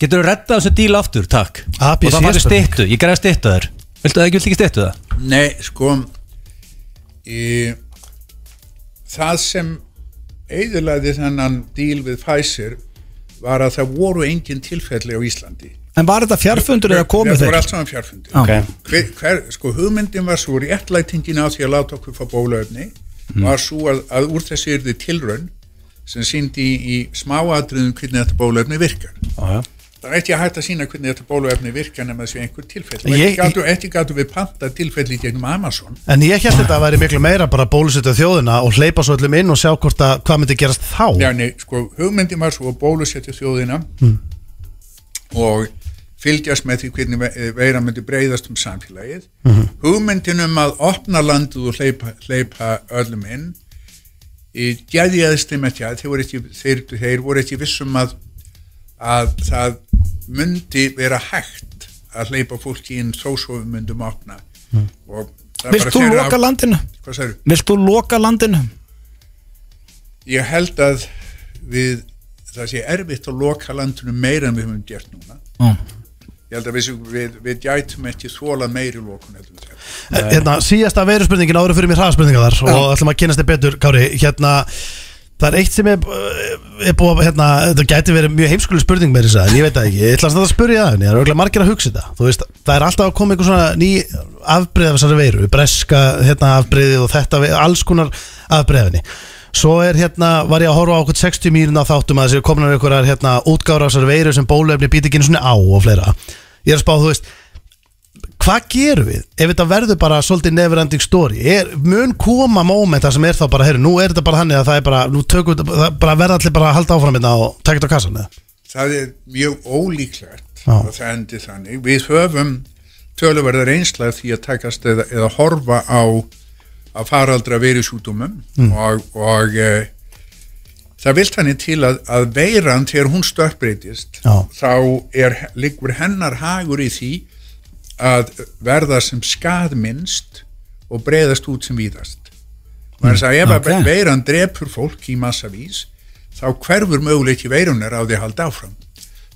getur þú rettað þessu díl aftur, takk, A, B, og það C fannst spurning. stittu, ég greiði stittu þær, viltu það ekki, viltu ekki stittu það? Nei, sko í, það sem eiðurlæði þennan díl við Pfizer var að það voru engin tilfelli á Íslandi en var þetta fjarfundur eða komu Þetta þeir? voru allt saman fjárfundir Ok. hver, hver, Sko hugmyndin var svo réttlætingin á því að láta okkur fá bólaöfni var svo að, að úr þessu yrði tilraun sem síndi í, í smáatriðum hvernig þetta bólaöfni virkar Já, já. Það er ekki hægt að sína hvernig þetta bóluefni virkar nema þessu einhver tilfelli. Ég- Ekki gátu- Ekki gætu við panta tilfelli í gegnum Amazon. En ég held þetta að væri miklu meira bara að bólusetja þjóðina og hleypa svo öllum inn og sjá hvort að hvað myndi gerast þá Já, nei, sko, hugmyndin var svo að bólusetja þjóðina Hmm. og fylgjast með því hvernig ve- eh, veira myndi breyðast um samfélagið. Hmm. Hugmyndin um að opna landið og hleypa, hleypa öllum inn í gæðiðaðist þeim ekki að þeir voru ekki, þeir, þeir voru ekki vissum að, að það myndi vera hægt að hleypa fólki inn þó svo við myndum opna. Mm. Hmm. Vilt þú loka landinu? Hvað sagður? Vilt þú loka landinu? Ég held að við, það sé erfitt að loka landinu meira en við höfum gert núna. Mm. Ég held að við, við, við gætum ekki þóla meiri lokun heldur en þetta. En, hérna, Síðasta veruspurningin áður fyrir mér hraðspurninga þar og ætlum að kynast þið betur, Kári hérna, Það er eitt sem er, eh, er búið að, hérna, þetta gæti verið mjög heimskulu spurning með þess að, en ég veit það ekki, ég ætla samt að spyrja það, en ég er auðvitað margir að hugsa þetta, þú veist, það er alltaf að koma einhver svona ný afbreið af þessari veiru, breska, hérna, afbreiði og þetta, ve- alls konar afbreiðinni. Svo er hérna, var ég að horfa á okkur 60 mínuna þáttum að þessi kominar einhverjar, hérna, útgára af þessari veiru sem bólefni býti ekki einu svona á og fleira. Ég er að spá, þú veist, hvað gerum við ef þetta verður bara svolítið neverending story er, mun koma mómenta sem er þá bara heru, nú er þetta bara þannig að það er bara nú tökum, við- það bara verða allir bara að halda áfram hérna og taka þetta á kassan eða? Það er mjög ólíklegt Já. að það endi þannig. Við höfum töluverðar einslað því að takast eða, eða horfa á að faraldra verisútumum Mm. og, og e, það vilt hann til að, að veiran þegar hún stökkbreytist Já. þá er, liggur hennar hagur í því að verða sem skadminnst og breyðast út sem víðast þannig að ef ok. að veiran drepur fólk í massavís þá hverfur möguleiki veirunar á því að halda áfram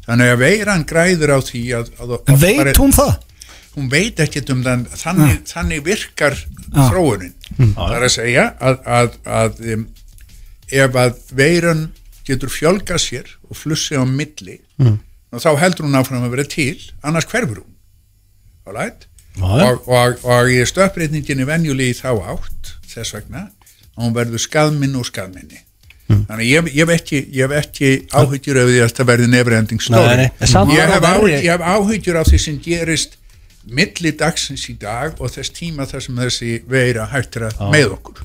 þannig að veiran græður á því að, að, að Veit hún Ah. það? hún veit ekkert um þann þannig, þannig virkar Ah. þróunin Hmm. það er að segja að, að, að um, ef að veiran getur fjölgað sér og flussi á milli Mm. og þá heldur hún áfram að vera til annars hverfur hún right? og, og, og ég stöpbreytningin er venjulegi í þá átt þess vegna að hún verður skaðminn og skaðminni Mm. þannig að ég, ég hef ekki, ég hef ekki áhyggjur af því að það verði nefnrending Nei, stóri nei, en samt var ég, hef það áhyggjur, verri- ég hef áhyggjur af því sem gerist milli dagsins í dag og þess tíma þar sem þessi veira hættir að með okkur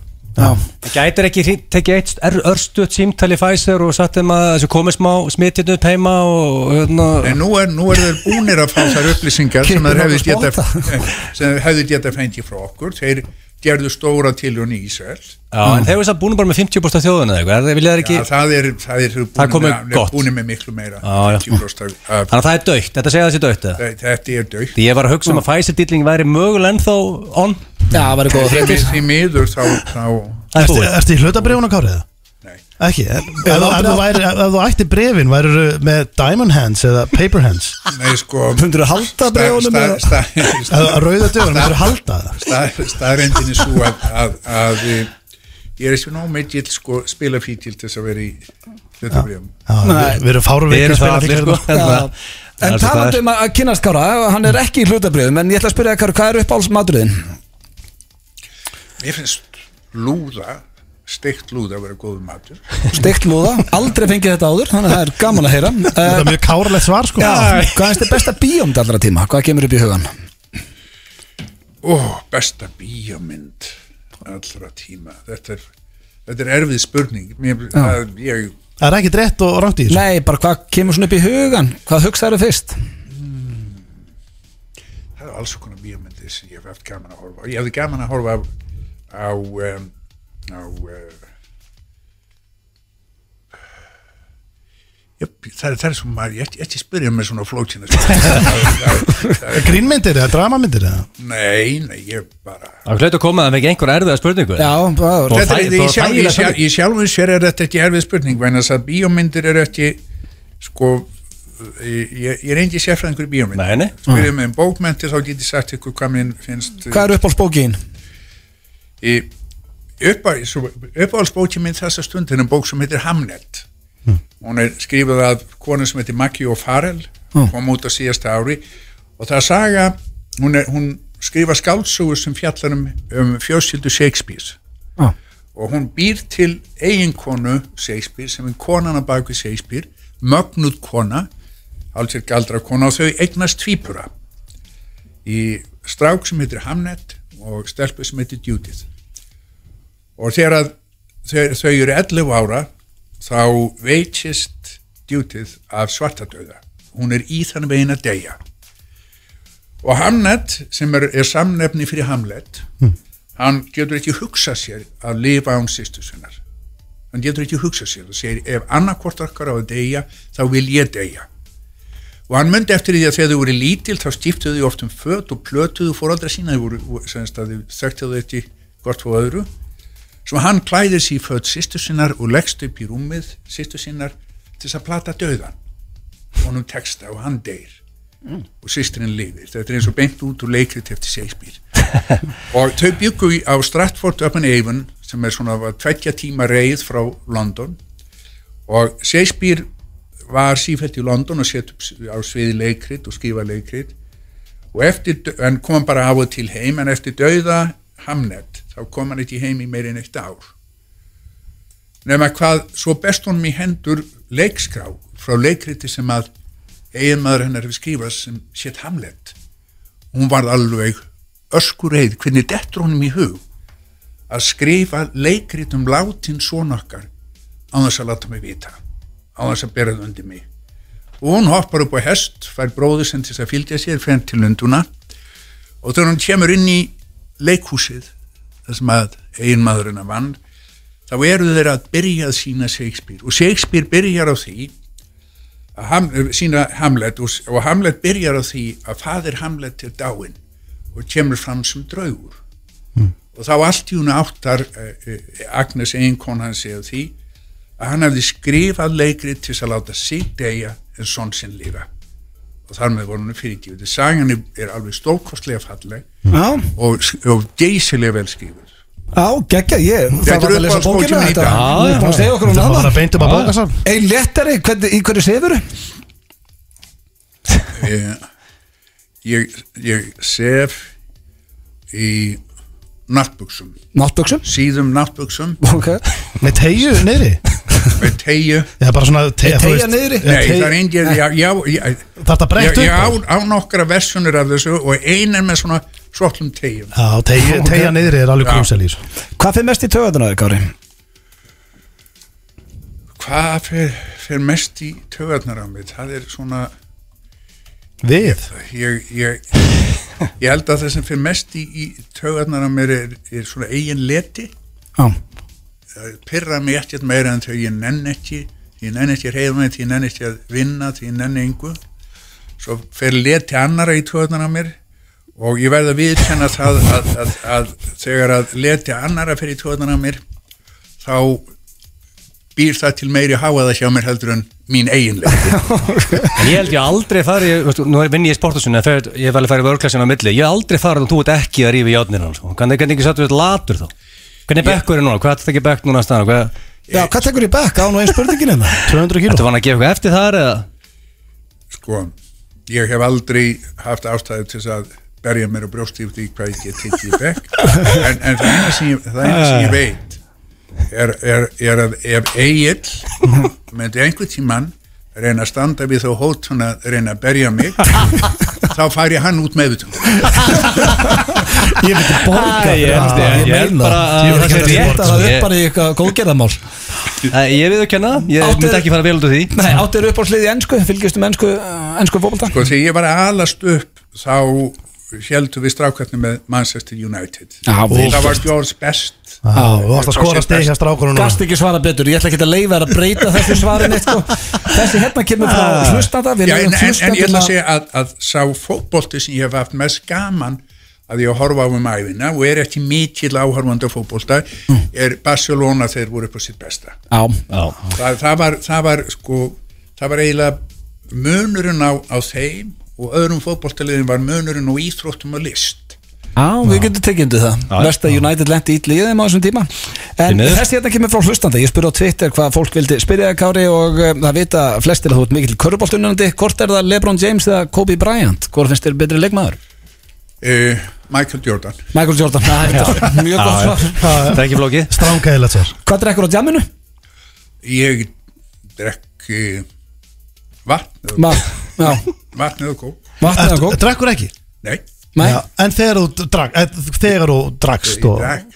Gætir ekki hringt- tekið eitt er, örstuðt símtali Pfizer og satt þeim að þessu komið smá smittin upp heima og hérna en nú er, nú er þeir búnir að fá þær upplýsingar sem þeir hefði geta [LAUGHS] sem þeir hefði geta fengið frá okkur þeir gerðu stóra tiljónu í Ísrael Já, en þeir eru samt búin bara með 50% af þjóðuna eða eitthvað, er- vilja þeir ekki Já, það er, það er búin, Það komið með, gott. búin með miklu meira Já, já. 10% af- af- Þannig að það er dautt, þetta segja þessi dautt eða? þetta er dögt Því ég var að hugsa um að Pfizer-dýtling væri mögulega ennþá on Já, Mm. það væri góða því, fréttir því miður þá, þá Það er Ertu, búið ertu í hlutabriðuna kárið það? nei, Ekki, ef ef þú væri- ef þú ætti brefin værið með diamond hands eða paper hands nei sko Hundur að halda bregunum stað, eða? stað, eða rauða dögunum, þú halda það stað, staðrendin er svo að, að, að eh, ég er ekki nóg mikill sko, spila fítil til þess að vera í hlutabrjöfum Já, við- Við erum hérna. Við fárveikir erum það allir sko Já. Það En er svo það talandi er. um að að kynnast Kára, hann er ekki í hlutabriðum En ég ætla að spyrja Kára, hvað er uppáhalds maturðin? mér finnst lúða steikt lúða að vera góður matur [LAUGHS] Steikt lúða, aldrei fengið þetta áður Þannig að það er gaman að heyra Það er uh, mjög kárlegt svar sko Já, hvað finnst þér besta bíómynd allra tíma? Hvað kemur upp í hugan? ó, besta bíómynd allra tíma þetta er, þetta er erfið spurning mér, að, ég, Það er ekki rétt og rátt í þessu Nei, bara hvað kemur svona upp í hugan? Hvað hugsaðu fyrst? það er alls konar bíómyndir sem ég hef haft gaman að horfa á. ég hefði gaman að horfa á á, um, á uh, jöp, það, er, það er svo maður ég ekki- ekki spyrja með svona flókina nei, Grínmyndir eða dramamyndir eða nei, ég bara Það er hlaut að koma að það fekk einhver erfiða spurningu Já, bara, Og Þetta þæ- er, í, og sjálf, í, þægilega sjálf, spurning. í sjálfum sér er þetta ekki erfið spurning vegna þess að bíómyndir eru ekki sko ég, ég er engi sérfræðingur í bíómynd Nei, nei. spyrjum með um bókmyndir þá get ég sagt ykkur hvað minn finnst hvað er uppáhalds bókiðin? í uppáhaldsbókin minn þessa stundin er um bók sem heitir Hamnet hún er skrifað af konu sem heitir Maggie O'Farrell kom út á síðasta ári og það er saga hún, er, hún skrifa skáldsögur sem fjallar um, um fjósildu Shakespeare Já. og hún býr til eiginkonu Shakespeare sem er konan að baku Shakespeare mögnuð kona alveg galdra kona og þau eignast tvípura í strák sem heitir Hamnet og stelpu sem heitir Judith og þegar að þegar þau eru 11 ára þá veitist Judith af svartadauða hún er í þann veginn að deyja og Hamnet sem er, er samnefni fyrir Hamlet hann getur ekki hugsað sér að lifa án sýstu sinnar hann getur ekki hugsað sér og segir ef annarkvort okkar á að deyja þá vil ég deyja og hann myndi eftir því að þegar þau voru lítil þá skiptuðu þau oft um föt og plötuðu fóraldra sína þau voru, semst að þau þekktu þau ekki gott fóð öðru svo hann klæðir sér í föt sýstu sinnar og leggst upp í rúmið sýstu sinnar til þess að plata döðan honum texta og hann deyr og sýsturinn lifir þetta er eins og beint út úr leikrit eftir Shakespeare og þau byggu í- á Stratford upon Avon sem er svona var tveggja tíma reið frá London og Shakespeare var sífælt í London og sett upp á sviði leikrit og skrifa leikrit og eftir, en kom bara af og til heim en eftir dauða Hamnet þá kom hann ekki heim í meirinn eitt ár nema hvað svo best honum í hendur leikskrá frá leikriti sem að eiginmaður hennar hefur skrifað sem sétt Hamlet hún varð alveg öskureið hvernig dettur honum í hug að skrifa leikrit um látin svo nokkar á þess að láta mig vita á þess að bera það undir mig og hún hoppar upp á hest fær bróður sem til þess að fylgja sér fenn til lunduna og þegar hún kemur inn í leikhúsið þar sem að eiginmaðurinn að vann þá eru þeir að byrja að sína Shakespeare og Shakespeare byrjar á því að ham, sína Hamlet og, og Hamlet byrjar á því að fadir Hamlet er dáinn og kemur fram sem draugur og þá allt í hún áttar eh, eh, Agnes eiginkon hans eða því að hann hafði skrifað leikrið til þess að láta sig deyja en sonn sinn lifa og þar með voru hann fyrirgjöfði sagan er, er alveg stórkostlega falleg Já, og, og geysilega velskrifuð já, geggja, ég Þetta Það var að er lesa uppáhalds bókina bókin í þetta dag. Ég er búin að segja okkur um Það var hana bara beint upp að bóka saman Einn léttari, hvernig, í hverju sefur? ég, ég, ég sef í náttbuksum Náttböksum síðum náttbuksum Ok, Með tegju niðri með tegju Já, bara svona Er teygja niðri? Nei, það er engin, já, já, já Þarf það breytt Ég, upp? ég á, á á nokkra versjónir af þessu og ein er með svona svottlum tegjum Já, tegja, tegja niðri er alveg sko. Já. grúsel í þessu Hvað fyrir mest í töðan á þér, Kári? Hvað fer, fer mest í tögarnar á mig? Það er svona, Við? ég, [LAUGHS] ég, ég held að það sem fer mest í, í tögarnar á mér er, er svona eigin leti Já, Það pyrra mig ekkert meira en þegar ég nenn ekki því ég nenn ekki að reyða mig, því ég nenn ekki að vinna því ég nenn engu svo fer leti annara í töðunar á mér og ég verð að viðkenna það að, að, að þegar að leti annara fer í töðunar á mér þá býr það til meiri háaða hjá mér heldur en mín eiginlega En ég held ég aldrei fari, veistu, nú er- vinn ég í sportasunni en fer- ég hef alveg farið vörklassinu á milli ég hef aldrei farið og þú ert ekki að rífa játnir hann sko. hvernig hvernig ekki sattu þetta latur þá hvernig bekkur er núna, hvað ætti það ekki bekk núna að staðan Hvað- Já hvað tekur í bekk? Án og einn spurningin hérna 200 kíló ertu vann að gefa eitthvað eftir þar eða sko, ég hef aldrei haft ástæðu til þess að berja mér á brjósti út í hvað ég get tekið í bekk en, en það eina sem ég, það eina sem ég veit er, er, er að ef Egil myndi einhvern tímann reyna að standa við þá hótun að reyna að berja mig þá færi hann út meðutum Ég myndi borga Æ, ég fyrir held- það, ég- ég held meina bara það. að Ég það myndi sé ekki rétt, borga það sko, upp ég- bara í eitthvað góðgerðamál Æ, ég við kenna, ég Áttu- myndi ekki fara vel út af því Nei, áttir upp á sliði ennsku, fylgjustu með ennsku, eh, ennsku fókbalta sko þegar ég var að alast upp þá heldum við strákarnir með Manchester United Já, vel það var George Best Já, þú varst að skora steg hjá strákunum núna. Gast ekki svara betur, ég ætla ekki að leifa þér að breyta þessu svarin eitt sko. Þessi hérna kemur frá hlustanda Við Ah. Já, en, erum en, en ég ætla að hlustanda segja að, að sá fótbolti sem ég hef haft mest gaman að ég að horfa á um æfina og er ekki mikill áhorfandi á fótbolta Mm. er Barcelona þegar voru upp á sitt besta Já, það, það, var, það var sko það var eiginlega munurinn á, á þeim og öðrum fótboltaliðin var munurinn á íþróttum og list Já, við getum tekið undir það Vesta United lendi ítli í þeim á þessum tíma En miður. þessi hérna kemur frá hlustanda Ég spurði á Twitter hvað fólk vildi spyrja þig, Kári og eh, það vita flestir að þú ert mikill körboltununandi Hvort er það Lebron James eða Kobe Bryant? Hvort finnst þér betri leikmaður? uh, Michael Jordan Michael Jordan, það er þetta [LAUGHS] mjög gott Já, svar já. það er ekki flókið Strángæðilegt sér Hvað drekkur á djaminu? ég drekk uh, vatn Ma, já, vatn eða kók vatnið og Ertu- kók Drekkur ekki? nei, Nei, Já, En þegar þú drak, eh, þegar þú drakst og ég drekk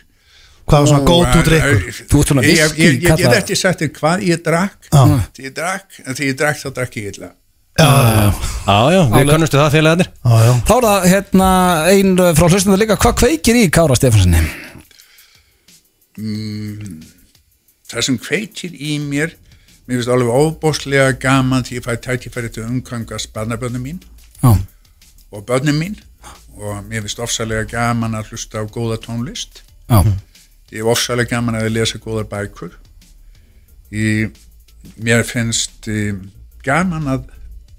hvað var svona góð þú drikkur? Þú ert svona Ég- ég- Ég ég get kallað- ekki sagt þér hvað ég drakk Já. Þegar ég drakk, en þegar ég drakk þá drakk ég illa já, já, við kannustu það félagarnir Já, já Þá er það hérna einn frá hlustandi líka Hvað kveikir í Kára Stefanssoni? Það sem kveikir í mér Mér finnst alveg óbóslega gaman því ég fæ tækifæri til að umgangast barnabönnum mín Já, og börnum mín og mér finnst ofsalega gaman að hlusta á góða tónlist já, ég hef ofsalega gaman að lesa góðar bækur ég, mér finnst um, gaman að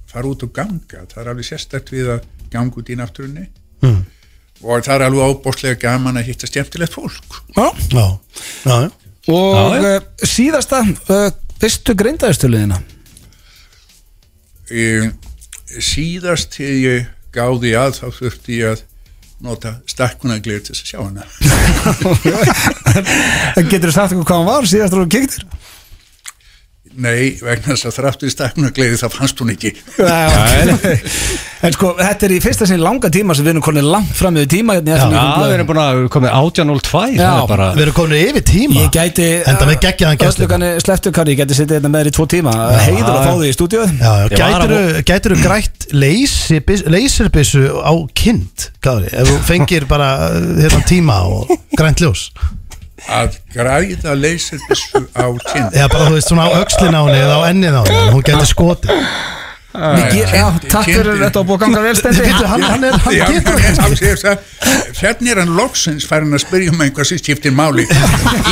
fara út og ganga það er alveg sérstætt við að ganga út í náttúrunni mm. Hmm. og það er alveg óbóstlega gaman að hitta stjæmtilegt fólk já. Já, já, já. Og Já, já, síðasta uh, Fyrstu greindaðistöluðina um, síðast til ég gáði að þá þurfti ég að nota stakkunaglir til þess að sjá hana [LAUGHS] Getur þú sagt eitthvað hvað hann var síðast þú kíktir? nei, vegna þess að þráttu í stakkunaglir þá fannst hún ekki En sko, þetta er í fyrsta sinni langa tíma sem við erum konið langt fram yfir tíma hérna í Já. FNU já, -blaðinu. við erum búin að komið 18.02 Já. það er bara Við erum komin yfir tíma Ég gæti uh, Enda með geggjaðan gestur. Sleftu Kári, ég gæti sittið hérna með þér í tvo tíma Heiður að fá þig í stúdíu Já, já, Ég var að gætirðu- gætirðu grætt leysirbissu á kind Kári, ef þú fengir bara eh, hérna tíma og grænt ljós að græða leysir þessu á kynna eða bara þú veist svona á öxlin á henni eða á ennið á henni, hún getur skotið Ég- Já, takk fyrir þetta og búið að ganga vel Nei, stendi býttu, hann, hann, er, hann Já, getur en hann segir það, Hérna er hann loksins farin að spyrja um einhvað sem skiptir máli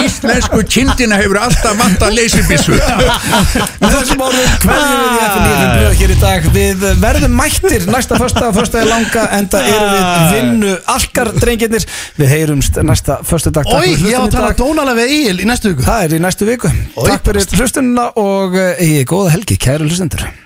Íslensku kindina hefur alltaf vant að leysibissu Með þessum orðum hverjum við í FNÍFN blöð hér í dag Við eh, verðum mættir næsta föstudag Föstudag er langa enda erum við vinnu Alkar drengirnir Við heyrumst næsta föstudag Takk Ói, fyrir ég á hlustun að í tala dag. dónalega við Egil í næstu viku Það er í næstu viku Takk fyrir hlustunina og eh, góða helgi kæru hlustundur